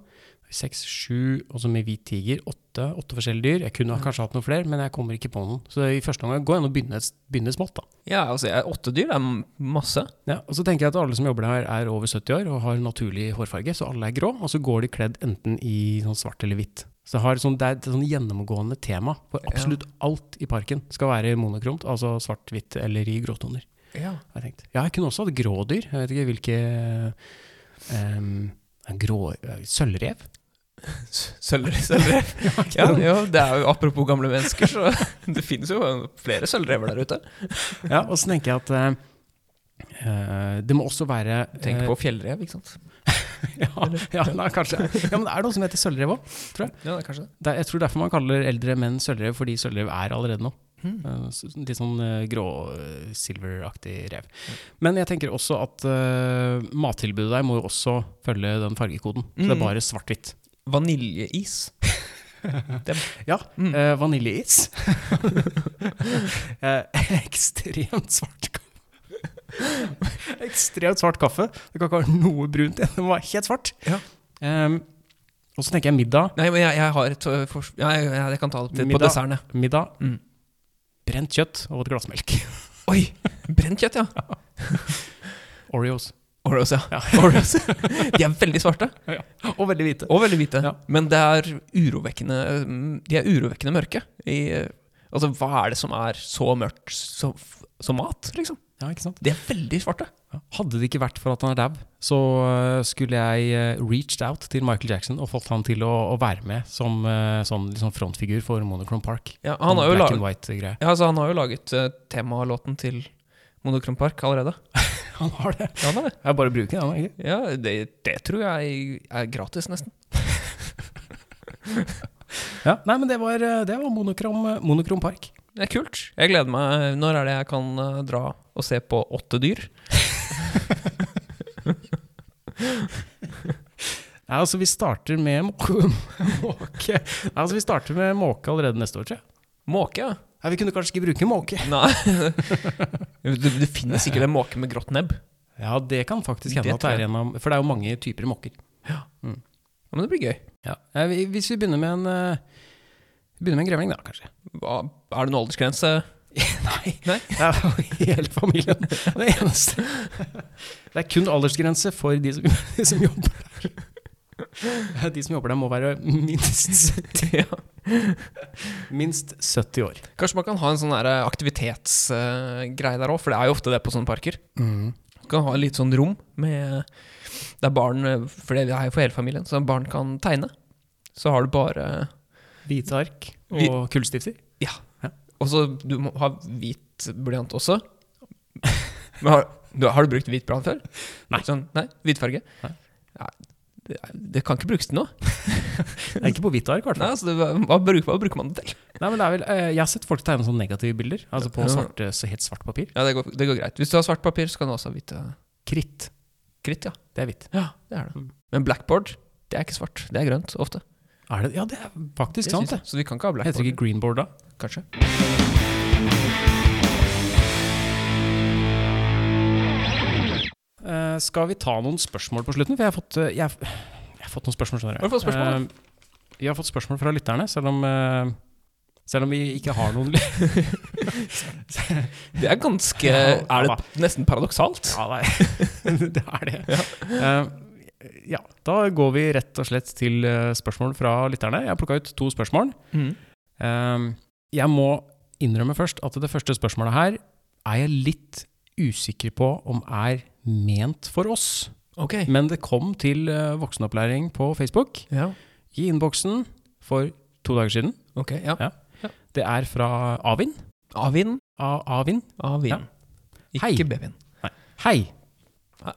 Speaker 2: Seks, sju, og så med hvit tiger. Åtte åtte forskjellige dyr. Jeg kunne ha kanskje hatt noen flere, men jeg kommer ikke på noen. Så i første omgang går det an å begynne, begynne smått, da.
Speaker 3: Ja, altså, jeg- åtte dyr det er masse.
Speaker 2: Ja, og så tenker jeg at alle som jobber der er over 70 år og har naturlig hårfarge, så alle er grå, og så går de kledd enten i sånn svart eller hvitt. Så det, har sånn, det er et sånn gjennomgående tema, for absolutt alt i parken skal være monokromt, altså svart, hvitt eller i gråtoner.
Speaker 3: Ja.
Speaker 2: har Jeg tenkt. ja, jeg kunne også hatt grådyr, jeg vet ikke hvilke ehm, grå, Sølvrev?
Speaker 3: Sølvrev. sølvrev. Ja, jo, det er jo apropos gamle mennesker, så det finnes jo flere sølvrever der ute.
Speaker 2: Ja, og så tenker jeg at eh, eh, det må også være
Speaker 3: Tenk
Speaker 2: eh,
Speaker 3: på fjellrev, ikke sant.
Speaker 2: ja, ja, nei, kanskje. ja, men det er noe som heter sølvrev òg.
Speaker 3: Ja, det er kanskje det.
Speaker 2: Det er, jeg tror derfor man kaller eldre menn sølvrev, fordi sølvrev er allerede nå. Eh, s- Litt sånn eh, grå, eh, silveraktig rev. Men jeg tenker også at eh, mattilbudet der må jo også følge den fargekoden. Så det
Speaker 3: Mm.
Speaker 2: er bare svart-hvitt.
Speaker 3: Vaniljeis.
Speaker 2: Ja,
Speaker 3: Mm.
Speaker 2: eh, vaniljeis. Eh, ekstremt svart kaffe. ekstremt svart kaffe. Det kan ikke være noe brunt i den. Den var helt svart.
Speaker 3: Ja.
Speaker 2: Eh, og så tenker jeg middag.
Speaker 3: Nei, men jeg, jeg har et øh, fors... Ja, jeg, jeg, jeg kan ta det til, på
Speaker 2: Middag.
Speaker 3: desserten, jeg.
Speaker 2: Middag,
Speaker 3: Mm.
Speaker 2: brent kjøtt og et glass melk.
Speaker 3: Oi! Brent kjøtt, ja.
Speaker 2: Oreos.
Speaker 3: Oreos, ja. Oreos. De er veldig svarte,
Speaker 2: Og veldig hvite.
Speaker 3: og veldig hvite.
Speaker 2: Ja.
Speaker 3: Men det er urovekkende mm, De er urovekkende mørke. I, øh, altså, hva er det som er så mørkt som som mat, liksom?
Speaker 2: Ja, ikke sant?
Speaker 3: De er veldig svarte.
Speaker 2: Hadde det ikke vært for at han er dau, så øh, skulle jeg øh, reached out til Michael Jackson og fått han til å, å være med som øh, sånn liksom frontfigur for Monochrome Park.
Speaker 3: Ja, han har
Speaker 2: Sånn
Speaker 3: jo
Speaker 2: Black
Speaker 3: laget
Speaker 2: and white-greie.
Speaker 3: Ja, altså Han har jo laget eh, temalåten til Monokrom Park allerede.
Speaker 2: Han har det.
Speaker 3: Ja, han har det.
Speaker 2: Jeg bare bruker den. egentlig.
Speaker 3: ja det, det tror jeg er gratis, nesten.
Speaker 2: Ja, nei, men det var, øh, det var monokrom, øh, monokrom Park.
Speaker 3: Det er kult. Jeg gleder meg. Når er det jeg kan eh, dra og se på åtte dyr?
Speaker 2: Nei, altså vi starter med måke. måke. Nei, altså vi starter med måke allerede neste år, tror jeg.
Speaker 3: Måke, ja.
Speaker 2: Nei, vi kunne kanskje ikke bruke måke.
Speaker 3: Nei. det, det finnes sikkert en måke med grått nebb.
Speaker 2: Ja, det kan faktisk
Speaker 3: Det
Speaker 2: hende at
Speaker 3: tror
Speaker 2: det er
Speaker 3: jeg.
Speaker 2: en av For det er jo mange typer måker.
Speaker 3: Ja, men det blir gøy.
Speaker 2: Ja. Eh, vi- Hvis vi begynner med en, øh, begynner med en grevling, da, kanskje.
Speaker 3: Hva, er det noen aldersgrense?
Speaker 2: Nei.
Speaker 3: Nei?
Speaker 2: Det er jo hele familien. Det eneste. Det er kun aldersgrense for de som, de som jobber der. De som jobber der, må være minst,
Speaker 3: ja.
Speaker 2: minst 70 år.
Speaker 3: Kanskje man kan ha en sånn aktivitetsgreie der òg, for det er jo ofte det på sånne parker.
Speaker 2: Mm.
Speaker 3: Du kan ha litt sånn rom med der barn eh, For det er jo for hele familien, så barn kan tegne. Så har du bare
Speaker 2: Hvite ark
Speaker 3: Vi-
Speaker 2: og kullstifter.
Speaker 3: Og så du må ha hvit blyant også. Men har, du, har du brukt hvit blyant før?
Speaker 2: Nei.
Speaker 3: Sånn, nei? Hvit farge?
Speaker 2: Nei.
Speaker 3: Ja, det, det kan ikke brukes til noe.
Speaker 2: Det er ikke på hvitt ark, i hvert
Speaker 3: Nei,
Speaker 2: fall.
Speaker 3: altså, det, hva, bruker, hva bruker man det til?
Speaker 2: Nei, men det er vel, eh, jeg har sett folk tegne sånne negative bilder, altså på
Speaker 3: Ja.
Speaker 2: svarte, så helt svart papir.
Speaker 3: Ja, det går, det går greit. Hvis du har svart papir, så kan du også ha hvite
Speaker 2: Kritt,
Speaker 3: kritt, ja.
Speaker 2: det er hvitt.
Speaker 3: Ja, det er
Speaker 2: Mm.
Speaker 3: det. Men blackboard, det er ikke svart. Det er grønt, ofte.
Speaker 2: Er det, ja, det er faktisk
Speaker 3: Det
Speaker 2: sant,
Speaker 3: synes
Speaker 2: det.
Speaker 3: jeg. Så vi kan ikke ha
Speaker 2: Heter
Speaker 3: blackboard,
Speaker 2: det ikke greenboard da?
Speaker 3: kanskje.
Speaker 2: Eh, skal vi ta noen spørsmål på slutten? For jeg har fått, eh, jeg, har- jeg har fått noen spørsmål. skjønner jeg.
Speaker 3: Har du fått spørsmål,
Speaker 2: Eh, vi har fått spørsmål fra lytterne, selv om, eh, selv om vi ikke har noen
Speaker 3: Det er ganske
Speaker 2: Ja,
Speaker 3: Er
Speaker 2: da.
Speaker 3: det nesten paradoksalt?
Speaker 2: Ja, nei. det er det. Eh, ja, da går vi rett og slett til eh, spørsmål fra lytterne. Jeg har plukka ut to spørsmål.
Speaker 3: Mm.
Speaker 2: Eh, jeg må innrømme først at det første spørsmålet her er jeg litt usikker på om er ment for oss.
Speaker 3: Ok.
Speaker 2: Men det kom til eh, voksenopplæring på Facebook.
Speaker 3: Ja.
Speaker 2: i innboksen for to dager siden.
Speaker 3: Ok, ja.
Speaker 2: Det er fra Avin.
Speaker 3: A-vin.
Speaker 2: A Avin.
Speaker 3: A-vin.
Speaker 2: Hei.
Speaker 3: Ikke B-vin.
Speaker 2: Hei.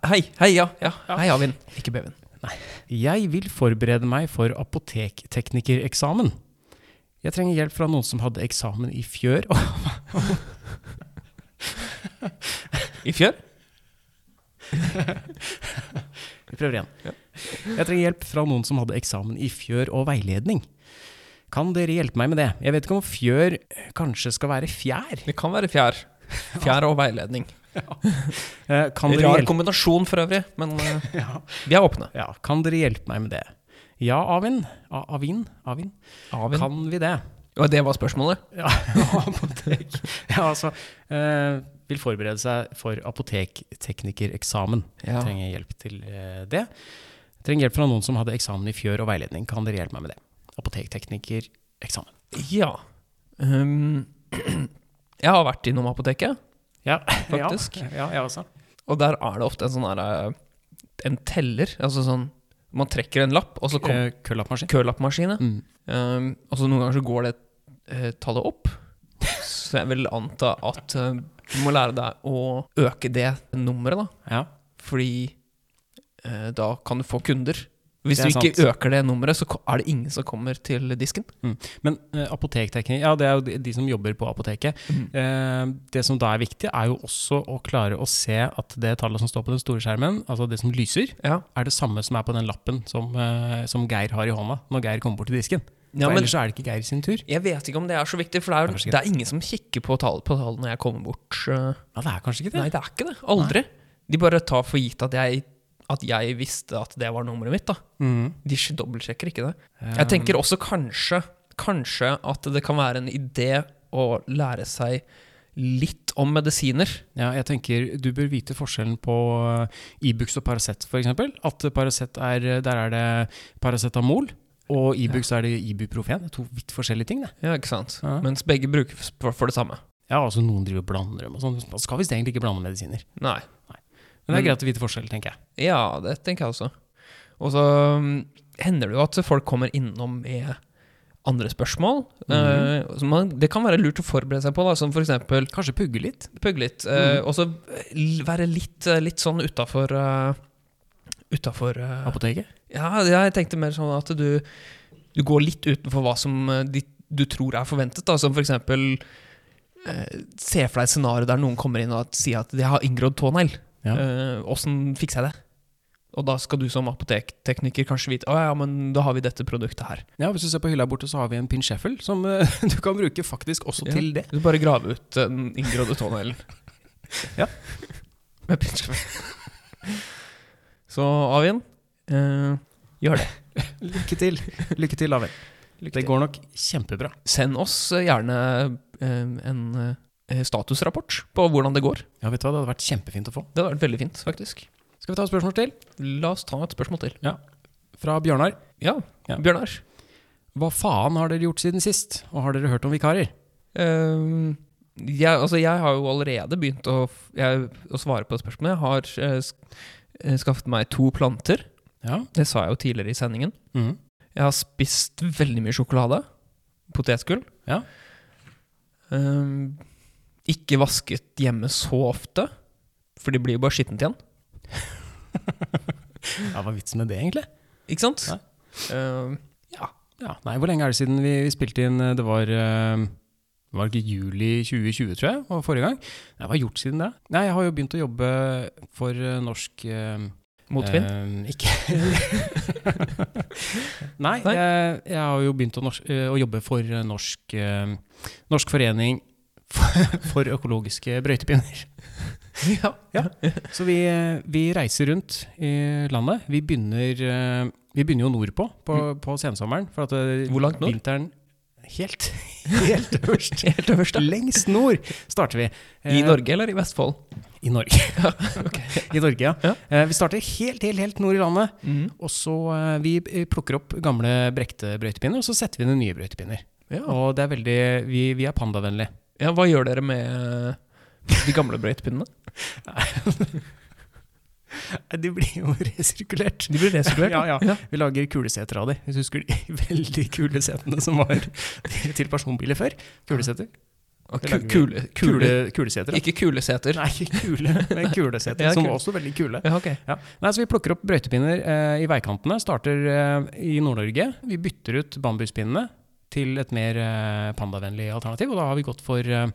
Speaker 3: Hei, hei, ja. ja. Hei, A-vin. Ikke B-vin.
Speaker 2: Jeg vil forberede meg for apotekteknikereksamen. Jeg trenger hjelp fra noen som hadde eksamen i fjør. Å,
Speaker 3: I fjør?
Speaker 2: Vi prøver igjen. Jeg trenger hjelp fra noen som hadde eksamen i fjør og veiledning. Kan dere hjelpe meg med det? Jeg vet ikke om fjør eh, kanskje skal være fjær?
Speaker 3: Det kan være fjær. Fjær og veiledning.
Speaker 2: Eh, Kan dere
Speaker 3: Rar
Speaker 2: hjelpe-
Speaker 3: kombinasjon for øvrig, men eh,
Speaker 2: Ja.
Speaker 3: vi er åpne.
Speaker 2: ja, kan dere hjelpe meg med det? Ja, Avin. A Avin? Avin?
Speaker 3: A-vin.
Speaker 2: Kan vi det?
Speaker 3: Og det var spørsmålet?
Speaker 2: Ja, apotek. Ja, altså, eh, vil forberede seg for apotekteknikereksamen.
Speaker 3: Ja.
Speaker 2: Trenger hjelp til eh, det. Trenger hjelp fra noen som hadde eksamen i fjør og veiledning. Kan dere hjelpe meg med det? Apotekteknikereksamen.
Speaker 3: Ja. Um, jeg har vært innom apoteket,
Speaker 2: Ja,
Speaker 3: Faktisk.
Speaker 2: Ja, ja, jeg også.
Speaker 3: og der er det ofte en sånn her eh, En teller. Altså sånn Man trekker en lapp, og så kommer
Speaker 2: Eh, Køllappmaskin.
Speaker 3: kølappmaskinen.
Speaker 2: Mm.
Speaker 3: Um, og så noen ganger så går det eh, tallet opp. Så jeg vil anta at eh, du må lære deg å øke det nummeret, da.
Speaker 2: Ja.
Speaker 3: Fordi eh, da kan du få kunder. Hvis
Speaker 2: Det
Speaker 3: du
Speaker 2: er
Speaker 3: ikke øker det nummeret, så ko- er det ingen som kommer til disken.
Speaker 2: Men eh, apotekteknikere, ja, det er jo de, de som jobber på apoteket. Eh, det som da er viktig, er jo også å klare å se at det tallet som står på den store skjermen, altså det som lyser,
Speaker 3: Ja,
Speaker 2: er det samme som er på den lappen som, eh, som Geir har i hånda når Geir kommer bort til disken.
Speaker 3: Ja,
Speaker 2: For
Speaker 3: men-
Speaker 2: ellers så er det ikke Geir sin tur.
Speaker 3: Jeg vet ikke om det er så viktig, for det er,
Speaker 2: Det er
Speaker 3: jo-
Speaker 2: kanskje
Speaker 3: det
Speaker 2: ikke
Speaker 3: er ingen som kikker på tall, på tall når jeg kommer bort. eh.
Speaker 2: Ja, det er kanskje ikke det.
Speaker 3: Nei, det er ikke det. Aldri. De bare tar for gitt at jeg, at jeg visste at det var nummeret mitt. da.
Speaker 2: Mhm.
Speaker 3: De sj- dobbeltsjekker ikke det. Jeg tenker også kanskje, kanskje at det kan være en idé å lære seg litt om medisiner.
Speaker 2: Ja, jeg tenker du bør vite forskjellen på eh, Ibux og Paracet f.eks. At eh, Paracet er eh, Der er det paracetamol, og Ibux er det ibuprofen. Det er to vidt forskjellige ting, det.
Speaker 3: Ja, ikke sant?
Speaker 2: Ja.
Speaker 3: Mens begge brukes for, for det samme.
Speaker 2: Ja, altså noen driver og blander dem og sånn. Man skal visst egentlig ikke blande medisiner.
Speaker 3: Nei.
Speaker 2: Men det
Speaker 3: Men-
Speaker 2: er greit å vite forskjell, tenker jeg.
Speaker 3: Ja, det tenker jeg også. Og så mm, hender det jo at folk kommer innom med andre spørsmål.
Speaker 2: Mhm.
Speaker 3: eh, som man, det kan være lurt å forberede seg på, da, som for eksempel
Speaker 2: Kanskje pugge litt.
Speaker 3: pugge litt, eh, og så l- være litt, eh, litt sånn utafor Utafor eh,
Speaker 2: Apoteket.
Speaker 3: Ja, jeg tenkte mer sånn at du, du går litt utenfor hva som eh, de, du tror er forventet, da, som for eksempel eh, Se for deg et scenario der noen kommer inn og sier at de har inngrodd tånegl.
Speaker 2: Ja.
Speaker 3: Eh, Åssen fikser jeg det? Og da skal du som apotektekniker kanskje vite Å ja, men da har vi dette produktet her.
Speaker 2: ja, hvis du ser på hylla borte, så har vi en pin Sheffield som eh, du kan bruke faktisk også
Speaker 3: Ja.
Speaker 2: til det.
Speaker 3: Du bare grave ut eh, den inngrodde tåneglen.
Speaker 2: Ja.
Speaker 3: Med pinsjefil. Så Avin, eh, gjør det.
Speaker 2: Lykke til. Lykke til, Avin.
Speaker 3: Lykke
Speaker 2: Det
Speaker 3: til.
Speaker 2: går nok kjempebra.
Speaker 3: Send oss eh, gjerne eh, en eh, statusrapport på hvordan det går.
Speaker 2: Ja, vet du hva, det hadde vært kjempefint å få.
Speaker 3: Det hadde vært veldig fint, faktisk.
Speaker 2: Skal vi ta et spørsmål til?
Speaker 3: La oss ta et spørsmål til.
Speaker 2: Fra Bjørnar.
Speaker 3: Ja,
Speaker 2: Ja.
Speaker 3: Bjørnar.
Speaker 2: Hva faen har dere gjort siden sist? Og har dere hørt om vikarer?
Speaker 3: Eh, jeg, altså jeg har jo allerede begynt å, f- jeg, å svare på spørsmålet. Jeg har eh, sk eh, skaffet meg to planter.
Speaker 2: Ja.
Speaker 3: Det sa jeg jo tidligere i sendingen.
Speaker 2: Mhm.
Speaker 3: Jeg har spist veldig mye sjokolade. Potetgull.
Speaker 2: Ja.
Speaker 3: Ehm, ikke vasket hjemme så ofte, for de blir jo bare skittent igjen.
Speaker 2: Ja, Hva er vitsen med det, egentlig?
Speaker 3: Ikke sant?
Speaker 2: Nei.
Speaker 3: Eh, ja.
Speaker 2: Ja, nei, hvor lenge er det siden vi, vi spilte inn eh, Det var eh, det var ikke juli 2020, tror jeg, var forrige gang. Nei, hva har jeg gjort siden det? Nei, jeg har jo begynt å jobbe for eh, norsk eh,
Speaker 3: Motvind.
Speaker 2: Eh, ikke Nei,
Speaker 3: Nei.
Speaker 2: Jeg, jeg har jo begynt å, norsk, eh, å jobbe for eh, norsk, eh, norsk forening for, for økologiske brøytepinner. Eh,
Speaker 3: ja.
Speaker 2: Så vi, eh, vi reiser rundt i landet. Vi begynner, eh, vi begynner jo nordpå på, på sensommeren. For at eh,
Speaker 3: Mm. Hvor langt nord?
Speaker 2: vinteren Helt, helt øverst.
Speaker 3: Helt øverst, da.
Speaker 2: Lengst nord starter vi.
Speaker 3: I
Speaker 2: Eh,
Speaker 3: Norge eller i Vestfold?
Speaker 2: I Norge. I Norge, ja.
Speaker 3: Ja.
Speaker 2: Eh, Vi starter helt, helt, helt nord i landet. Og så eh, Vi eh, plukker opp gamle brekte brøytepinner, og så setter vi inn nye brøytepinner.
Speaker 3: Ja.
Speaker 2: Og det er veldig, vi, vi er pandavennlige.
Speaker 3: ja, hva gjør dere med de gamle brøytepinnene?
Speaker 2: De blir jo resirkulert.
Speaker 3: De blir resirkulert.
Speaker 2: Ja, ja. Vi lager kuleseter av de. Hvis du husker de veldig kule setene som var til personbiler før. Kuleseter.
Speaker 3: Og
Speaker 2: Det
Speaker 3: ku-
Speaker 2: lager vi.
Speaker 3: Kule, kule,
Speaker 2: Kule, kuleseter. da.
Speaker 3: Ikke kuleseter.
Speaker 2: Nei, ikke kule, men kuleseter,
Speaker 3: Ja,
Speaker 2: som
Speaker 3: kul.
Speaker 2: var også veldig kule.
Speaker 3: Ja, ok.
Speaker 2: Ja. Nei, så Vi plukker opp brøytepinner eh, i veikantene, starter eh, i Nord-Norge. Vi bytter ut bambuspinnene til et mer eh, pandavennlig alternativ, og da har vi gått for eh,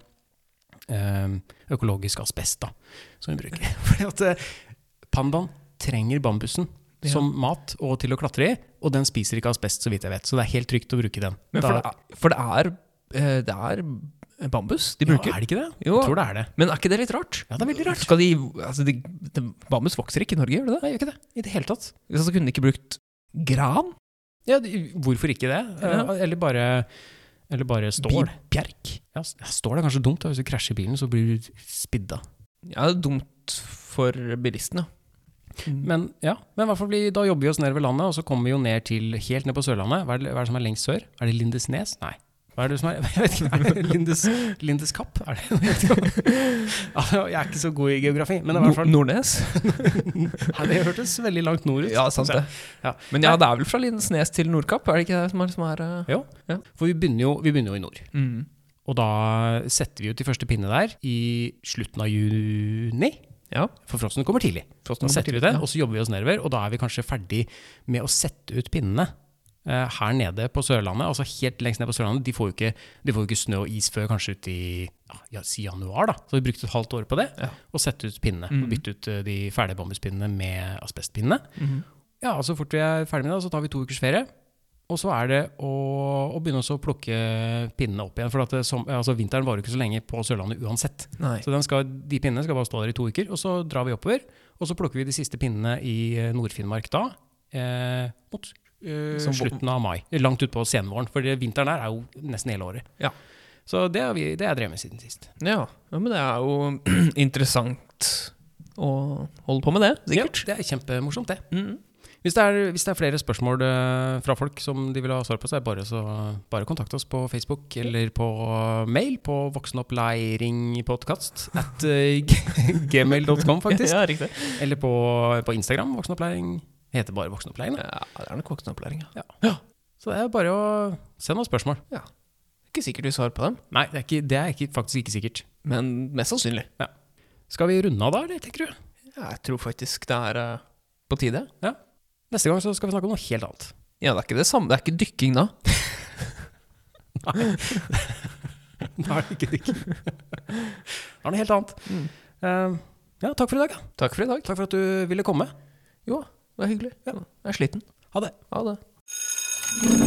Speaker 2: eh, økologisk asbest, da, som vi bruker. Fordi at eh, pandaen trenger bambusen
Speaker 3: Ja.
Speaker 2: som mat og til å klatre i, og den spiser ikke asbest, så vidt jeg vet, så det er helt trygt å bruke den.
Speaker 3: Men for,
Speaker 2: Da-
Speaker 3: det er, for det, er, eh, det er bambus de bruker.
Speaker 2: Ja, er det ikke det?
Speaker 3: Jo.
Speaker 2: Jeg tror det er det.
Speaker 3: Men er ikke det litt rart?
Speaker 2: Ja, det er veldig rart.
Speaker 3: Skal de, altså de, de, bambus vokser ikke i Norge, gjør det det?
Speaker 2: Nei, gjør ikke det. I det hele tatt.
Speaker 3: Så kunne de ikke brukt gran?
Speaker 2: Ja, de- hvorfor ikke det?
Speaker 3: Ja.
Speaker 2: Eh, Eller bare eller bare stål.
Speaker 3: Bi- Bjerk?
Speaker 2: Ja, s- stål er kanskje dumt. da. Hvis du krasjer bilen, så blir du spidda.
Speaker 3: Ja, det er dumt for bilistene.
Speaker 2: Men ja, men i hvert fall blir- da jobber vi oss nedover landet, og så kommer vi jo ned til helt ned på Sørlandet. Hva er det, hva er det som er lengst sør? Er det Lindesnes? Nei. Hva er det som er Jeg vet ikke. Er det Lindes, Lindeskapp? Er det, jeg, vet ikke. Altså, jeg er ikke så god i geografi, men i hvert
Speaker 3: Nor-
Speaker 2: fall
Speaker 3: Nordnes?
Speaker 2: Nei, Det hørtes veldig langt nord ut.
Speaker 3: Ja, sant det.
Speaker 2: Ja.
Speaker 3: Men ja, det er vel fra Lindesnes til Nordkapp, er det ikke det som er, som er eh,
Speaker 2: For vi begynner, jo, vi begynner jo i nord.
Speaker 3: mm.
Speaker 2: Og da setter vi ut de første pinne der i slutten av juni.
Speaker 3: Ja.
Speaker 2: For frosten kommer tidlig.
Speaker 3: Frosten
Speaker 2: Nå
Speaker 3: kommer
Speaker 2: setter vi
Speaker 3: tidlig,
Speaker 2: ut det,
Speaker 3: ja.
Speaker 2: og så jobber vi oss nedover, og da er vi kanskje ferdig med å sette ut pinnene eh, her nede på Sørlandet. Altså helt lengst ned på Sørlandet. De får jo ikke, de får jo ikke snø og is før kanskje ut i ja, ja, si januar, da. Så vi brukte et halvt år på det,
Speaker 3: Ja. Mm.
Speaker 2: og sette ut pinnene. Og bytte ut eh, de ferdige bambuspinnene med asbestpinnene.
Speaker 3: Mhm.
Speaker 2: Ja, og så fort vi er ferdig med det, så tar vi to ukers ferie. Og så er det å, å begynne også å plukke pinnene opp igjen. For at det, som, altså, vinteren varer jo ikke så lenge på Sørlandet uansett.
Speaker 3: Nei.
Speaker 2: Så den skal, de pinnene skal bare stå der i to uker, og så drar vi oppover. Og så plukker vi de siste pinnene i eh, Nord-Finnmark da, eh, mot eh,
Speaker 3: Som-
Speaker 2: slutten av mai. Langt utpå senvåren, for det- vinteren der er jo nesten hele året.
Speaker 3: Ja.
Speaker 2: Så det har vi- det har jeg drevet med siden sist.
Speaker 3: Ja, ja, men det er jo interessant å holde på med det, sikkert.
Speaker 2: Ja, det er kjempemorsomt, det.
Speaker 3: Mm.
Speaker 2: Hvis det, er, hvis det er flere spørsmål eh, fra folk som de vil ha svar på, så er det bare, så, bare kontakt oss på Facebook eller på mail på voksenopplæringpodkast at eh, g- gmail.com, faktisk.
Speaker 3: Ja, riktig.
Speaker 2: Eller på, på Instagram. Voksenopplæring heter bare Voksenopplæring. Da.
Speaker 3: Ja, det er nok voksenopplæring, ja.
Speaker 2: Så det er bare å sende oss spørsmål.
Speaker 3: Ikke sikkert vi svarer på dem,
Speaker 2: Nei, det er, ikke, det er ikke, faktisk ikke sikkert.
Speaker 3: men mest sannsynlig.
Speaker 2: Skal vi runde av da, eller tenker du?
Speaker 3: Ja, jeg tror faktisk det er eh, på tide.
Speaker 2: Neste gang så skal vi snakke om noe helt annet.
Speaker 3: Ja, det er ikke det samme. Det er ikke dykking da.
Speaker 2: Da er det ikke dykk. Da er det noe helt annet. Eh, ja, takk for i dag. da.
Speaker 3: Mm. Takk for i dag.
Speaker 2: Takk for at du ville komme.
Speaker 3: Jo, det var hyggelig. Ja, jeg er sliten.
Speaker 2: Ha det.
Speaker 3: Ha det.